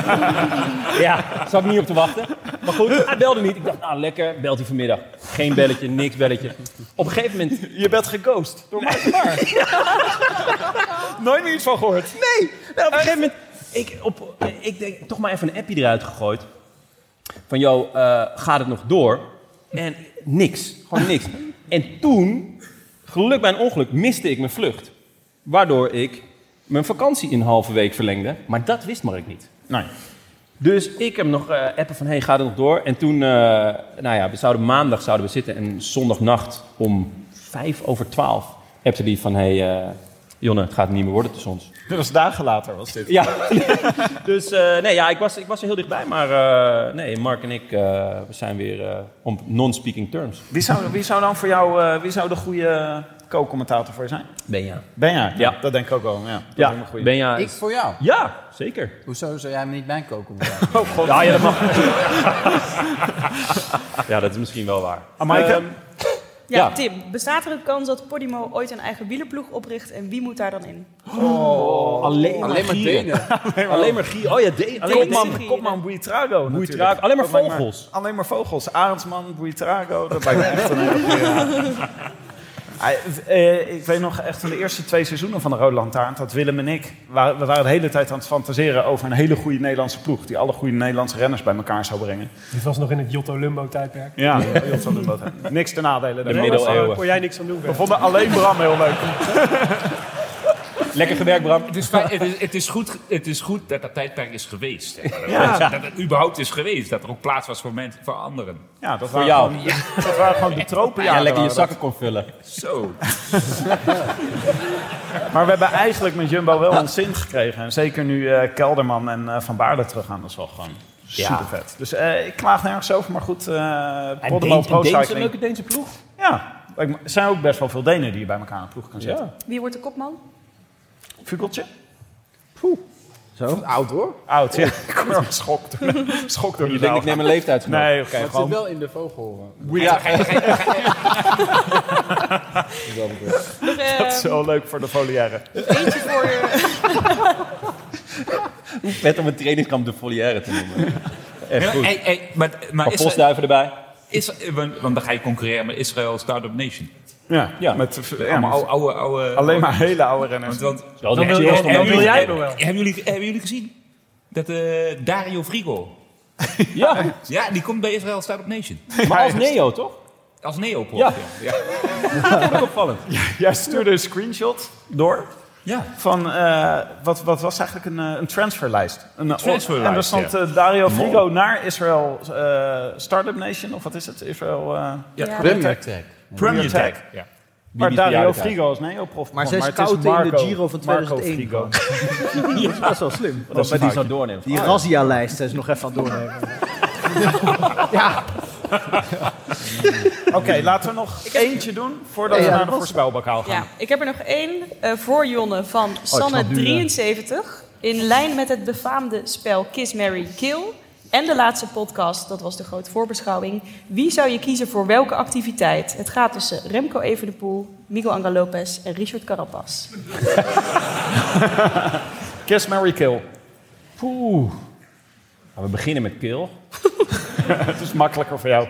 ja, zat ik niet op te wachten. Maar goed, hij belde niet. Ik dacht, nou lekker, belt hij vanmiddag. Geen belletje, niks belletje. Op een gegeven moment...
Je bent geghost door Mark de Maar. Nooit meer iets van gehoord.
Nee! Nou, op een gegeven moment... Ik, op, ik denk, toch maar even een appje eruit gegooid. Van, joh, eh, gaat het nog door? En niks. Gewoon niks. En toen, geluk bij een ongeluk, miste ik mijn vlucht. Waardoor ik mijn vakantie in een halve week verlengde. Maar dat wist Mark niet.
Nee.
Dus ik heb nog eh, appen van, hey, ga er nog door? En toen, eh, nou ja, we zouden maandag zouden we zitten en zondagnacht om vijf over twaalf appte die van, hey, eh, Jonne, het gaat niet meer worden tussen ons.
Dat was dagen later, was dit.
Ja, dus eh, nee, ja, ik, was, ik was er heel dichtbij. Maar eh, nee, Mark en ik eh, we zijn weer eh, op non-speaking terms.
Wie zou, wie zou dan voor jou, eh, wie zou de goede co-commentator voor je zijn?
Benja.
Benja, ja. dat denk ik ook wel. Ja,
Ja,
Benja.
Ik voor jou?
Ja, zeker.
Hoezo zou jij me niet mijn koken
Oh god.
Ja, ja, dat mag. ja, dat is misschien wel waar.
Ah, Maaike?
Ehm,
Ja,
Ja.
Tim, bestaat er een kans dat Podimo ooit een eigen wielerploeg opricht en wie moet daar dan in?
Oh, alleen maar
Alleen maar
gieren.
Denen.
Alleen maar-
Alleen maar gier. Oh ja, de, alleen maar
Kopman,
gieren.
Kopman Buitrago natuurlijk.
Buitrago, alleen maar
Alleen
vogels.
alleen maar vogels. Arendsman, Buitrago. Dat lijkt me echt een hele goede. Hij- eh, ik weet nog echt van de eerste twee seizoenen van de Rode Lantaarn... dat Willem en ik, wa- we waren de hele tijd aan het fantaseren... over een hele goede Nederlandse ploeg... die alle goede Nederlandse renners bij elkaar zou brengen.
Dit was nog in het Jotto Lumbo tijdperk.
Ja, heel veel doen dat. Niks te nadelen.
De middeleeuwen.
Kon jij niks aan doen.
We vonden alleen Bram heel leuk.
Lekker gewerkt, Bram.
Het is, fijn- het, is, het, is goed, het is goed dat dat tijdperk is geweest. zeg maar.
Ja.
Dat, het überhaupt is geweest. Dat er ook plaats was voor, mensen, voor anderen.
Ja, dat
Voor
waren,
jou.
Gewoon, dat waren gewoon de tropenjaren.
Ja, lekker
waren
je
dat.
zakken kon vullen.
Zo.
Maar we hebben eigenlijk met Jumbo wel een zin gekregen. En zeker nu eh, Kelderman en eh, Van Baarle teruggaan. Dat is wel gewoon super vet. Dus eh, ik klaag nergens over, maar goed. eh Podemo
Deens-
Pro
Deens, een
Cycling.
leuke Deense ploeg.
Ja, lijkt me- er zijn ook best wel veel Denen die je bij elkaar in een ploeg kan zetten.
Wie wordt de kopman?
Vugeltje?
Zo? Oud hoor.
Oud, ja. Ik word wel schokt. Schokt door
Je
die
denkt, ik
naam.
neem een leeftijdsgenoot.
Nee, oké.
Maar het zit
gewoon
wel in de vogel. eh,
Ja.
wat dat betreft.
Nog, eh,
dat is zo leuk voor de foliaire.
eentje voor eh,
Vet om een trainingskamp de foliaire te noemen. Echt
Ja,
goed.
hey, hey, maar maar
Maar
Israël,
postduiven erbij.
Israël- want, want dan ga je concurreren met Israël Startup Nation.
Ja,
Ja.
met, ja,
Allemaal
met-
oude, oude, oude-
alleen maar hele oude renners.
Want, want,
Wel
Dan
de
wil, dan,
echte Oostenrijk.
dan wil jij nog wel.
hebben, jullie, hebben jullie gezien dat eh, Dario Frigo...
Ja,
Ja, die komt bij Israël Startup Nation.
maar als Neo, toch?
Als neopop.
Ja.
ja.
Dat vond ik opvallend.
Jij stuurde een screenshot door
Ja.
van eh, wat, wat was eigenlijk een, eh, een transferlijst. Een, eh,
transferlijst,
En er stond eh, Dario Frigo naar Israël eh, Startup Nation, of wat is het? Israël. eh,
Ja,
Ja.
Premier Tech.
Premier
Premier
Tech. Ja.
maar
niet
Dario
bejaardigheid.
Frigo is neoprof.
Maar zij
het is
scouten in de
Marco-
Giro van
Marco
2001
Frigo.
Dat is best wel slim.
Dat met die zo doorneemt.
Die razzia-lijst is nog even aan het doornemen.
Oké, laten we nog eentje doen voordat
Ja,
we naar
dat
de
was-
voorspelbokaal gaan.
ja, ik heb er nog één eh, voor Jonne
Oh,
van
snap nu, eh.
Sanne73. In lijn met het befaamde spel Kiss, Mary, Kill. En de laatste podcast, dat was de grote voorbeschouwing. Wie zou je kiezen voor welke activiteit? Het gaat tussen Remco Evenepoel, Miguel Angel Lopez en Richard Carapaz.
Kiss, Mary, Kill.
Poeh. Nou, we beginnen met kill.
Het is makkelijker voor jou.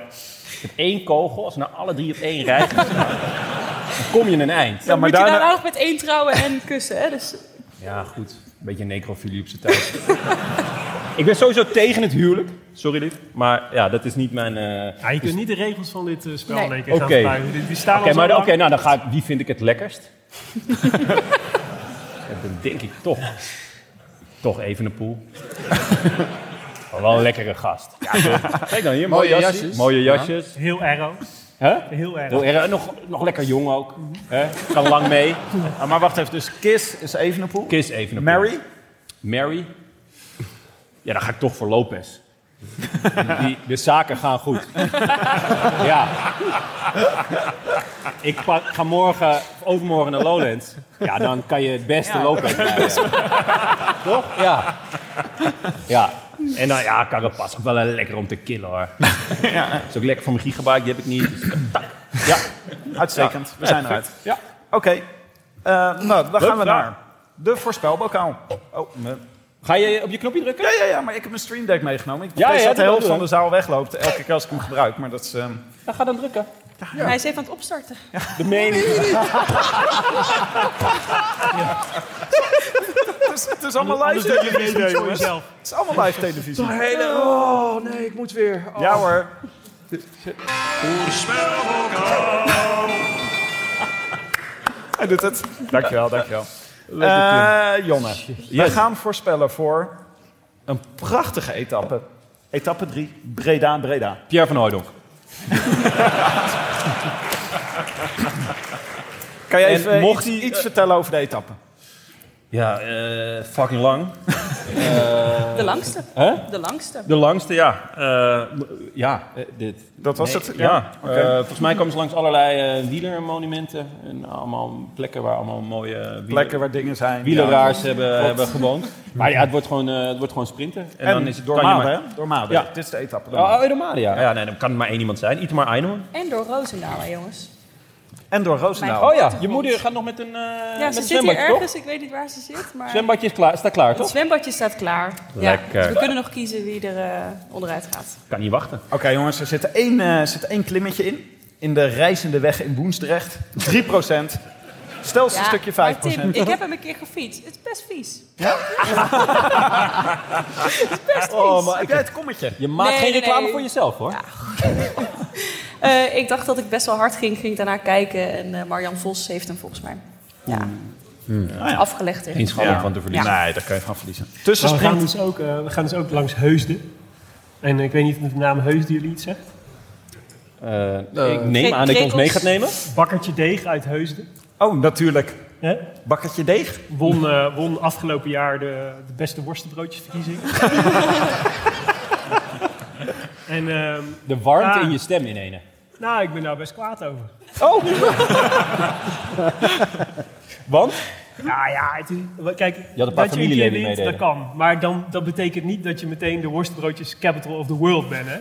Met één kogel, als we nou alle drie op één rij gaan staan, dan kom je in een eind.
Ja,
Moet
maar
je
daarna...
daarna nog met één trouwen en kussen, hè? Dus
Ja, goed. Een beetje necrofilie op zijn tijd. ik ben sowieso tegen het huwelijk. Sorry, lief. Maar ja, dat is niet mijn... eh,
Ja, je kunt niet de regels van dit eh, spel
Nee.
in één keer
Oké.
gaan gebruiken. Die, die staan
Oké,
al zo
maar
lang.
oké, nou dan ga ik. Wie vind ik het lekkerst? ja, dan denk ik toch. Toch even een poel. wel een lekkere gast. Ja, toch? Kijk dan hier, mooie,
Mooie
jasjes.
jasjes.
Mooie jasjes.
Heel erg.
Hè?
Heel erg.
Heel erg. Nog, nog lekker jong ook. Hè? Kan lang mee.
Ah, maar wacht even, dus Kiss is Evenepoel.
Kiss even een poel.
Mary?
Mary. Ja, dan ga ik toch voor Lopez. Die, de zaken gaan goed. ja. Ik pak, ga morgen, of overmorgen naar Lowlands. Ja, dan kan je het beste Lopez rijden. Toch? Ja. Ja. En dan, ja, Carapaz, ook wel eh, lekker om te killen hoor. Is ook lekker voor mijn gigabyte, die heb ik niet. Dus, tak. Ja.
Uitstekend, we zijn eruit.
Ja.
Oké, Eh, nou, dan gaan we
vraag.
naar de voorspelbokaal. Oh, me-
Ga je op je knopje drukken?
ja, ja, ja, maar ik heb mijn Stream Deck meegenomen. Ik
Ja,
ja,
ja,
dat
dat
de helft
bedoel
van
ik.
de zaal wegloopt elke keer als ik hem gebruik. Maar dat is, ehm,
Dan ga dan drukken.
Hij is even aan het opstarten.
De mening.
het, is, het is allemaal live televisie, jongens. Het is allemaal live televisie.
Oh nee, ik moet weer.
Ja hoor. Hij doet het. Dankjewel, dankjewel. Eh Jonne, we gaan voorspellen voor Een prachtige etappe. Etappe 3, Breda, Breda.
Pierre van Hooydonk.
Kan jij
En
even
mocht
iets, iets vertellen over de etappe?
Ja, eh, fucking lang.
De langste.
Hè?
De langste.
De langste, ja. Eh, m- ja, eh, dit.
Dat was het?
Ja.
Ja, oké.
Eh, volgens mij kwamen ze langs allerlei eh wielermonumenten. En allemaal plekken waar allemaal mooie wieler-
Plekken waar dingen zijn.
Wieleraars
Ja.
hebben,
Klopt.
hebben gewoond. Maar ja, het wordt gewoon, eh, het wordt gewoon sprinten. En, dan is het
door
kan je
Maden,
maar-
hè? Door Maden.
Ja.
Dit is de etappe. door
Oh,
Maden.
oh, door Maden, ja. ja. nee, dan kan er maar één iemand zijn. Itemar Einhorn.
En door Roosendaal, jongens.
En door
Mijn
Roosendaal.
Oh ja, je
achtergrond.
moeder gaat nog met een, eh
Ja,
met
ze
een
zit hier
zwembadje, toch?
ergens. Ik weet niet waar ze zit, maar...
Zwembadje is klaar, staat klaar,
Het
toch?
zwembadje staat klaar.
Lekker.
Ja, dus we kunnen nog kiezen wie er eh, onderuit gaat.
Kan niet wachten.
Oké jongens, er zit één, eh, zit één klimmetje in. In de reizende weg in Woensdrecht. 3 procent. Stelste
Ja,
stukje 5
maar Tim, ik heb hem een keer gefietst. Het is best vies. Ja? het is best vies.
Oh, maar ik-
het kommetje?
Je maakt
Nee,
geen
nee,
reclame
nee.
voor jezelf, hoor.
Eh, ik dacht dat ik best wel hard ging. Ging daarna kijken. En eh, Marjan Vos heeft hem volgens mij Ja. Hmm. Ah, afgelegd. in.
Geen schande
Ja.
van te verliezen.
Ja.
Nee, daar kan je van verliezen.
Maar
Oh,
we, gaan dus ook, eh, we gaan dus ook langs Heusden. En ik weet niet of de naam Heusden jullie iets zegt.
Eh, ik
Eh,
neem aan dat je ons mee gaat nemen.
Bakkertje Deeg uit Heusden.
Oh, natuurlijk.
Hè?
Bakkertje Deeg.
Won, eh, won afgelopen jaar de, de beste worstenbroodjesverkiezing. en, ehm,
De warmte
Ah.
in je stem in ene.
nou, ik ben daar best kwaad over.
Oh! Want?
Ja, ja, het is, kijk,
had een paar
dat je een keer
familieleden
wint, dat
meededen.
kan. Maar dan, dat betekent niet dat je meteen de worstbroodjes capital of the world bent, hè?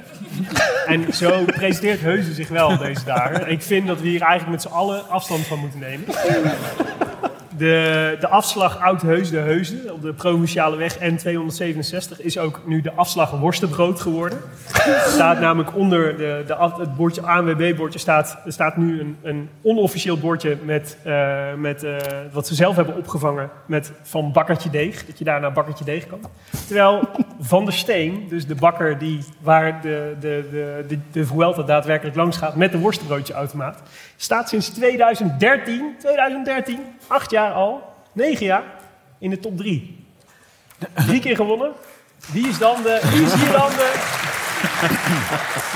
en zo presenteert Heuze zich wel deze dagen. Ik vind dat we hier eigenlijk met z'n allen afstand van moeten nemen. De, de afslag Oud-Heusden-Heusden op de Provinciale Weg N267 is ook nu de afslag worstenbrood geworden. Er staat namelijk onder de, de, af- het bordje ANWB-bordje staat, er staat nu een, een onofficieel bordje met, eh, met eh, wat ze zelf hebben opgevangen met van bakkertje deeg. Dat je daar naar bakkertje deeg kan. Terwijl Van der Steen, dus de bakker die, waar de, de, de, de, de Vuelta daadwerkelijk langs gaat met de worstenbroodjeautomaat, staat sinds 2013, 2013, acht jaar al, negen jaar, in de top drie. Drie keer gewonnen. Wie is dan de, wie is hier dan de,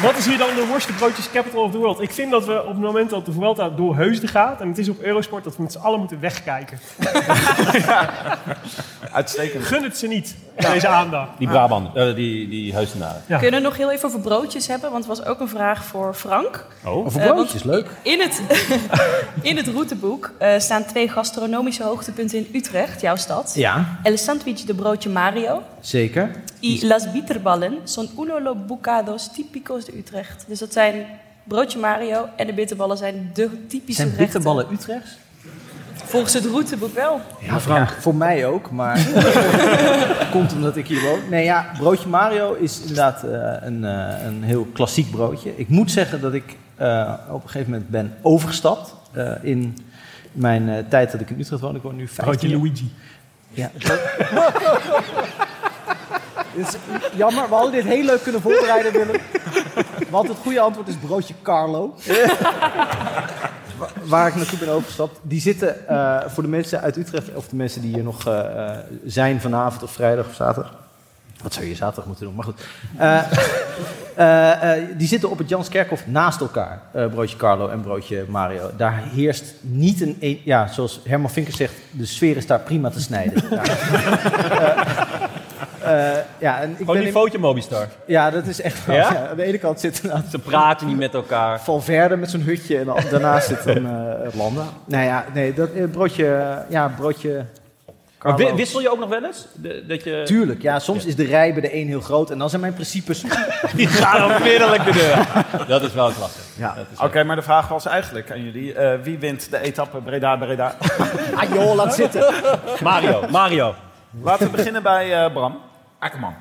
wat is hier dan de worstenbroodjes capital of the world? Ik vind dat we op het moment dat de Vuelta door Heusden gaat, en het is op Eurosport, dat we met z'n allen moeten wegkijken.
Uitstekend.
Gun het ze niet, deze aandacht.
Die Brabant, eh, die, die Heusenaren.
Ja.
Kunnen we nog heel even over broodjes hebben? Want er was ook een vraag voor Frank.
Oh,
Over broodjes,
leuk.
In het, in het routeboek eh, staan twee gastronomische hoogtepunten in Utrecht, jouw stad.
Ja,
El sandwich de broodje Mario.
zeker.
Y las bitterballen son uno los bocados típicos de Utrecht. Dus dat zijn broodje Mario en de bitterballen zijn de typische
Zijn
gerechten.
bitterballen Utrechts?
Volgens het routeboek wel.
Ja, Frank. voor mij ook, maar komt omdat ik hier woon. Nee, ja, broodje Mario is inderdaad eh, een, eh, een heel klassiek broodje. Ik moet zeggen dat ik eh, op een gegeven moment ben overgestapt eh, in mijn eh, tijd dat ik in Utrecht woon. Ik woon nu 15
Broodje
jaar.
Luigi.
Ja. Het is jammer, we hadden dit heel leuk kunnen voorbereiden, Willem. Want het goede antwoord is broodje Carlo. Wa- Waar ik naartoe ben overgestapt. Die zitten eh, voor de mensen uit Utrecht, of de mensen die hier nog eh, eh, zijn vanavond of vrijdag of zaterdag. Wat zou je zaterdag moeten doen? Maar goed. Eh, eh, eh, die zitten op het Janskerkhof naast elkaar. eh, broodje Carlo en broodje Mario. Daar heerst niet een, een- Ja, zoals Herman Vinkers zegt, de sfeer is daar prima te snijden. Ja. Eh, eh, ja, en ik
Gewoon
ben
die
in-
foto Mobistar.
ja, dat is echt wel.
Ja?
Ja? aan de ene kant zit een
Ze praten niet met elkaar.
Valverde met zo'n hutje en dan- daarnaast zit een eh Landa. Nou ja, nee, dat eh, broodje... eh, Ja, broodje...
Maar
Carlo.
wi- wissel je ook nog wel eens? De- dat je...
Tuurlijk, ja, soms is de rij bij de een heel groot en dan zijn mijn principes...
Die gaan onmiddellijk de deur. Dat is wel klasse.
Ja.
Oké, maar de vraag was eigenlijk aan jullie. eh, wie wint de etappe Breda, Breda?
Ah joh, laat zitten.
Mario, Mario.
Laten we beginnen bij eh, Bram.
Akkerman.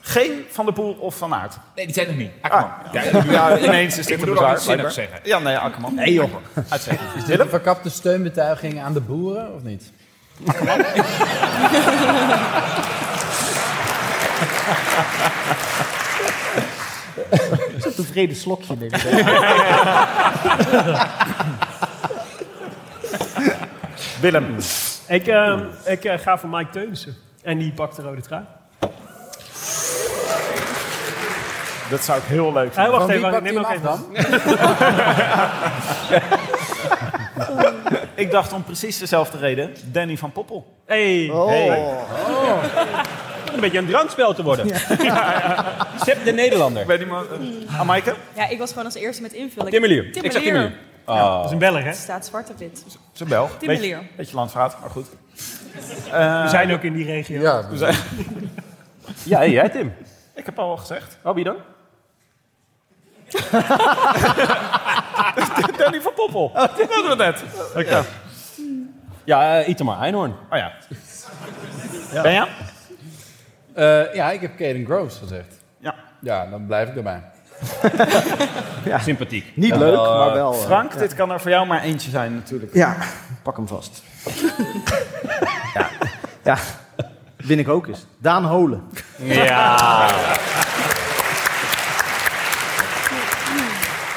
Geen Van der Poel of Van Aert?
Nee, die zijn er niet.
Ah.
Akkerman.
Ja, ja, ineens is
Ik
dit een
bedoel ook
bizar.
iets zinnigs
blijkbaar.
zeggen.
Ja, nee, Akkerman.
Nee joh.
Uitstekend.
Is dit een verkapte steunbetuiging aan de boeren, of niet? Dat is een tevreden slokje, denk ik.
Willem.
Ik, eh, ik eh, ga voor Mike Teunissen. En die pakt de rode trui.
Dat zou ik heel leuk
Hey,
vinden.
wacht even, ik neem ook even.
ik dacht om precies dezelfde reden, Danny van Poppel.
Hey.
Oh.
Een beetje een drankspel te worden. Sepp de Nederlander.
Bij die Maaike?
Ja, ik was gewoon als eerste met invullen.
Timmelier.
Timmelier.
Ik zeg Timmelier.
Ja, dat is een Belg, hè?
Het staat zwart op wit. Dus
Ze bel.
Timmelier.
Beetje, beetje landvaart, maar goed.
We zijn ook in die regio.
Ja, we zijn-
Ja, en jij Tim?
Ik heb al gezegd.
Oh, wie dan?
Danny van Poppel. dat hadden we net.
Ja, ja eh, Itamar Einhorn.
Oh ja.
Ben je?
Eh, ja, ik heb Caden Groves gezegd.
Ja.
Ja, dan blijf ik erbij.
Sympathiek.
Niet leuk, maar wel, eh,
Frank,
ja.
dit kan er voor jou maar eentje zijn natuurlijk.
Ja. Pak hem vast. ja. Win ik ook eens. Daan Holen.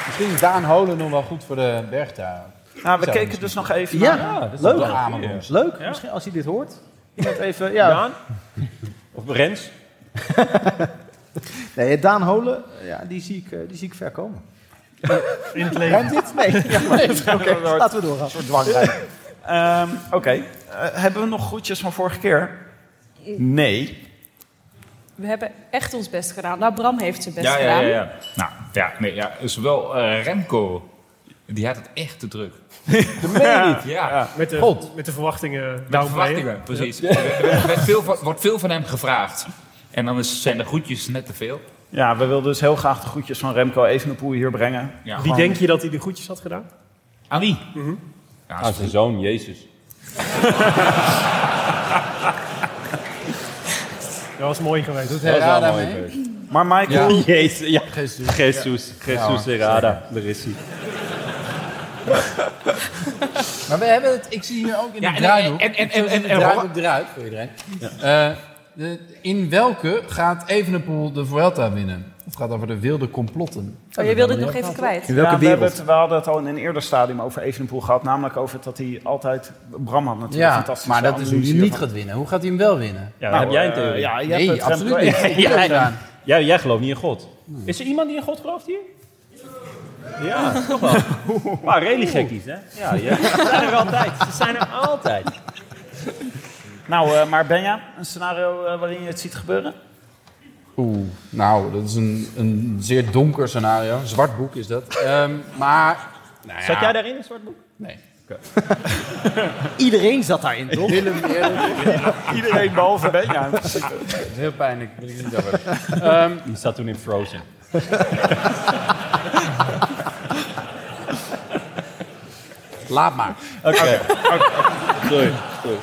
Misschien is Daan Holen nog wel goed voor de bergtuin.
Nou, we keken dus nog even
Ja,
naar-
dat is leuk. De Amerongs.
Leuk. Misschien als hij dit hoort.
Iemand even, ja.
Daan? Of Rens?
Nee, Daan Holen, ja, die, zie ik, eh, die zie ik ver komen.
In het
Ruimt dit? Nee. Ja, nee. Oké, laten we doorgaan.
Ehm, Oké. Eh, hebben we nog groetjes van vorige keer? Nee.
We hebben echt ons best gedaan. Nou, Bram heeft zijn best
Ja, ja,
gedaan.
ja, ja. Nou, ja, nee, ja. Zowel eh, Remco, die had het echt te druk.
Dat
meen je niet. Ja.
Met, de,
God.
met de verwachtingen
Met
downplayen.
verwachtingen, precies.
Ja.
Er werd- werd veel van- wordt veel van hem gevraagd. En dan is, zijn de groetjes net te veel.
Ja, we wilden dus heel graag de groetjes van Remco Evenepoel hier brengen.
Ja.
Wie denk je dat hij de groetjes had gedaan?
Aan wie?
Aan zijn zoon, Jezus.
Dat was mooi geweest.
Doet hij Dat was wel raar mooi daarmee?
Maar Michael...
Ja. Jezus, ja.
Jesus.
Jesus, Jesus
Ja.
Herrada. Daar is hij.
Maar we hebben het, ik zie hier ook in
Ja,
de
en-
draaiboek.
en- en-
Ik zie
en-
het in de
en- en-
draaiboek eruit voor iedereen. Eh, de- in welke gaat Evenepoel de Vuelta winnen? Het gaat over de wilde complotten.
Oh, jij wilde het nog even kwijt.
In welke
Ja, we,
wereld?
hebben het- we hadden het al in een eerder stadium over Evenepoel gehad. Namelijk over dat hij altijd... Bram had natuurlijk
Ja,
fantastisch.
maar dat is hoe hij niet gaat winnen. Hoe gaat hij hem wel winnen?
Ja, heb jij een theorie?
nou, eh, ja, je
nee,
hebt het
absoluut
Remco
niet.
Evenepoel
Ja,
gedaan.
ja.
Jij, jij gelooft niet in God. Is er iemand die in God gelooft hier? Ja, toch wel. Maar religiekkies, hè? Ja, ja. Ze zijn er altijd. Ze zijn er altijd.
Nou, eh, maar Benja, een scenario eh, waarin je het ziet gebeuren?
Oeh, nou, dat is een, een zeer donker scenario. Een zwart boek is dat. Ehm, maar... Nou ja.
Zat jij daarin, een zwart boek?
Nee.
Iedereen zat daarin, toch?
Willem
Iedereen behalve Benja.
Het is heel pijnlijk, wil ik het niet over hebben. Ehm,
Die zat toen in Frozen.
laat maar.
Oké. Sorry.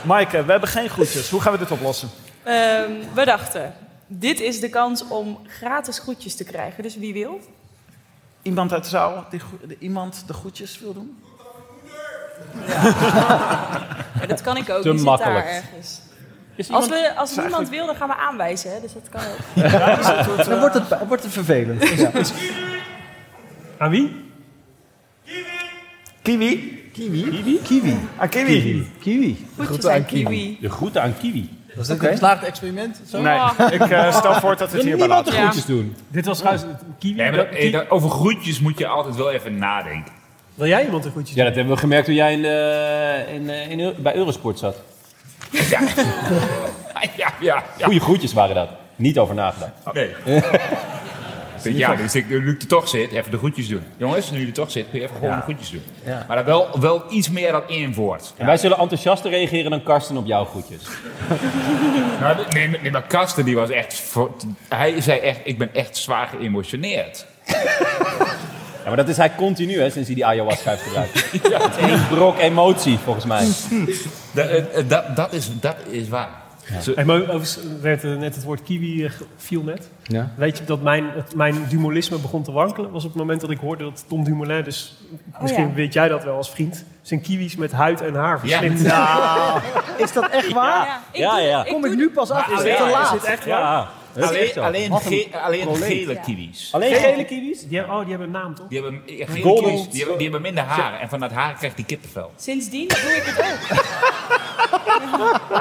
Maaike, eh, we hebben geen groetjes. Hoe gaan we dit oplossen?
Ehm, we dachten, dit is de kans om gratis groetjes te krijgen. Dus wie wil?
Iemand uit de zaal die gro- de- iemand de groetjes wil doen?
Ja, dat kan ik ook.
Te
Die zit
makkelijk.
daar ergens.
Is
Als,
iemand-
we, als
is
niemand
eigenlijk-
wil, dan gaan we aanwijzen. Hè? Dus dat kan ook.
Dan wordt het, wordt het vervelend. Ja.
Aan wie?
Kiwi.
Kiwi?
Kiwi?
Kiwi.
Ah, Kiwi.
Kiwi.
Groetjes Groeten aan aan Kiwi. Kiwi.
De groeten aan Kiwi.
Was
dit
dit
Oké. een
een geslaagd experiment?
Nee, ik eh, stel voor dat we het hierbij
Niemand de
laten.
groetjes doen.
Dit was trouwens Kiwi.
Nee, maar dat-
Ki-
eh, dat- over groetjes moet je altijd wel even nadenken.
Wil jij iemand een groetjes
Ja, dat hebben we gemerkt toen jij in, eh, in, eh, in, Eu- bij Eurosport zat.
Ja, ja, ja.
Goeie groetjes waren dat. Niet over nagedacht.
Nee. ja, dus ik, nu ik er toch zit, even de groetjes doen. Jongens, nu je er toch zit, kun je even gewoon de groetjes doen. Maar dan wel, wel iets meer dat invoert.
En wij zullen enthousiaster reageren dan Karsten op jouw groetjes.
Nou, de- nee, maar- nee, maar Karsten die was echt... voor- Hij zei echt, ik ben echt zwaar geëmotioneerd.
Ja, maar dat is hij continu, hè, sinds hij die ayahuasca heeft gebruikt. ja, het is één brok emotie, volgens mij.
Dat, eh, eh, dat, dat, is, dat is waar. Zo-
Hey, maar overigens werd eh, net het woord kiwi eh, ge- viel net.
Ja.
Weet je dat mijn, het, mijn dumolisme begon te wankelen? Was op het moment dat ik hoorde dat Tom Dumoulin, dus misschien
ja.
weet jij dat wel als vriend, zijn kiwis met huid en haar
Ja.
verslind.
Is dat echt waar?
Ja, ik
Ja,
doe-
ja.
ik
Kom
doe
ik nu pas af? Is het
Ja,
te
is
laat?
Is het echt waar?
Ja, dat is echt
Alleen,
zo.
alleen,
Wat een
ge- alleen
probleem.
gele
Ja.
kiwis.
Alleen gele kiwis?
Die hebben, oh, die hebben een naam toch?
Die hebben, eh, gele
Golden.
kiwis, die hebben, die hebben minder haar. En van dat haar krijgt hij kippenvel.
Sindsdien doe ik het ook.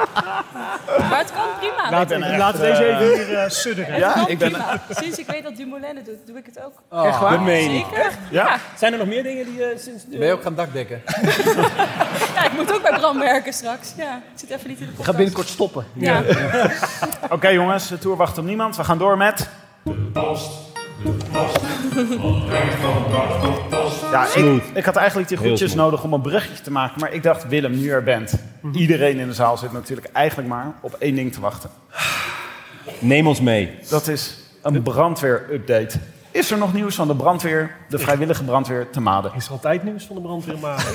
Maar het kan prima.
Laat-
denk ik.
laten we deze even hier eh, sudderen.
Het kan
ik ben-
prima. Sinds ik weet dat Dumoulin het doet, doe ik het ook.
Oh, Echt waar? dat meen ik.
Zeker?
Ja?
Ja.
Zijn er nog meer dingen die je sinds...
Ben je ook gaan dakdekken?
Ja, ik moet ook bij Bram werken straks. Ja, ik zit even niet in de podcast.
stoppen.
Ja.
Oké jongens, de tour wacht op niemand. We gaan door met... De post. Ja, ik, ik had eigenlijk die
Heel
groetjes
smooth.
nodig om een bruggetje te maken. Maar ik dacht, Willem, nu er bent. Iedereen in de zaal zit natuurlijk eigenlijk maar op één ding te wachten.
Neem ons mee.
Dat is een brandweer-update. Is er nog nieuws van de brandweer, de vrijwillige brandweer te Maden?
Is altijd nieuws van de brandweer, maar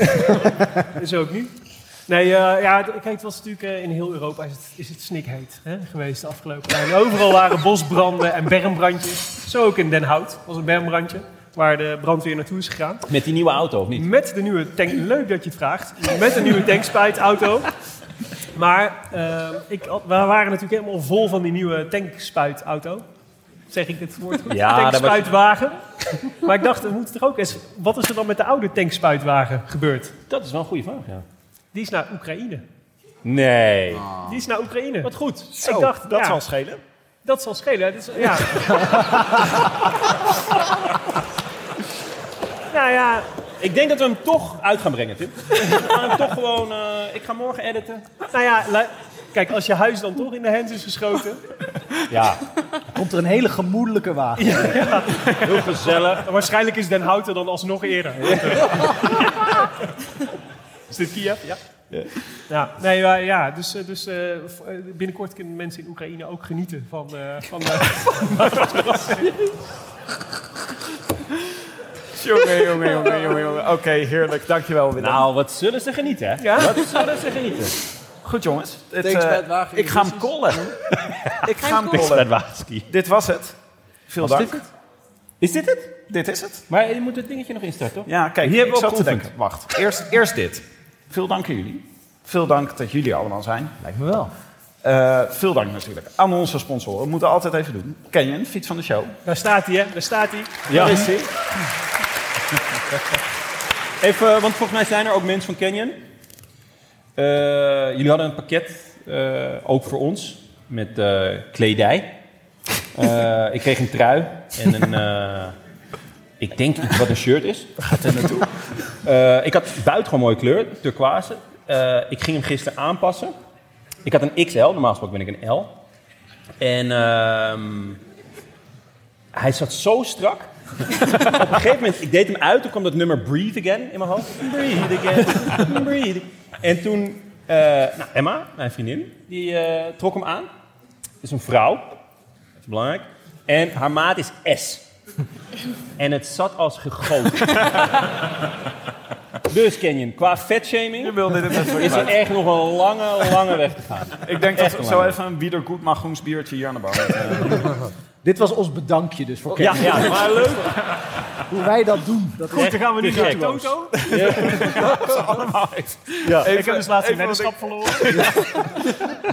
is ook nu. Nee, eh, ja, d- kijk, het was natuurlijk eh, in heel Europa is het, is het snikheet hè, geweest de afgelopen jaren. Overal waren bosbranden en bermbrandjes. Zo ook in Den Hout was een bermbrandje waar de brandweer naartoe is gegaan.
Met die nieuwe auto, of niet?
Met de nieuwe tank. Leuk dat je het vraagt. Met de nieuwe tankspuitauto. Maar eh, ik, had- we waren natuurlijk helemaal vol van die nieuwe tankspuitauto. Zeg ik het woord goed?
Ja, daar was-
tankspuitwagen. Maar ik dacht, we moeten er ook eens... Wat is er dan met de oude tankspuitwagen gebeurd?
Dat is wel een goede vraag, ja.
Die is naar Oekraïne.
Nee.
Die is naar Oekraïne. Wat
goed.
ik dacht,
dat
ja,
zal schelen.
Dat zal schelen. Dat is, ja. nou ja,
Ik denk dat we hem toch uit gaan brengen, Tim. We gaan hem toch gewoon... eh, ik ga morgen editen.
nou ja, lu- kijk, als je huis dan toch in de hens is geschoten...
Ja.
Komt er een hele gemoedelijke wagen.
Heel gezellig. Waarschijnlijk is Den Houten dan alsnog eerder. Is dit Kiev? Ja. Ja, nee, maar ja, dus, eh, dus eh, v- eh, binnenkort kunnen mensen in Oekraïne ook genieten van... eh, van eh,
Jongen, jongen, jongen, jongen. jongen. Oké, heerlijk. Dankjewel, Willem.
Nou, wat zullen ze genieten, hè?
Ja.
Wat zullen ze genieten?
Goed, jongens. Het,
Thanks,
eh,
Bert Wagen,
ik ga hem
Ulysses.
kollen. ik ga hem
Niks
kollen.
met Waterski.
Dit was het. Veel
Was
dank.
dit het? Is dit het?
Dit is het.
Maar je moet het dingetje nog instarten, toch?
Ja, kijk, ik
Hier hebben we
zat
op
te
geoefend.
denken. Wacht, eerst, eerst dit. Veel dank aan jullie. Veel dank dat jullie allemaal zijn.
Lijkt me wel.
Eh, veel dank natuurlijk aan onze sponsoren. We moeten altijd even doen. Canyon, fiets van de show.
daar staat hij, hè? Daar staat hij.
Ja.
Daar is hij.
Even, want volgens mij zijn er ook mensen van Canyon. Eh, jullie hadden een pakket, eh, ook voor ons, met eh, kledij. Eh, ik kreeg een trui en een, eh, ik denk iets wat een shirt is. Gaat er naartoe? ik had buitengewoon mooie kleur, turquoise. Eh, ik ging hem gisteren aanpassen. Ik had een XL, normaal gesproken ben ik een L. En ehm, hij zat zo strak. Op een gegeven moment, ik deed hem uit, toen kwam dat nummer Breathe Again in mijn hoofd. Breathe again, breathe. En toen, eh, nou, Emma, mijn vriendin, die eh, trok hem aan. Het is een vrouw, dat is belangrijk. En haar maat is S. En het zat als gegoten. dus Canyon, qua vetshaming
wilde dit even
is er echt nog een lange, lange weg te gaan.
Ik denk
Echt
dat we
een
zo
lange.
even een Wiedergoedmachungs biertje hier aan de bar hebben.
Dit was ons bedankje dus voor
Ja, ja, maar leuk.
hoe wij dat doen. Dat
Goed, dan gaan we nu
te
naar
gek.
Toto.
Ja,
Ik heb dus laatst een weddenschap verloren.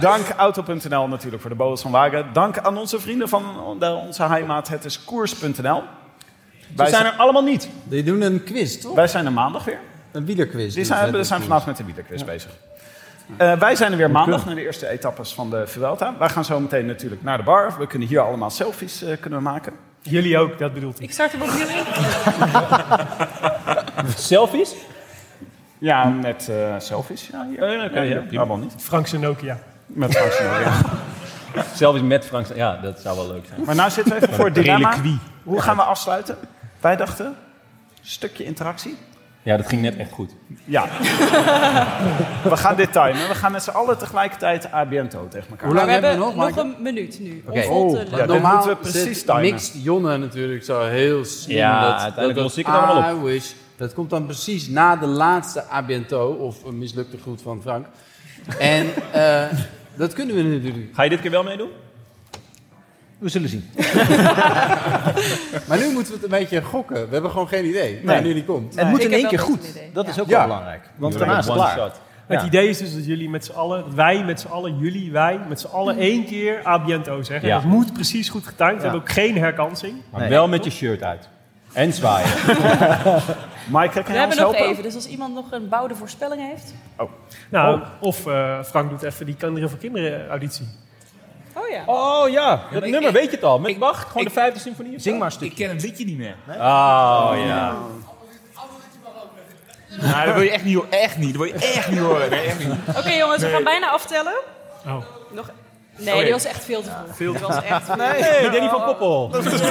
Dank Auto.nl natuurlijk voor de bonus van Wagen. Dank aan onze vrienden van de- onze heimaat, het is koers.nl.
We
Wij,
zijn
zijn
er allemaal niet.
Die doen een quiz, toch?
wij zijn er maandag weer.
Een wielerquiz.
Die
doen
zijn,
ze,
we
hè,
zijn
dat
vandaag met de wielerquiz bezig. Eh, wij zijn er weer maandag naar de eerste etappes van de Vuelta. Wij gaan zo meteen natuurlijk naar de bar. We kunnen hier allemaal selfies eh, kunnen we maken.
Jullie ook, dat bedoelt hij.
Ik start hem opnieuw in.
Selfies?
Ja, met eh, selfies. Ja, hier.
Oh, ja, oké,
Ja,
ja,
hier.
prima.
Waarom niet?
Frank Nokia.
Met Frank Snow, ja.
Selfies met Frank. Ja, dat zou wel leuk zijn.
Maar nou zitten we even voor het dilemma. Hoe gaan we afsluiten? Wij dachten, stukje interactie.
Ja, dat ging net echt goed.
Ja. we gaan dit timen. We gaan met z'n allen tegelijkertijd Abiento tegen elkaar.
Hoe
Maar
lang
we
hebben
hebben
we nog?
nog
Mike?
een minuut nu.
Oké.
Om
Oh,
vol te
ja,
lullen.
dit
normaal
moeten we precies
zit
timen.
mixt Jonne natuurlijk zo heel slim.
Ja,
dat,
uiteindelijk
dat
los ik het allemaal op.
I wish. Dat komt dan precies na de laatste Abiento, of een mislukte groet van Frank. en eh, dat kunnen we natuurlijk.
Ga je dit keer wel meedoen?
We zullen zien.
Maar nu moeten we het een beetje gokken. We hebben gewoon geen idee waar nu die komt.
het moet
ik
in
heb
één keer
wel dat
goed.
idee.
Dat is ook
Ja.
wel belangrijk. Want daarna is het klaar.
Het idee is dus dat jullie met z'n allen, dat wij met z'n allen, jullie, wij met z'n allen één keer Abiento zeggen.
Ja.
Dat moet precies goed getimed. We hebben ook geen herkansing.
Maar wel met je shirt uit.
En zwaaien.
Mike, kan
We hebben nog even, dus als iemand nog een bouwde voorspelling heeft.
Nou, of eh, Frank doet even die kinderen voor kinderen auditie.
Oh ja.
Oh ja,
maar
dat
ik-
nummer
ik-
weet je het al. Met Bach, gewoon de vijfde symfonie. Zing maar een stukje. Ik ken het liedje niet meer. Oh ja.
Nou, dat wil je echt niet, ho- echt niet. Dat wil je echt niet horen. Nee, echt niet.
Oké jongens, we
Nee.
gaan bijna aftellen.
Oh.
Nog... Nee,
Oké.
die was echt veel te vroeg.
Veel
Die
te
was
vroeg.
echt...
Nee, Danny van Poppel. Dat is Dat is wel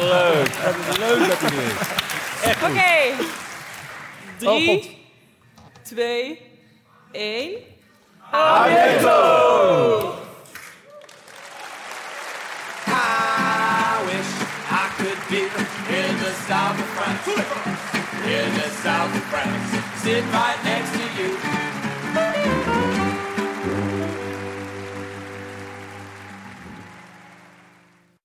leuk. Dat is leuk dat hij doet.
Oké.
Oh,
Drie, twee, één.
Ah,
I wish I could be in the south of France. In the south of France. Sit right next to